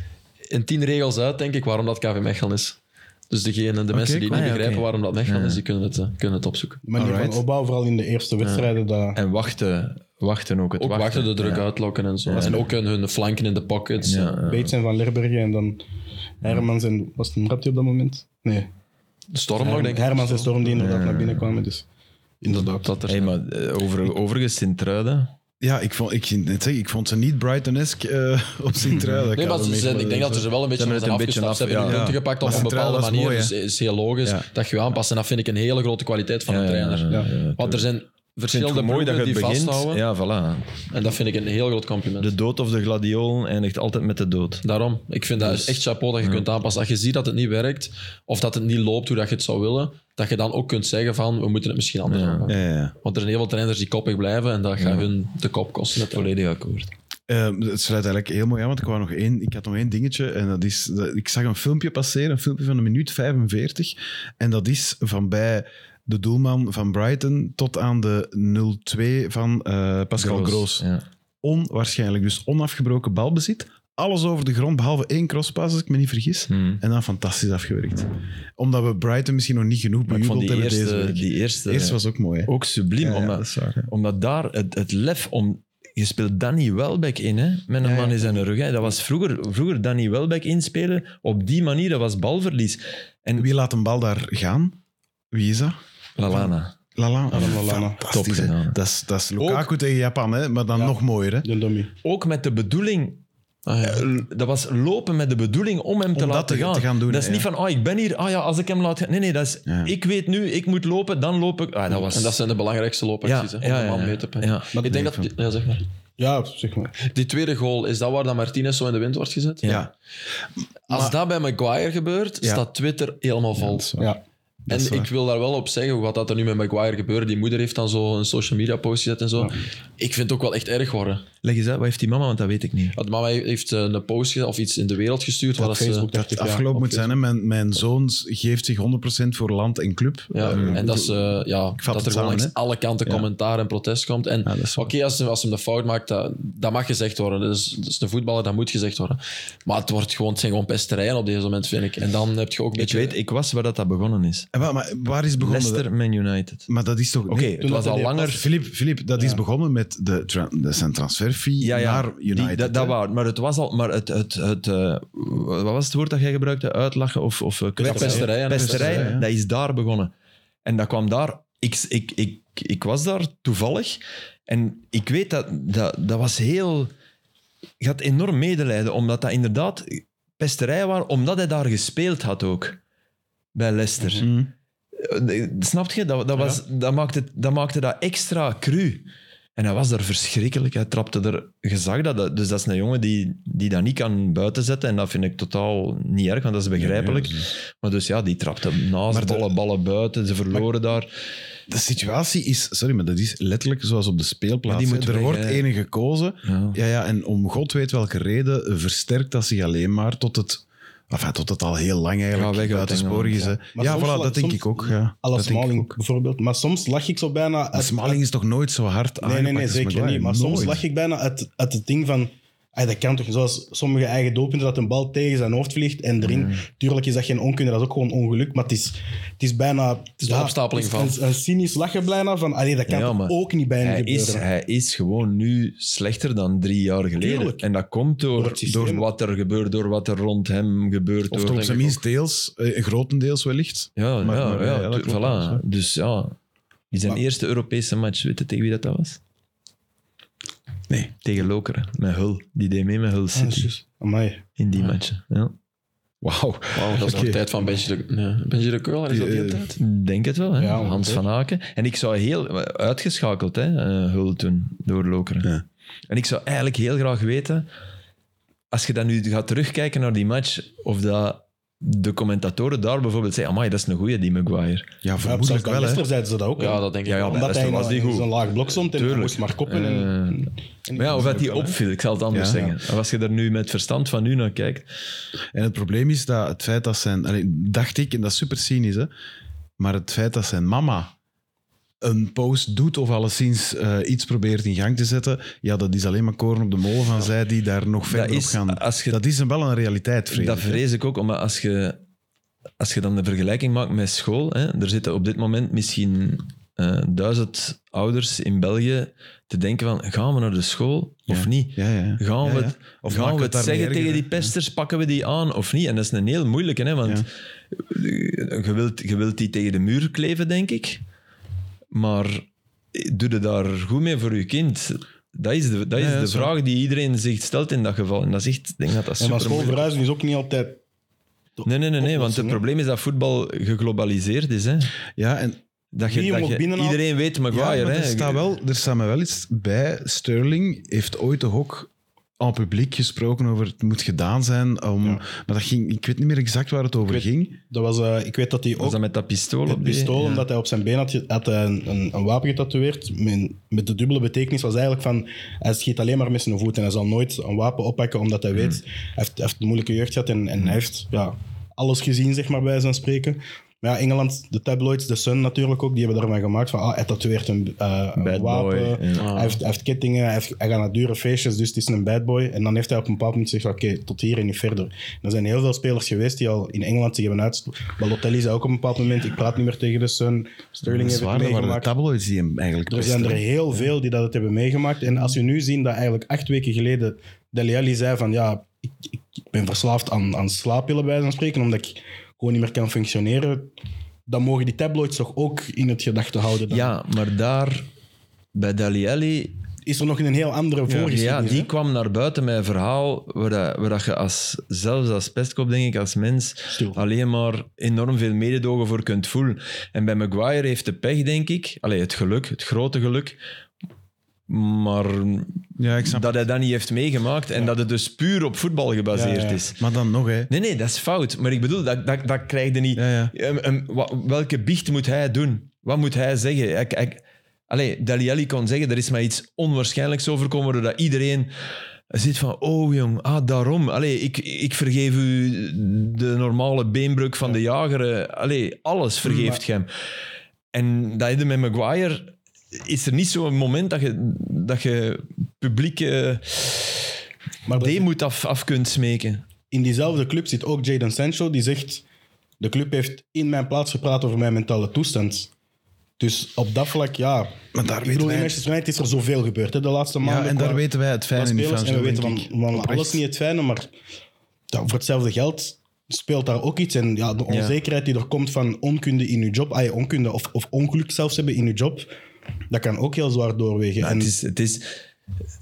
[SPEAKER 3] in tien regels uit, denk ik, waarom dat KV Mechelen is. Dus degene, de mensen die
[SPEAKER 1] cool.
[SPEAKER 3] niet
[SPEAKER 2] Ah, ja,
[SPEAKER 3] begrijpen
[SPEAKER 2] oké.
[SPEAKER 3] waarom dat Mechelen is, die kunnen het, eh, kunnen het opzoeken.
[SPEAKER 4] De manier
[SPEAKER 1] Alright.
[SPEAKER 4] van opbouw, vooral in de eerste wedstrijden, dat...
[SPEAKER 2] En wachten, wachten ook. Het
[SPEAKER 3] Ook wachten, de druk
[SPEAKER 2] Ja.
[SPEAKER 3] uitlokken en zo. En ook hun, hun flanken in de pockets.
[SPEAKER 2] Ja, ja.
[SPEAKER 4] Bates en Van Lerbergen en dan Hermans en... Was het een rapje op dat moment? Nee.
[SPEAKER 3] De storm nog, denk ik.
[SPEAKER 4] Hermans en Storm die inderdaad naar binnen kwamen, dus... Inderdaad.
[SPEAKER 3] Dat er
[SPEAKER 2] Hey, maar eh, over, overigens, Sint-Truiden.
[SPEAKER 1] Ja, ik vond, ik, ging net zeggen, ik vond ze niet Brighton-esque eh, op Sint-Truiden.
[SPEAKER 3] Nee, maar ze zijn, ik denk dat ze er wel een beetje
[SPEAKER 2] Zijn
[SPEAKER 3] van
[SPEAKER 2] er
[SPEAKER 3] zijn
[SPEAKER 2] het een beetje
[SPEAKER 3] afgestapt. Ze
[SPEAKER 2] af,
[SPEAKER 3] hebben hun
[SPEAKER 1] ja.
[SPEAKER 3] punten gepakt op
[SPEAKER 1] Maar
[SPEAKER 3] een
[SPEAKER 1] centraal,
[SPEAKER 3] bepaalde
[SPEAKER 1] dat is
[SPEAKER 3] manier.
[SPEAKER 1] mooi,
[SPEAKER 3] dus
[SPEAKER 1] hè?
[SPEAKER 3] het is heel logisch
[SPEAKER 1] Ja.
[SPEAKER 3] dat je je aanpast. En dat vind ik een hele grote kwaliteit van een trainer. Want er zijn verschillende
[SPEAKER 2] mooi dat
[SPEAKER 3] ploegen
[SPEAKER 2] je het
[SPEAKER 3] die
[SPEAKER 2] begint.
[SPEAKER 3] vasthouden.
[SPEAKER 2] Ja, voilà.
[SPEAKER 3] En dat vind ik een heel groot compliment.
[SPEAKER 2] De dood of de gladiolen eindigt altijd met de dood.
[SPEAKER 3] Daarom, ik vind dat echt chapeau dat je kunt aanpassen. Als je ziet dat het niet werkt, of dat het niet loopt hoe dat je het zou willen, dat je dan ook kunt zeggen van, we moeten het misschien anders aanpakken.
[SPEAKER 2] Ja, ja, ja.
[SPEAKER 3] Want er zijn heel veel trainers die koppig blijven en dat gaat hun de kop kosten.
[SPEAKER 2] Volledig akkoord.
[SPEAKER 1] Eh, het sluit eigenlijk heel mooi aan, want ik, wou nog één, ik had nog één dingetje. En dat is, dat- ik zag een filmpje passeren, een filmpje van een minuut 45. En dat is van bij de doelman van Brighton tot aan de 0-2 van eh, Pascal Groos.
[SPEAKER 2] Ja.
[SPEAKER 1] Onwaarschijnlijk, dus onafgebroken balbezit. Alles over de grond, behalve één crosspass, als ik me niet vergis.
[SPEAKER 2] Hmm.
[SPEAKER 1] En dan fantastisch afgewerkt. Omdat we Brighton misschien nog niet genoeg
[SPEAKER 2] Maar ik vond
[SPEAKER 1] bejubeld
[SPEAKER 2] die
[SPEAKER 1] hebben deze
[SPEAKER 2] eerste,
[SPEAKER 1] week.
[SPEAKER 2] die eerste,
[SPEAKER 1] Eerst was ook mooi. hè?
[SPEAKER 2] ook subliem.
[SPEAKER 1] Ja, ja,
[SPEAKER 2] omdat,
[SPEAKER 1] dat is waar, ja.
[SPEAKER 2] omdat daar het, het lef om... Je speelt Danny Welbeck in, hè? met een
[SPEAKER 1] Ja, ja.
[SPEAKER 2] man in zijn rug. Hè? Dat was vroeger, vroeger Danny Welbeck inspelen. Op die manier, dat was balverlies. En
[SPEAKER 1] Wie laat een bal daar gaan? Wie is dat?
[SPEAKER 2] Lalana.
[SPEAKER 1] Lala.
[SPEAKER 4] Adam Lallana.
[SPEAKER 1] Fantastisch,
[SPEAKER 2] Top
[SPEAKER 1] hè.
[SPEAKER 2] gedaan, hè.
[SPEAKER 1] Dat is, dat is Lukaku tegen Japan, hè? maar dan nog mooier. Hè?
[SPEAKER 4] De dummy.
[SPEAKER 2] Ook met de bedoeling... eh, l- Dat was lopen met de bedoeling om hem te
[SPEAKER 1] Om dat
[SPEAKER 2] laten
[SPEAKER 1] te-
[SPEAKER 2] gaan.
[SPEAKER 1] te gaan doen,
[SPEAKER 2] dat is
[SPEAKER 1] hè,
[SPEAKER 2] niet
[SPEAKER 1] ja.
[SPEAKER 2] van, ah, ik ben hier, ah ja, als ik hem laat gaan. Nee, nee, dat is,
[SPEAKER 1] Ja.
[SPEAKER 2] ik weet nu, ik moet lopen, dan loop ik. Ah, dat was...
[SPEAKER 3] En dat zijn de belangrijkste loopacties, hè, om een man mee te pakken.
[SPEAKER 2] ja.
[SPEAKER 4] Maar
[SPEAKER 3] Ik denk dat... Ja, zeg maar.
[SPEAKER 4] Ja, zeg maar.
[SPEAKER 3] Die tweede goal, is dat waar dat Martinez zo in de wind wordt gezet?
[SPEAKER 1] Ja.
[SPEAKER 3] Als dat bij Maguire gebeurt,
[SPEAKER 1] Ja.
[SPEAKER 3] staat Twitter helemaal vol.
[SPEAKER 4] Ja.
[SPEAKER 1] dat is
[SPEAKER 3] en ik
[SPEAKER 1] waar.
[SPEAKER 3] wil daar wel op zeggen, hoe gaat dat er nu met Maguire gebeuren? Die moeder heeft dan zo een social media post gezet en zo. Ik vind het ook wel echt erg worden.
[SPEAKER 2] Leg eens uit, wat heeft die mama, want dat weet ik niet.
[SPEAKER 3] Want mama heeft eh, een post gezet of iets in de wereld gestuurd. Waar
[SPEAKER 4] Op
[SPEAKER 3] dat ze-
[SPEAKER 4] Facebook dacht ik, ja.
[SPEAKER 1] Afgelopen moet zijn, hè? Mijn, mijn zoon geeft zich 100% voor land en club. Eh,
[SPEAKER 3] ja, en dat, ze, eh, ja,
[SPEAKER 1] vat
[SPEAKER 3] dat er
[SPEAKER 1] het
[SPEAKER 3] gewoon
[SPEAKER 1] samen,
[SPEAKER 3] langs
[SPEAKER 1] hè.
[SPEAKER 3] alle kanten commentaar en protest komt. En
[SPEAKER 1] dat is
[SPEAKER 3] oké,
[SPEAKER 1] waar.
[SPEAKER 3] als, ze- als ze hem de fout maakt, dat, dat mag gezegd worden. Dat is, dat is een voetballer, dat moet gezegd worden. Maar het, wordt gewoon, het zijn gewoon pesterijen op deze moment, vind ik. En dan heb je ook een
[SPEAKER 2] Ik
[SPEAKER 3] beetje...
[SPEAKER 2] weet, ik was waar dat, dat begonnen is.
[SPEAKER 1] En wa- maar waar is begonnen?
[SPEAKER 2] Leicester, Man United.
[SPEAKER 1] Maar dat is toch...
[SPEAKER 2] Oké, het was al langer.
[SPEAKER 1] Filip, Filip, dat is begonnen met de, tra- dat zijn transferfee
[SPEAKER 2] Ja, ja,
[SPEAKER 1] naar
[SPEAKER 2] die-
[SPEAKER 1] United.
[SPEAKER 2] dat, dat
[SPEAKER 1] hè.
[SPEAKER 2] wou- maar het was al. Maar het, het, het, eh, wat was het woord dat jij gebruikte? Uitlachen of, of eh,
[SPEAKER 3] Ja,
[SPEAKER 2] Pesterij,
[SPEAKER 3] pesterijen.
[SPEAKER 1] Pesterij, ja.
[SPEAKER 2] dat is daar begonnen. En dat kwam daar. Ik, ik, ik, ik was daar toevallig. En ik weet dat dat, dat was heel. Ik had enorm medelijden, omdat dat inderdaad pesterij was, omdat hij daar gespeeld had ook. Bij Leicester.
[SPEAKER 1] Mhm.
[SPEAKER 2] Eh, Snap je? Dat, dat, was, dat, maakte, dat maakte dat extra cru. En hij was daar verschrikkelijk. Hij trapte er gezag. Dat, dat- dus dat is een jongen die, die dat niet kan buiten zetten. En dat vind ik totaal niet erg, want dat is begrijpelijk. Maar dus ja, die trapte naast
[SPEAKER 1] Maar de-
[SPEAKER 2] ballen, ballen buiten. Ze verloren daar.
[SPEAKER 1] De situatie is... Sorry, maar dat is letterlijk zoals op de speelplaats.
[SPEAKER 2] Maar die
[SPEAKER 1] hè.
[SPEAKER 2] moet
[SPEAKER 1] er
[SPEAKER 2] weg,
[SPEAKER 1] wordt
[SPEAKER 2] hè.
[SPEAKER 1] ene gekozen.
[SPEAKER 2] Ja.
[SPEAKER 1] Ja, ja, en om god weet welke reden eh, versterkt dat zich alleen maar tot het... Enfin, tot het al heel lang
[SPEAKER 2] Ja, weg
[SPEAKER 1] eigenlijk
[SPEAKER 2] uit
[SPEAKER 1] buitensporig is.
[SPEAKER 2] Engeland,
[SPEAKER 1] hè.
[SPEAKER 4] Maar
[SPEAKER 1] Ja,
[SPEAKER 4] soms
[SPEAKER 1] voilà,
[SPEAKER 4] la-
[SPEAKER 1] dat denk
[SPEAKER 4] soms-
[SPEAKER 1] ik ook. Ja.
[SPEAKER 4] Alles
[SPEAKER 1] Dat denk ik ook.
[SPEAKER 4] Smalling bijvoorbeeld. Maar soms lag ik zo bijna.
[SPEAKER 1] Maar
[SPEAKER 4] uit-
[SPEAKER 1] Smalling is Ah, toch nooit zo hard
[SPEAKER 4] Nee, nee,
[SPEAKER 1] aangepakt
[SPEAKER 4] nee,
[SPEAKER 1] als
[SPEAKER 4] zeker
[SPEAKER 1] Maguire?
[SPEAKER 4] niet. Maar soms
[SPEAKER 1] Nooit.
[SPEAKER 4] lag ik bijna uit, uit het ding van... ah, dat kan toch, zoals sommige eigen doelpunten, dat een bal tegen zijn hoofd vliegt en erin. Tuurlijk is dat geen onkunde, dat is ook gewoon ongeluk. Maar het is, het is bijna... Het
[SPEAKER 3] is de opstapeling
[SPEAKER 4] het is Een, een cynisch lachen bijna van... Allee, dat kan
[SPEAKER 2] Ja,
[SPEAKER 4] toch
[SPEAKER 2] maar
[SPEAKER 4] ook niet bijna
[SPEAKER 2] Hij is,
[SPEAKER 4] gebeuren.
[SPEAKER 2] hij is gewoon nu slechter dan drie jaar geleden.
[SPEAKER 4] Tuurlijk.
[SPEAKER 2] En dat komt door,
[SPEAKER 4] Door het
[SPEAKER 2] door,
[SPEAKER 4] systeem.
[SPEAKER 2] wat er gebeurt, door wat er rond hem gebeurt.
[SPEAKER 1] Of
[SPEAKER 2] door-
[SPEAKER 1] toch op zijn minst deels, eh, grotendeels wellicht.
[SPEAKER 2] Ja,
[SPEAKER 1] Maar-
[SPEAKER 2] ja,
[SPEAKER 1] maar,
[SPEAKER 2] ja,
[SPEAKER 1] ja, dat
[SPEAKER 2] tu-
[SPEAKER 1] klopt, dat
[SPEAKER 2] voilà.
[SPEAKER 1] is
[SPEAKER 2] Dus ja, die zijn
[SPEAKER 4] Maar-
[SPEAKER 2] eerste Europese match, weet je tegen wie dat, dat was?
[SPEAKER 1] Nee.
[SPEAKER 2] Tegen Lokeren, met Hull. Die deed mee met Hull
[SPEAKER 4] Ah, dat is
[SPEAKER 2] City
[SPEAKER 4] juist. Amai.
[SPEAKER 2] in die match. Ja.
[SPEAKER 1] Wauw.
[SPEAKER 3] Wauw, dat is nog
[SPEAKER 1] Oké. eh,
[SPEAKER 3] tijd van Benji de, nee, Benji de Keuler, is dat die tijd?
[SPEAKER 2] Denk het wel, hè?
[SPEAKER 4] Ja,
[SPEAKER 2] Hans
[SPEAKER 4] ongeveer.
[SPEAKER 2] van Aken. En ik zou heel uitgeschakeld, hè, eh, Hull toen, door Lokeren.
[SPEAKER 1] Ja.
[SPEAKER 2] En ik zou eigenlijk heel graag weten, als je dan nu gaat terugkijken naar die match, of dat de commentatoren daar bijvoorbeeld zeggen, amai, dat is een goeie, die Maguire.
[SPEAKER 1] Ja,
[SPEAKER 4] Ja, op zelfs
[SPEAKER 1] vermoedelijk
[SPEAKER 4] bij
[SPEAKER 1] wel, hè.
[SPEAKER 4] Leicester zeiden ze dat ook. hè.
[SPEAKER 3] Ja, dat denk ik
[SPEAKER 2] Ja, ja,
[SPEAKER 3] wel.
[SPEAKER 2] maar-
[SPEAKER 4] Omdat hij
[SPEAKER 2] Leicester was die
[SPEAKER 4] in, in
[SPEAKER 2] goed.
[SPEAKER 4] zo'n laag blok stond en hij
[SPEAKER 2] Tuurlijk.
[SPEAKER 4] moest maar koppen. en,
[SPEAKER 2] Eh,
[SPEAKER 4] en-
[SPEAKER 2] Maar ja, of dat die
[SPEAKER 4] wel, hè.
[SPEAKER 2] opviel, ik zal het
[SPEAKER 1] Ja.
[SPEAKER 2] anders zeggen. Maar Als je er nu met verstand van nu naar kijkt.
[SPEAKER 1] En het probleem is dat het feit dat zijn... allee, dacht ik, en dat is super cynisch, hè. Maar het feit dat zijn mama een post doet of alleszins eh, iets probeert in gang te zetten, ja, dat is alleen maar koren op de molen van zij die daar nog verder
[SPEAKER 2] is- ah,
[SPEAKER 1] op gaan.
[SPEAKER 2] als je-
[SPEAKER 1] dat is een- wel een realiteit, vrees
[SPEAKER 2] dat
[SPEAKER 1] ik, hè.
[SPEAKER 2] vrees ik ook, omdat als je, als je dan de vergelijking maakt met school. Hè, er zitten op dit moment misschien eh, duizend ouders in België te denken van, gaan we naar de school of niet?
[SPEAKER 1] Ja, ja.
[SPEAKER 2] Gaan
[SPEAKER 1] Ja,
[SPEAKER 2] we
[SPEAKER 1] ja.
[SPEAKER 2] het,
[SPEAKER 1] Of maken
[SPEAKER 2] gaan we
[SPEAKER 1] we
[SPEAKER 2] het
[SPEAKER 1] het daarmee
[SPEAKER 2] zeggen tegen
[SPEAKER 1] erger,
[SPEAKER 2] die pesters, pakken we die aan of niet? En dat is een heel moeilijke, hè, want je, wilt, je wilt die tegen de muur kleven, denk ik. Maar doe je daar goed mee voor je kind? dat is de, dat is
[SPEAKER 1] Ja, ja,
[SPEAKER 2] de
[SPEAKER 1] zo.
[SPEAKER 2] vraag die iedereen zich stelt in dat geval. En dat is echt, ik denk dat dat
[SPEAKER 4] Ja,
[SPEAKER 2] super
[SPEAKER 4] maar schoolverhuizen is ook niet altijd...
[SPEAKER 2] Nee, nee, nee, nee, want het
[SPEAKER 4] oplossing, hè?
[SPEAKER 2] probleem is dat voetbal geglobaliseerd is. Hè.
[SPEAKER 1] Ja, en
[SPEAKER 2] Dat je,
[SPEAKER 4] Wie hem
[SPEAKER 2] dat
[SPEAKER 4] ook
[SPEAKER 2] je-
[SPEAKER 4] binnenhaalt.
[SPEAKER 2] iedereen weet Maguire.
[SPEAKER 1] Ja, maar
[SPEAKER 2] hè.
[SPEAKER 1] er, staat wel, er staat me wel iets bij. Sterling heeft ooit toch ook aan publiek gesproken over het moet gedaan zijn. Om,
[SPEAKER 4] Ja.
[SPEAKER 1] Maar dat ging, ik weet niet meer exact waar het over
[SPEAKER 4] Ik weet-
[SPEAKER 1] ging.
[SPEAKER 4] Dat was, eh, ik weet dat hij
[SPEAKER 2] Was
[SPEAKER 4] ook
[SPEAKER 2] dat met dat pistool
[SPEAKER 4] Het
[SPEAKER 2] op die-
[SPEAKER 4] pistool,
[SPEAKER 2] ja.
[SPEAKER 4] omdat hij op zijn been had, ge- had hij een, een, een wapen getatoeëerd. Met, met de dubbele betekenis was eigenlijk van... Hij schiet alleen maar met zijn voet en hij zal nooit een wapen oppakken, omdat
[SPEAKER 2] Mm.
[SPEAKER 4] hij weet... Hij heeft, hij heeft een moeilijke jeugd gehad en, en hij heeft ja, alles gezien, zeg maar, bij zijn spreken. Maar ja, Engeland, de tabloids, de Sun natuurlijk ook, die hebben daarvan gemaakt van... Ah, hij tatoeëert een, eh, een
[SPEAKER 2] Bad
[SPEAKER 4] wapen,
[SPEAKER 2] boy, ja.
[SPEAKER 4] hij, heeft, hij heeft kettingen, hij, heeft- hij gaat naar dure feestjes, dus het is een bad boy. En dan heeft hij op een bepaald moment gezegd, oké, tot hier en niet verder. En er zijn heel veel spelers geweest die al in Engeland zich hebben uit... Balotelli zei ook op een bepaald moment, ik praat niet meer tegen de Sun. Sterling heeft het
[SPEAKER 1] Zwaar, dat waren de
[SPEAKER 4] meegemaakt.
[SPEAKER 1] tabloids die hem eigenlijk
[SPEAKER 4] Er zijn er
[SPEAKER 1] pesten.
[SPEAKER 4] heel veel die dat het hebben meegemaakt. En als je nu ziet dat eigenlijk acht weken geleden Dele Alli zei van ja, ik, ik ik ben verslaafd aan, aan slaappillen bij zijn spreken, omdat ik gewoon niet meer kan functioneren, dan mogen die tabloids toch ook in het gedachte houden. Dan
[SPEAKER 2] Ja, maar daar bij Dali Alli,
[SPEAKER 4] Is er nog een heel andere voorgeschiedenis?
[SPEAKER 2] ja,
[SPEAKER 4] hè?
[SPEAKER 2] die kwam naar buiten met een verhaal waar, dat, waar dat je als, zelfs als pestkop, denk ik, als mens
[SPEAKER 4] Stil.
[SPEAKER 2] alleen maar enorm veel mededogen voor kunt voelen. En bij Maguire heeft de pech, denk ik, allee, het geluk, het grote geluk, maar
[SPEAKER 1] Ja, ik snap.
[SPEAKER 2] dat hij dat niet heeft meegemaakt en dat het dus puur op voetbal gebaseerd
[SPEAKER 4] Ja, ja.
[SPEAKER 2] is.
[SPEAKER 1] Maar dan nog, hè.
[SPEAKER 2] Nee, nee, dat is fout. Maar ik bedoel, dat, dat, dat krijg je niet.
[SPEAKER 1] Ja, ja.
[SPEAKER 2] Ehm, ehm, wa- welke biecht moet hij doen? Wat moet hij zeggen? Ik, ik, allee, Dali Alli kon zeggen, er is mij iets onwaarschijnlijks overkomen, doordat iedereen zit van, oh jong, ah, daarom. Allee, ik, ik vergeef u de normale beenbreuk van de jager. eh. Allee, alles vergeeft je hem. En dat je met Maguire... Is er niet zo'n moment dat je, dat je publieke
[SPEAKER 4] Maar dat-
[SPEAKER 2] deemoed af, af kunt smeken?
[SPEAKER 4] in diezelfde club zit ook Jadon Sancho, die zegt: De club heeft in mijn plaats gepraat over mijn mentale toestand. Dus op dat vlak, ja.
[SPEAKER 1] Maar daar weten
[SPEAKER 4] ik bedoel, in
[SPEAKER 1] wij-
[SPEAKER 4] Manchester United is er zoveel gebeurd hè, de laatste maanden.
[SPEAKER 1] Ja, en
[SPEAKER 4] qua-
[SPEAKER 1] daar weten wij het
[SPEAKER 4] qua
[SPEAKER 1] fijne niet
[SPEAKER 4] spelers.
[SPEAKER 1] van.
[SPEAKER 4] En we
[SPEAKER 1] zo,
[SPEAKER 4] weten
[SPEAKER 1] denk
[SPEAKER 4] van,
[SPEAKER 1] ik.
[SPEAKER 4] van
[SPEAKER 1] Oprecht.
[SPEAKER 4] alles niet het fijne, maar ja, voor hetzelfde geld speelt daar ook iets. En ja, de onzekerheid die er komt van onkunde in je job, ah, ja, onkunde of, of ongeluk zelfs hebben in je job, dat kan ook heel zwaar doorwegen.
[SPEAKER 2] Ja,
[SPEAKER 4] en
[SPEAKER 2] het, is, het, is,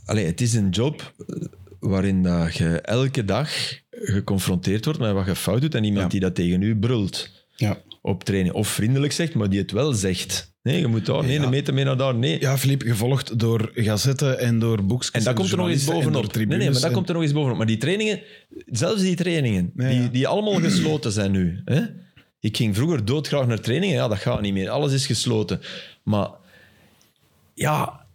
[SPEAKER 2] allee, het is een job eh, waarin dat je elke dag geconfronteerd wordt met wat je fout doet en iemand die dat tegen u brult
[SPEAKER 4] ja,
[SPEAKER 2] op training. Of vriendelijk zegt, maar die het wel zegt. Nee, je moet daar, nee, een meter mee naar daar, nee.
[SPEAKER 1] Ja, Filip, gevolgd door gazetten en door boekjes.
[SPEAKER 2] En dat komt er nog eens
[SPEAKER 1] journalisten en
[SPEAKER 2] bovenop.
[SPEAKER 1] door
[SPEAKER 2] Nee, nee, maar
[SPEAKER 1] tribunes
[SPEAKER 2] dat
[SPEAKER 1] en-
[SPEAKER 2] komt er nog eens bovenop. Maar die trainingen, zelfs die trainingen,
[SPEAKER 1] Ja, ja.
[SPEAKER 2] die, die allemaal gesloten zijn nu. Hè? Ik ging vroeger doodgraag naar trainingen. Ja, dat gaat niet meer. Alles is gesloten. Maar ja,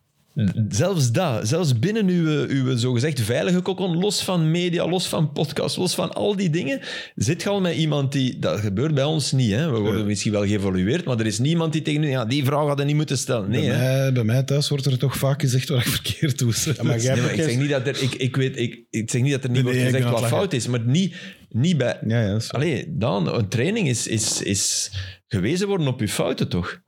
[SPEAKER 2] zelfs dat, zelfs binnen uw, uw zogezegd veilige kokon, los van media, los van podcasts, los van al die dingen, zit je al met iemand die... Dat gebeurt bij ons niet, hè. We worden misschien wel geëvolueerd, maar er is niemand die tegen u... Ja, die vraag hadden niet moeten stellen. Nee,
[SPEAKER 1] bij,
[SPEAKER 2] hè.
[SPEAKER 1] mij, bij mij thuis wordt er toch vaak gezegd wat ik verkeerd doe. Ja,
[SPEAKER 4] maar jij-
[SPEAKER 2] Nee, maar ik zeg niet dat er, ik, ik weet, ik, ik zeg niet dat er
[SPEAKER 1] Nee,
[SPEAKER 2] niet wordt
[SPEAKER 1] nee, ik
[SPEAKER 2] gezegd
[SPEAKER 1] ben
[SPEAKER 2] wat
[SPEAKER 1] aan het lachen.
[SPEAKER 2] fout is, maar niet, niet bij.
[SPEAKER 1] ja, ja, dat is waar.
[SPEAKER 2] Allee, dan, een training is, is, is gewezen worden op je fouten toch?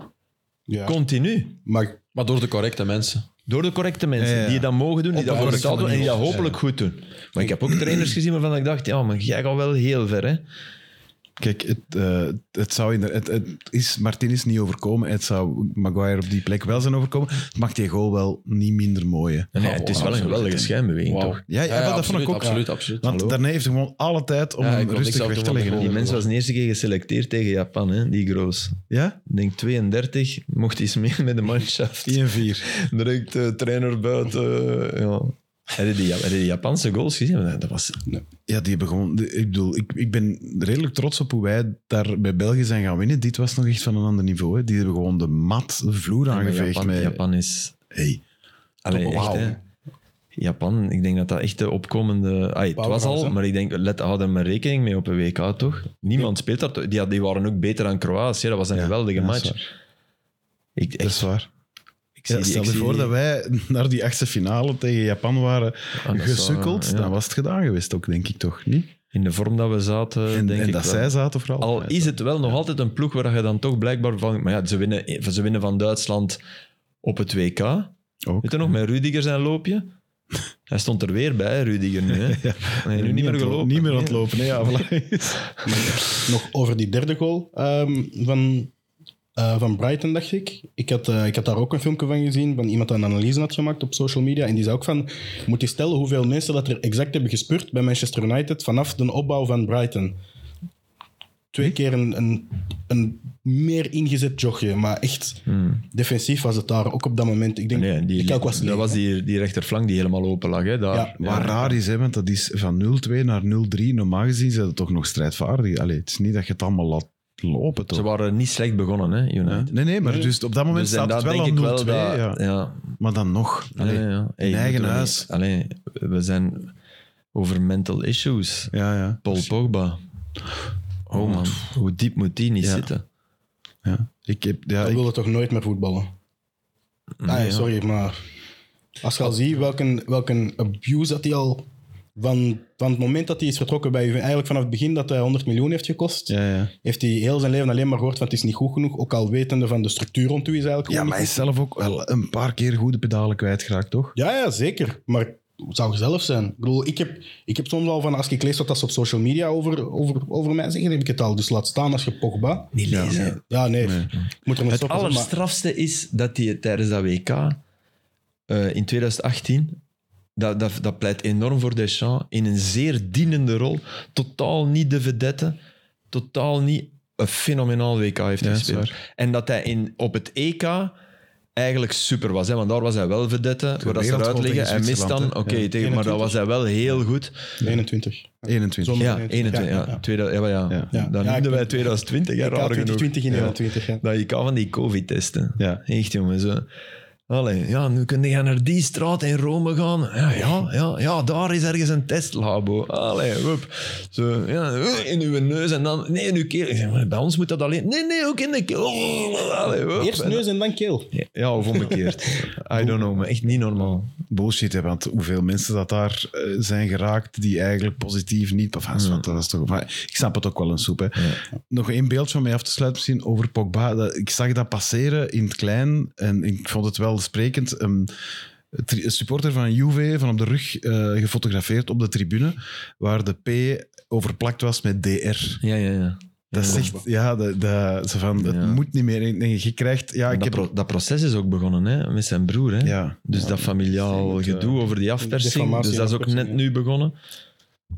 [SPEAKER 4] ja.
[SPEAKER 2] Continu.
[SPEAKER 4] maar
[SPEAKER 3] Maar door de correcte mensen.
[SPEAKER 2] Door de correcte mensen
[SPEAKER 1] Ja, ja.
[SPEAKER 2] die dat mogen doen, die dat voor
[SPEAKER 1] de
[SPEAKER 2] de staat doen en die dat
[SPEAKER 1] manier.
[SPEAKER 2] hopelijk goed doen. Maar ik heb ook trainers gezien waarvan ik dacht, ja, maar jij gaat wel heel ver, hè?
[SPEAKER 1] Kijk, het, eh, het zou inder- het, het is Martinez niet overkomen. Het zou Maguire op die plek wel zijn overkomen. Het mag die goal wel niet minder mooi. hè.
[SPEAKER 2] Nee, het is wel een geweldige schijnbeweging,
[SPEAKER 3] Wauw.
[SPEAKER 2] toch?
[SPEAKER 1] Ja, ja,
[SPEAKER 3] absoluut,
[SPEAKER 1] dat vond ik ook.
[SPEAKER 3] Absoluut, absoluut.
[SPEAKER 1] Want
[SPEAKER 3] Hallo.
[SPEAKER 1] daarna heeft hij gewoon alle tijd om
[SPEAKER 3] Ja, ik
[SPEAKER 1] hem
[SPEAKER 3] wil
[SPEAKER 1] rustig
[SPEAKER 3] niks
[SPEAKER 1] weg te
[SPEAKER 3] afdoen
[SPEAKER 1] leggen.
[SPEAKER 3] van
[SPEAKER 2] Die
[SPEAKER 1] hè.
[SPEAKER 3] goal.
[SPEAKER 2] mens was de eerste keer geselecteerd tegen Japan, hè? die groos.
[SPEAKER 1] Ja?
[SPEAKER 2] Ik denk 32, mocht iets mee met de manschaft.
[SPEAKER 1] 1 en 4.
[SPEAKER 2] Direct eh, trainer buiten. eh, ja. Heb je die, heb je die Japanse goals gezien? Dat dat was,
[SPEAKER 1] Ja, die hebben gewoon... Ik bedoel, ik, ik ben redelijk trots op hoe wij daar bij België zijn gaan winnen. Dit was nog echt van een ander niveau. Hè. Die hebben gewoon de mat, de vloer aangeveegd.
[SPEAKER 2] Japan,
[SPEAKER 1] met,
[SPEAKER 2] Japan is...
[SPEAKER 1] Hey.
[SPEAKER 2] Allee,
[SPEAKER 1] Oh,
[SPEAKER 2] echt,
[SPEAKER 1] wauw.
[SPEAKER 2] hè. Japan, ik denk dat dat echt de opkomende... Ai, het was
[SPEAKER 4] Powerhouse,
[SPEAKER 2] al,
[SPEAKER 4] hè?
[SPEAKER 2] maar ik denk, let, hou daar maar rekening mee op een WK, toch? Niemand speelt dat. Die, had- die waren ook beter dan Kroatië. Dat was een
[SPEAKER 1] Ja,
[SPEAKER 2] geweldige
[SPEAKER 1] ja, dat is
[SPEAKER 2] match. Ik,
[SPEAKER 1] Dat is
[SPEAKER 2] echt,
[SPEAKER 1] waar.
[SPEAKER 2] ik
[SPEAKER 1] Ja,
[SPEAKER 2] zie die-
[SPEAKER 1] stel
[SPEAKER 2] ik
[SPEAKER 1] je
[SPEAKER 2] zie
[SPEAKER 1] voor
[SPEAKER 2] die-
[SPEAKER 1] dat wij naar die achtste finale tegen Japan waren
[SPEAKER 2] Ah, dat is
[SPEAKER 1] gesukkeld.
[SPEAKER 2] wel, ja.
[SPEAKER 1] Dan was het gedaan geweest ook, denk ik toch? Niet?
[SPEAKER 2] In de vorm dat we zaten,
[SPEAKER 1] En,
[SPEAKER 2] denk
[SPEAKER 1] en
[SPEAKER 2] ik
[SPEAKER 1] dat
[SPEAKER 2] wel.
[SPEAKER 1] zij zaten vooral.
[SPEAKER 2] Al is het wel nog altijd een ploeg waar je dan toch blijkbaar van... Maar ja, ze winnen, ze winnen van Duitsland op het WK.
[SPEAKER 1] Ook.
[SPEAKER 2] Weet je nog, met Rudiger zijn loopje? Hij stond er weer bij, hè, Rudiger, nu. Hè. Hij heeft nu niet
[SPEAKER 1] aan
[SPEAKER 2] meer
[SPEAKER 1] het lo-
[SPEAKER 2] gelopen.
[SPEAKER 1] Niet meer aan het
[SPEAKER 2] Nee.
[SPEAKER 1] lopen, nee, ja, voilà.
[SPEAKER 4] nog over die derde goal ehm, van eh, van Brighton, dacht ik. Ik had, eh, ik had daar ook een filmpje van gezien, van iemand die een analyse had gemaakt op social media. En die zei ook van, moet je stellen hoeveel mensen dat er exact hebben gespeurd bij Manchester United vanaf de opbouw van Brighton. Twee keer een, een, een meer ingezet jogje, maar echt defensief was het daar ook op dat moment. Ik denk,
[SPEAKER 2] Hmm. Nee, die,
[SPEAKER 4] ik ook was leeg.
[SPEAKER 2] dat was die, die rechterflank die helemaal open lag. Hè, daar.
[SPEAKER 4] Ja.
[SPEAKER 1] Wat raar is, hè, want dat is van 0-2 naar 0-3. Normaal gezien zijn dat toch nog strijdvaardig. Allee, het is niet dat je het allemaal laat lopen,
[SPEAKER 2] Ze
[SPEAKER 1] toch?
[SPEAKER 2] waren niet slecht begonnen, hè, United.
[SPEAKER 1] Nee, nee, maar dus op dat moment
[SPEAKER 2] Dus en
[SPEAKER 1] staat het
[SPEAKER 2] dat
[SPEAKER 1] wel
[SPEAKER 2] denk
[SPEAKER 1] aan 0-2.
[SPEAKER 2] ik wel dat-
[SPEAKER 1] ja.
[SPEAKER 2] ja.
[SPEAKER 1] Maar dan nog. Allee,
[SPEAKER 2] ja, ja. Hey,
[SPEAKER 1] in eigen
[SPEAKER 2] moeten we
[SPEAKER 1] huis.
[SPEAKER 2] niet- allee, we zijn over mental issues.
[SPEAKER 1] Ja, ja.
[SPEAKER 2] Paul Pogba. Oh man, hoe diep moet die niet
[SPEAKER 1] Ja.
[SPEAKER 2] zitten?
[SPEAKER 1] ja. Ik heb, ja,
[SPEAKER 4] Hij
[SPEAKER 1] ik-
[SPEAKER 4] wilde toch nooit meer voetballen? Ah, ja, sorry, maar als je al ziet welke, welke abuse dat hij al... Van, van het moment dat hij is vertrokken bij Juventus, eigenlijk vanaf het begin dat hij 100 miljoen heeft gekost,
[SPEAKER 1] ja, ja.
[SPEAKER 4] heeft hij heel zijn leven alleen maar gehoord van het is niet goed genoeg, ook al wetende van de structuur rond u is eigenlijk
[SPEAKER 1] ja,
[SPEAKER 4] gewoon
[SPEAKER 1] maar hij
[SPEAKER 4] niet
[SPEAKER 1] is zelf ook wel een paar keer goede pedalen kwijtgeraakt, toch?
[SPEAKER 4] goed. ja, ja, zeker. Maar het zou zelf zijn. Ik bedoel, ik heb, ik heb soms al van als ik lees wat dat ze op social media over, over, over mij zeggen, heb ik het al. Dus laat staan als je Pogba...
[SPEAKER 2] Niet lezen.
[SPEAKER 4] Ja, nee. Ik moet er mee
[SPEAKER 2] Het
[SPEAKER 4] stoppen. maar-
[SPEAKER 2] allerstrafste is dat hij tijdens dat WK eh, in 2018, dat, dat, dat pleit enorm voor Deschamps, in een zeer dienende rol, totaal niet de vedette, totaal niet een fenomenaal WK heeft
[SPEAKER 1] Ja, dat
[SPEAKER 2] gespeeld.
[SPEAKER 1] is
[SPEAKER 2] En dat hij in, op het EK eigenlijk super was, hè, want daar was hij wel vedette, waar dat ze
[SPEAKER 1] wereldgoal
[SPEAKER 2] eruit liggen.
[SPEAKER 1] tegen
[SPEAKER 2] Hij mist dan,
[SPEAKER 1] Zwitserland,
[SPEAKER 2] oké,
[SPEAKER 1] hè. Ja.
[SPEAKER 2] tegen- maar daar was hij wel heel goed.
[SPEAKER 4] 21.
[SPEAKER 1] 21.
[SPEAKER 4] Zo-
[SPEAKER 2] Ja,
[SPEAKER 4] 21,
[SPEAKER 2] 21,
[SPEAKER 4] ja,
[SPEAKER 2] ja.
[SPEAKER 4] ja.
[SPEAKER 2] Tweede- ja, ja.
[SPEAKER 1] Ja.
[SPEAKER 4] Ja.
[SPEAKER 2] Dan
[SPEAKER 4] Ja, ik
[SPEAKER 2] noemden wij
[SPEAKER 4] ben-
[SPEAKER 2] 2020, ja,
[SPEAKER 4] Ja,
[SPEAKER 2] raar genoeg.
[SPEAKER 4] 2020 in
[SPEAKER 2] Ja.
[SPEAKER 4] 21, ja.
[SPEAKER 2] Dat je kan van die COVID-testen.
[SPEAKER 1] Ja.
[SPEAKER 2] Echt, jongens. hè. Allee, ja, nu kun je naar die straat in Rome gaan. Ja, ja, ja, ja daar is ergens een testlabo. Allee, hup. Zo, ja, eh, in uw neus en dan... Nee, in uw keel. Ik zeg, maar Bij ons moet dat alleen... Nee, nee, ook in de keel. Allee, hup.
[SPEAKER 4] Eerst neus en dan keel.
[SPEAKER 2] Ja, of omgekeerd. I don't know, maar echt niet normaal.
[SPEAKER 1] bullshit, hè, want hoeveel mensen dat daar eh, zijn geraakt die eigenlijk positief niet... Enfin, zwart, dat is toch, maar ik snap het ook wel een soep. Hè. Nog één beeld van mij af te sluiten misschien over Pogba. Dat, ik zag dat passeren in het klein en ik vond het wel sprekend. Een tri- een supporter van Juve, van op de rug, eh, gefotografeerd op de tribune, waar de P overplakt was met DR.
[SPEAKER 2] Ja, ja, ja.
[SPEAKER 1] Dat zegt, ja, dat, dat, zo van, het
[SPEAKER 2] Ja.
[SPEAKER 1] moet niet meer. Ik denk, Je krijgt, ja, ik
[SPEAKER 2] dat,
[SPEAKER 1] heb...
[SPEAKER 2] pro- dat proces is ook begonnen hè, met zijn broer. Hè.
[SPEAKER 1] Ja.
[SPEAKER 2] Dus dat familiaal gedoe over die afpersing.
[SPEAKER 4] Defamatie
[SPEAKER 2] Dus dat is ook
[SPEAKER 4] afpersing,
[SPEAKER 2] net nu begonnen.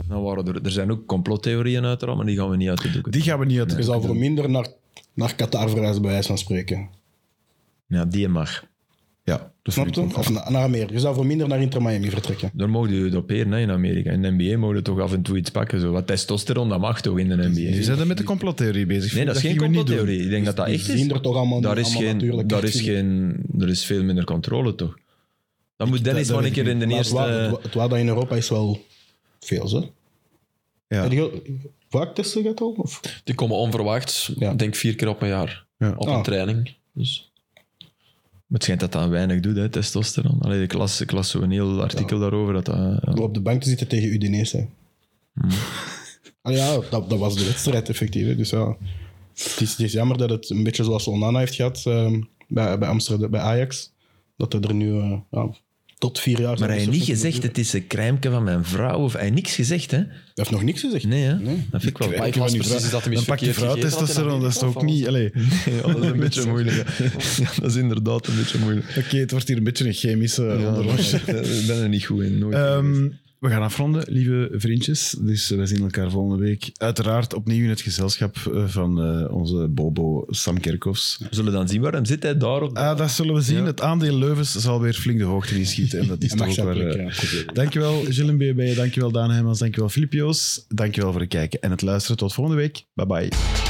[SPEAKER 2] Dan waren er, er zijn ook complottheorieën uiteraard, maar die gaan we niet uit de doeken.
[SPEAKER 1] Die gaan we niet uit de
[SPEAKER 4] Je zou voor minder naar, naar Qatar verhuizen, bij wijze van spreken.
[SPEAKER 2] Ja, die mag.
[SPEAKER 1] Ja, dat
[SPEAKER 4] Snap
[SPEAKER 1] vind
[SPEAKER 4] je?
[SPEAKER 1] ik ook.
[SPEAKER 4] Of na- naar meer. Je zou voor minder naar Inter Miami vertrekken.
[SPEAKER 2] Daar mogen jullie het op heren, hè, in Amerika. In de NBA mogen we toch af en toe iets pakken. Zo. Wat testosteron, dat mag toch in de
[SPEAKER 1] Je
[SPEAKER 2] NBA?
[SPEAKER 1] zijn er met de complottheorie bezig.
[SPEAKER 2] Nee, dat is geen
[SPEAKER 1] gingen we niet doen.
[SPEAKER 2] complottheorie. Ik denk dat dat
[SPEAKER 4] Die
[SPEAKER 2] echt
[SPEAKER 4] zien
[SPEAKER 2] is.
[SPEAKER 4] er toch allemaal
[SPEAKER 2] Daar is,
[SPEAKER 4] allemaal
[SPEAKER 2] geen,
[SPEAKER 4] natuurlijk
[SPEAKER 2] daar
[SPEAKER 4] uit
[SPEAKER 2] is,
[SPEAKER 4] zien.
[SPEAKER 2] geen, er is veel minder controle, toch? Dan moet Dennis
[SPEAKER 1] dat
[SPEAKER 2] maar een
[SPEAKER 1] weet ik
[SPEAKER 2] keer in de
[SPEAKER 4] Maar het wa- het
[SPEAKER 2] eerste...
[SPEAKER 4] wa- Het waar dat in Europa is wel veel, hè?
[SPEAKER 1] Ja.
[SPEAKER 4] Heb je heel- vaak testen gaat al? Of?
[SPEAKER 3] Die komen onverwachts,
[SPEAKER 4] Ja.
[SPEAKER 3] ik denk vier keer op een jaar.
[SPEAKER 1] Ja.
[SPEAKER 3] Op
[SPEAKER 4] Ah.
[SPEAKER 3] een training. Dus
[SPEAKER 2] Maar Het schijnt dat dat weinig doet, hè, testosteron. Allee, ik las, ik las zo'n heel artikel daarover. Dat dat, ja. Hmm.
[SPEAKER 4] Door op de bank te zitten tegen Udinese. Ah ja, dat, dat was de wedstrijd effectief. hè. Dus ja, het is, het is jammer dat het een beetje zoals Onana heeft gehad ehm, bij, bij Amsterdam, bij Ajax. Dat hij er nu eh, ja, tot vier jaar...
[SPEAKER 2] Maar hij heeft
[SPEAKER 4] zou
[SPEAKER 2] niet
[SPEAKER 4] moeten
[SPEAKER 2] gezegd,
[SPEAKER 4] duren.
[SPEAKER 2] het is een crème van mijn vrouw. Of, hij heeft niks gezegd, hè?
[SPEAKER 4] Hij heeft nog niks gezegd.
[SPEAKER 2] Nee, hè? Dat vind ik wel...
[SPEAKER 3] maar ik
[SPEAKER 4] kan
[SPEAKER 3] was
[SPEAKER 4] nu
[SPEAKER 3] precies
[SPEAKER 4] vragen.
[SPEAKER 3] dat hem
[SPEAKER 1] Dan
[SPEAKER 3] iets
[SPEAKER 1] pak je
[SPEAKER 3] verkeerd
[SPEAKER 1] vrouw
[SPEAKER 3] gegeten had en
[SPEAKER 1] testosteron,
[SPEAKER 3] dan
[SPEAKER 1] dat is toch ook niet... Allee.
[SPEAKER 2] Ja, dat is een beetje moeilijk. hè. Ja, dat is inderdaad een beetje moeilijk.
[SPEAKER 1] Oké, het wordt hier een beetje een chemische onderwas.
[SPEAKER 2] Ik ben er niet goed in. Nooit.
[SPEAKER 1] Ehm, we gaan afronden, lieve vriendjes. Dus eh, we zien elkaar volgende week. Uiteraard opnieuw in het gezelschap eh, van eh, onze Bobo Sam Kerkhoffs.
[SPEAKER 2] We zullen dan zien waarom zit hij daar op.
[SPEAKER 1] Ah, dat zullen we zien. Het aandeel Leuvens zal weer flink de hoogte inschieten. En dat is
[SPEAKER 4] Hij mag
[SPEAKER 1] toch ook wel...
[SPEAKER 4] zijn plek,
[SPEAKER 1] eh,
[SPEAKER 4] ja, proberen.
[SPEAKER 1] Dankjewel, Gilles Mbebe. Dankjewel, Daan Heijmans. Dankjewel, Filip Joos. Dankjewel voor het kijken en het luisteren. Tot volgende week. Bye-bye.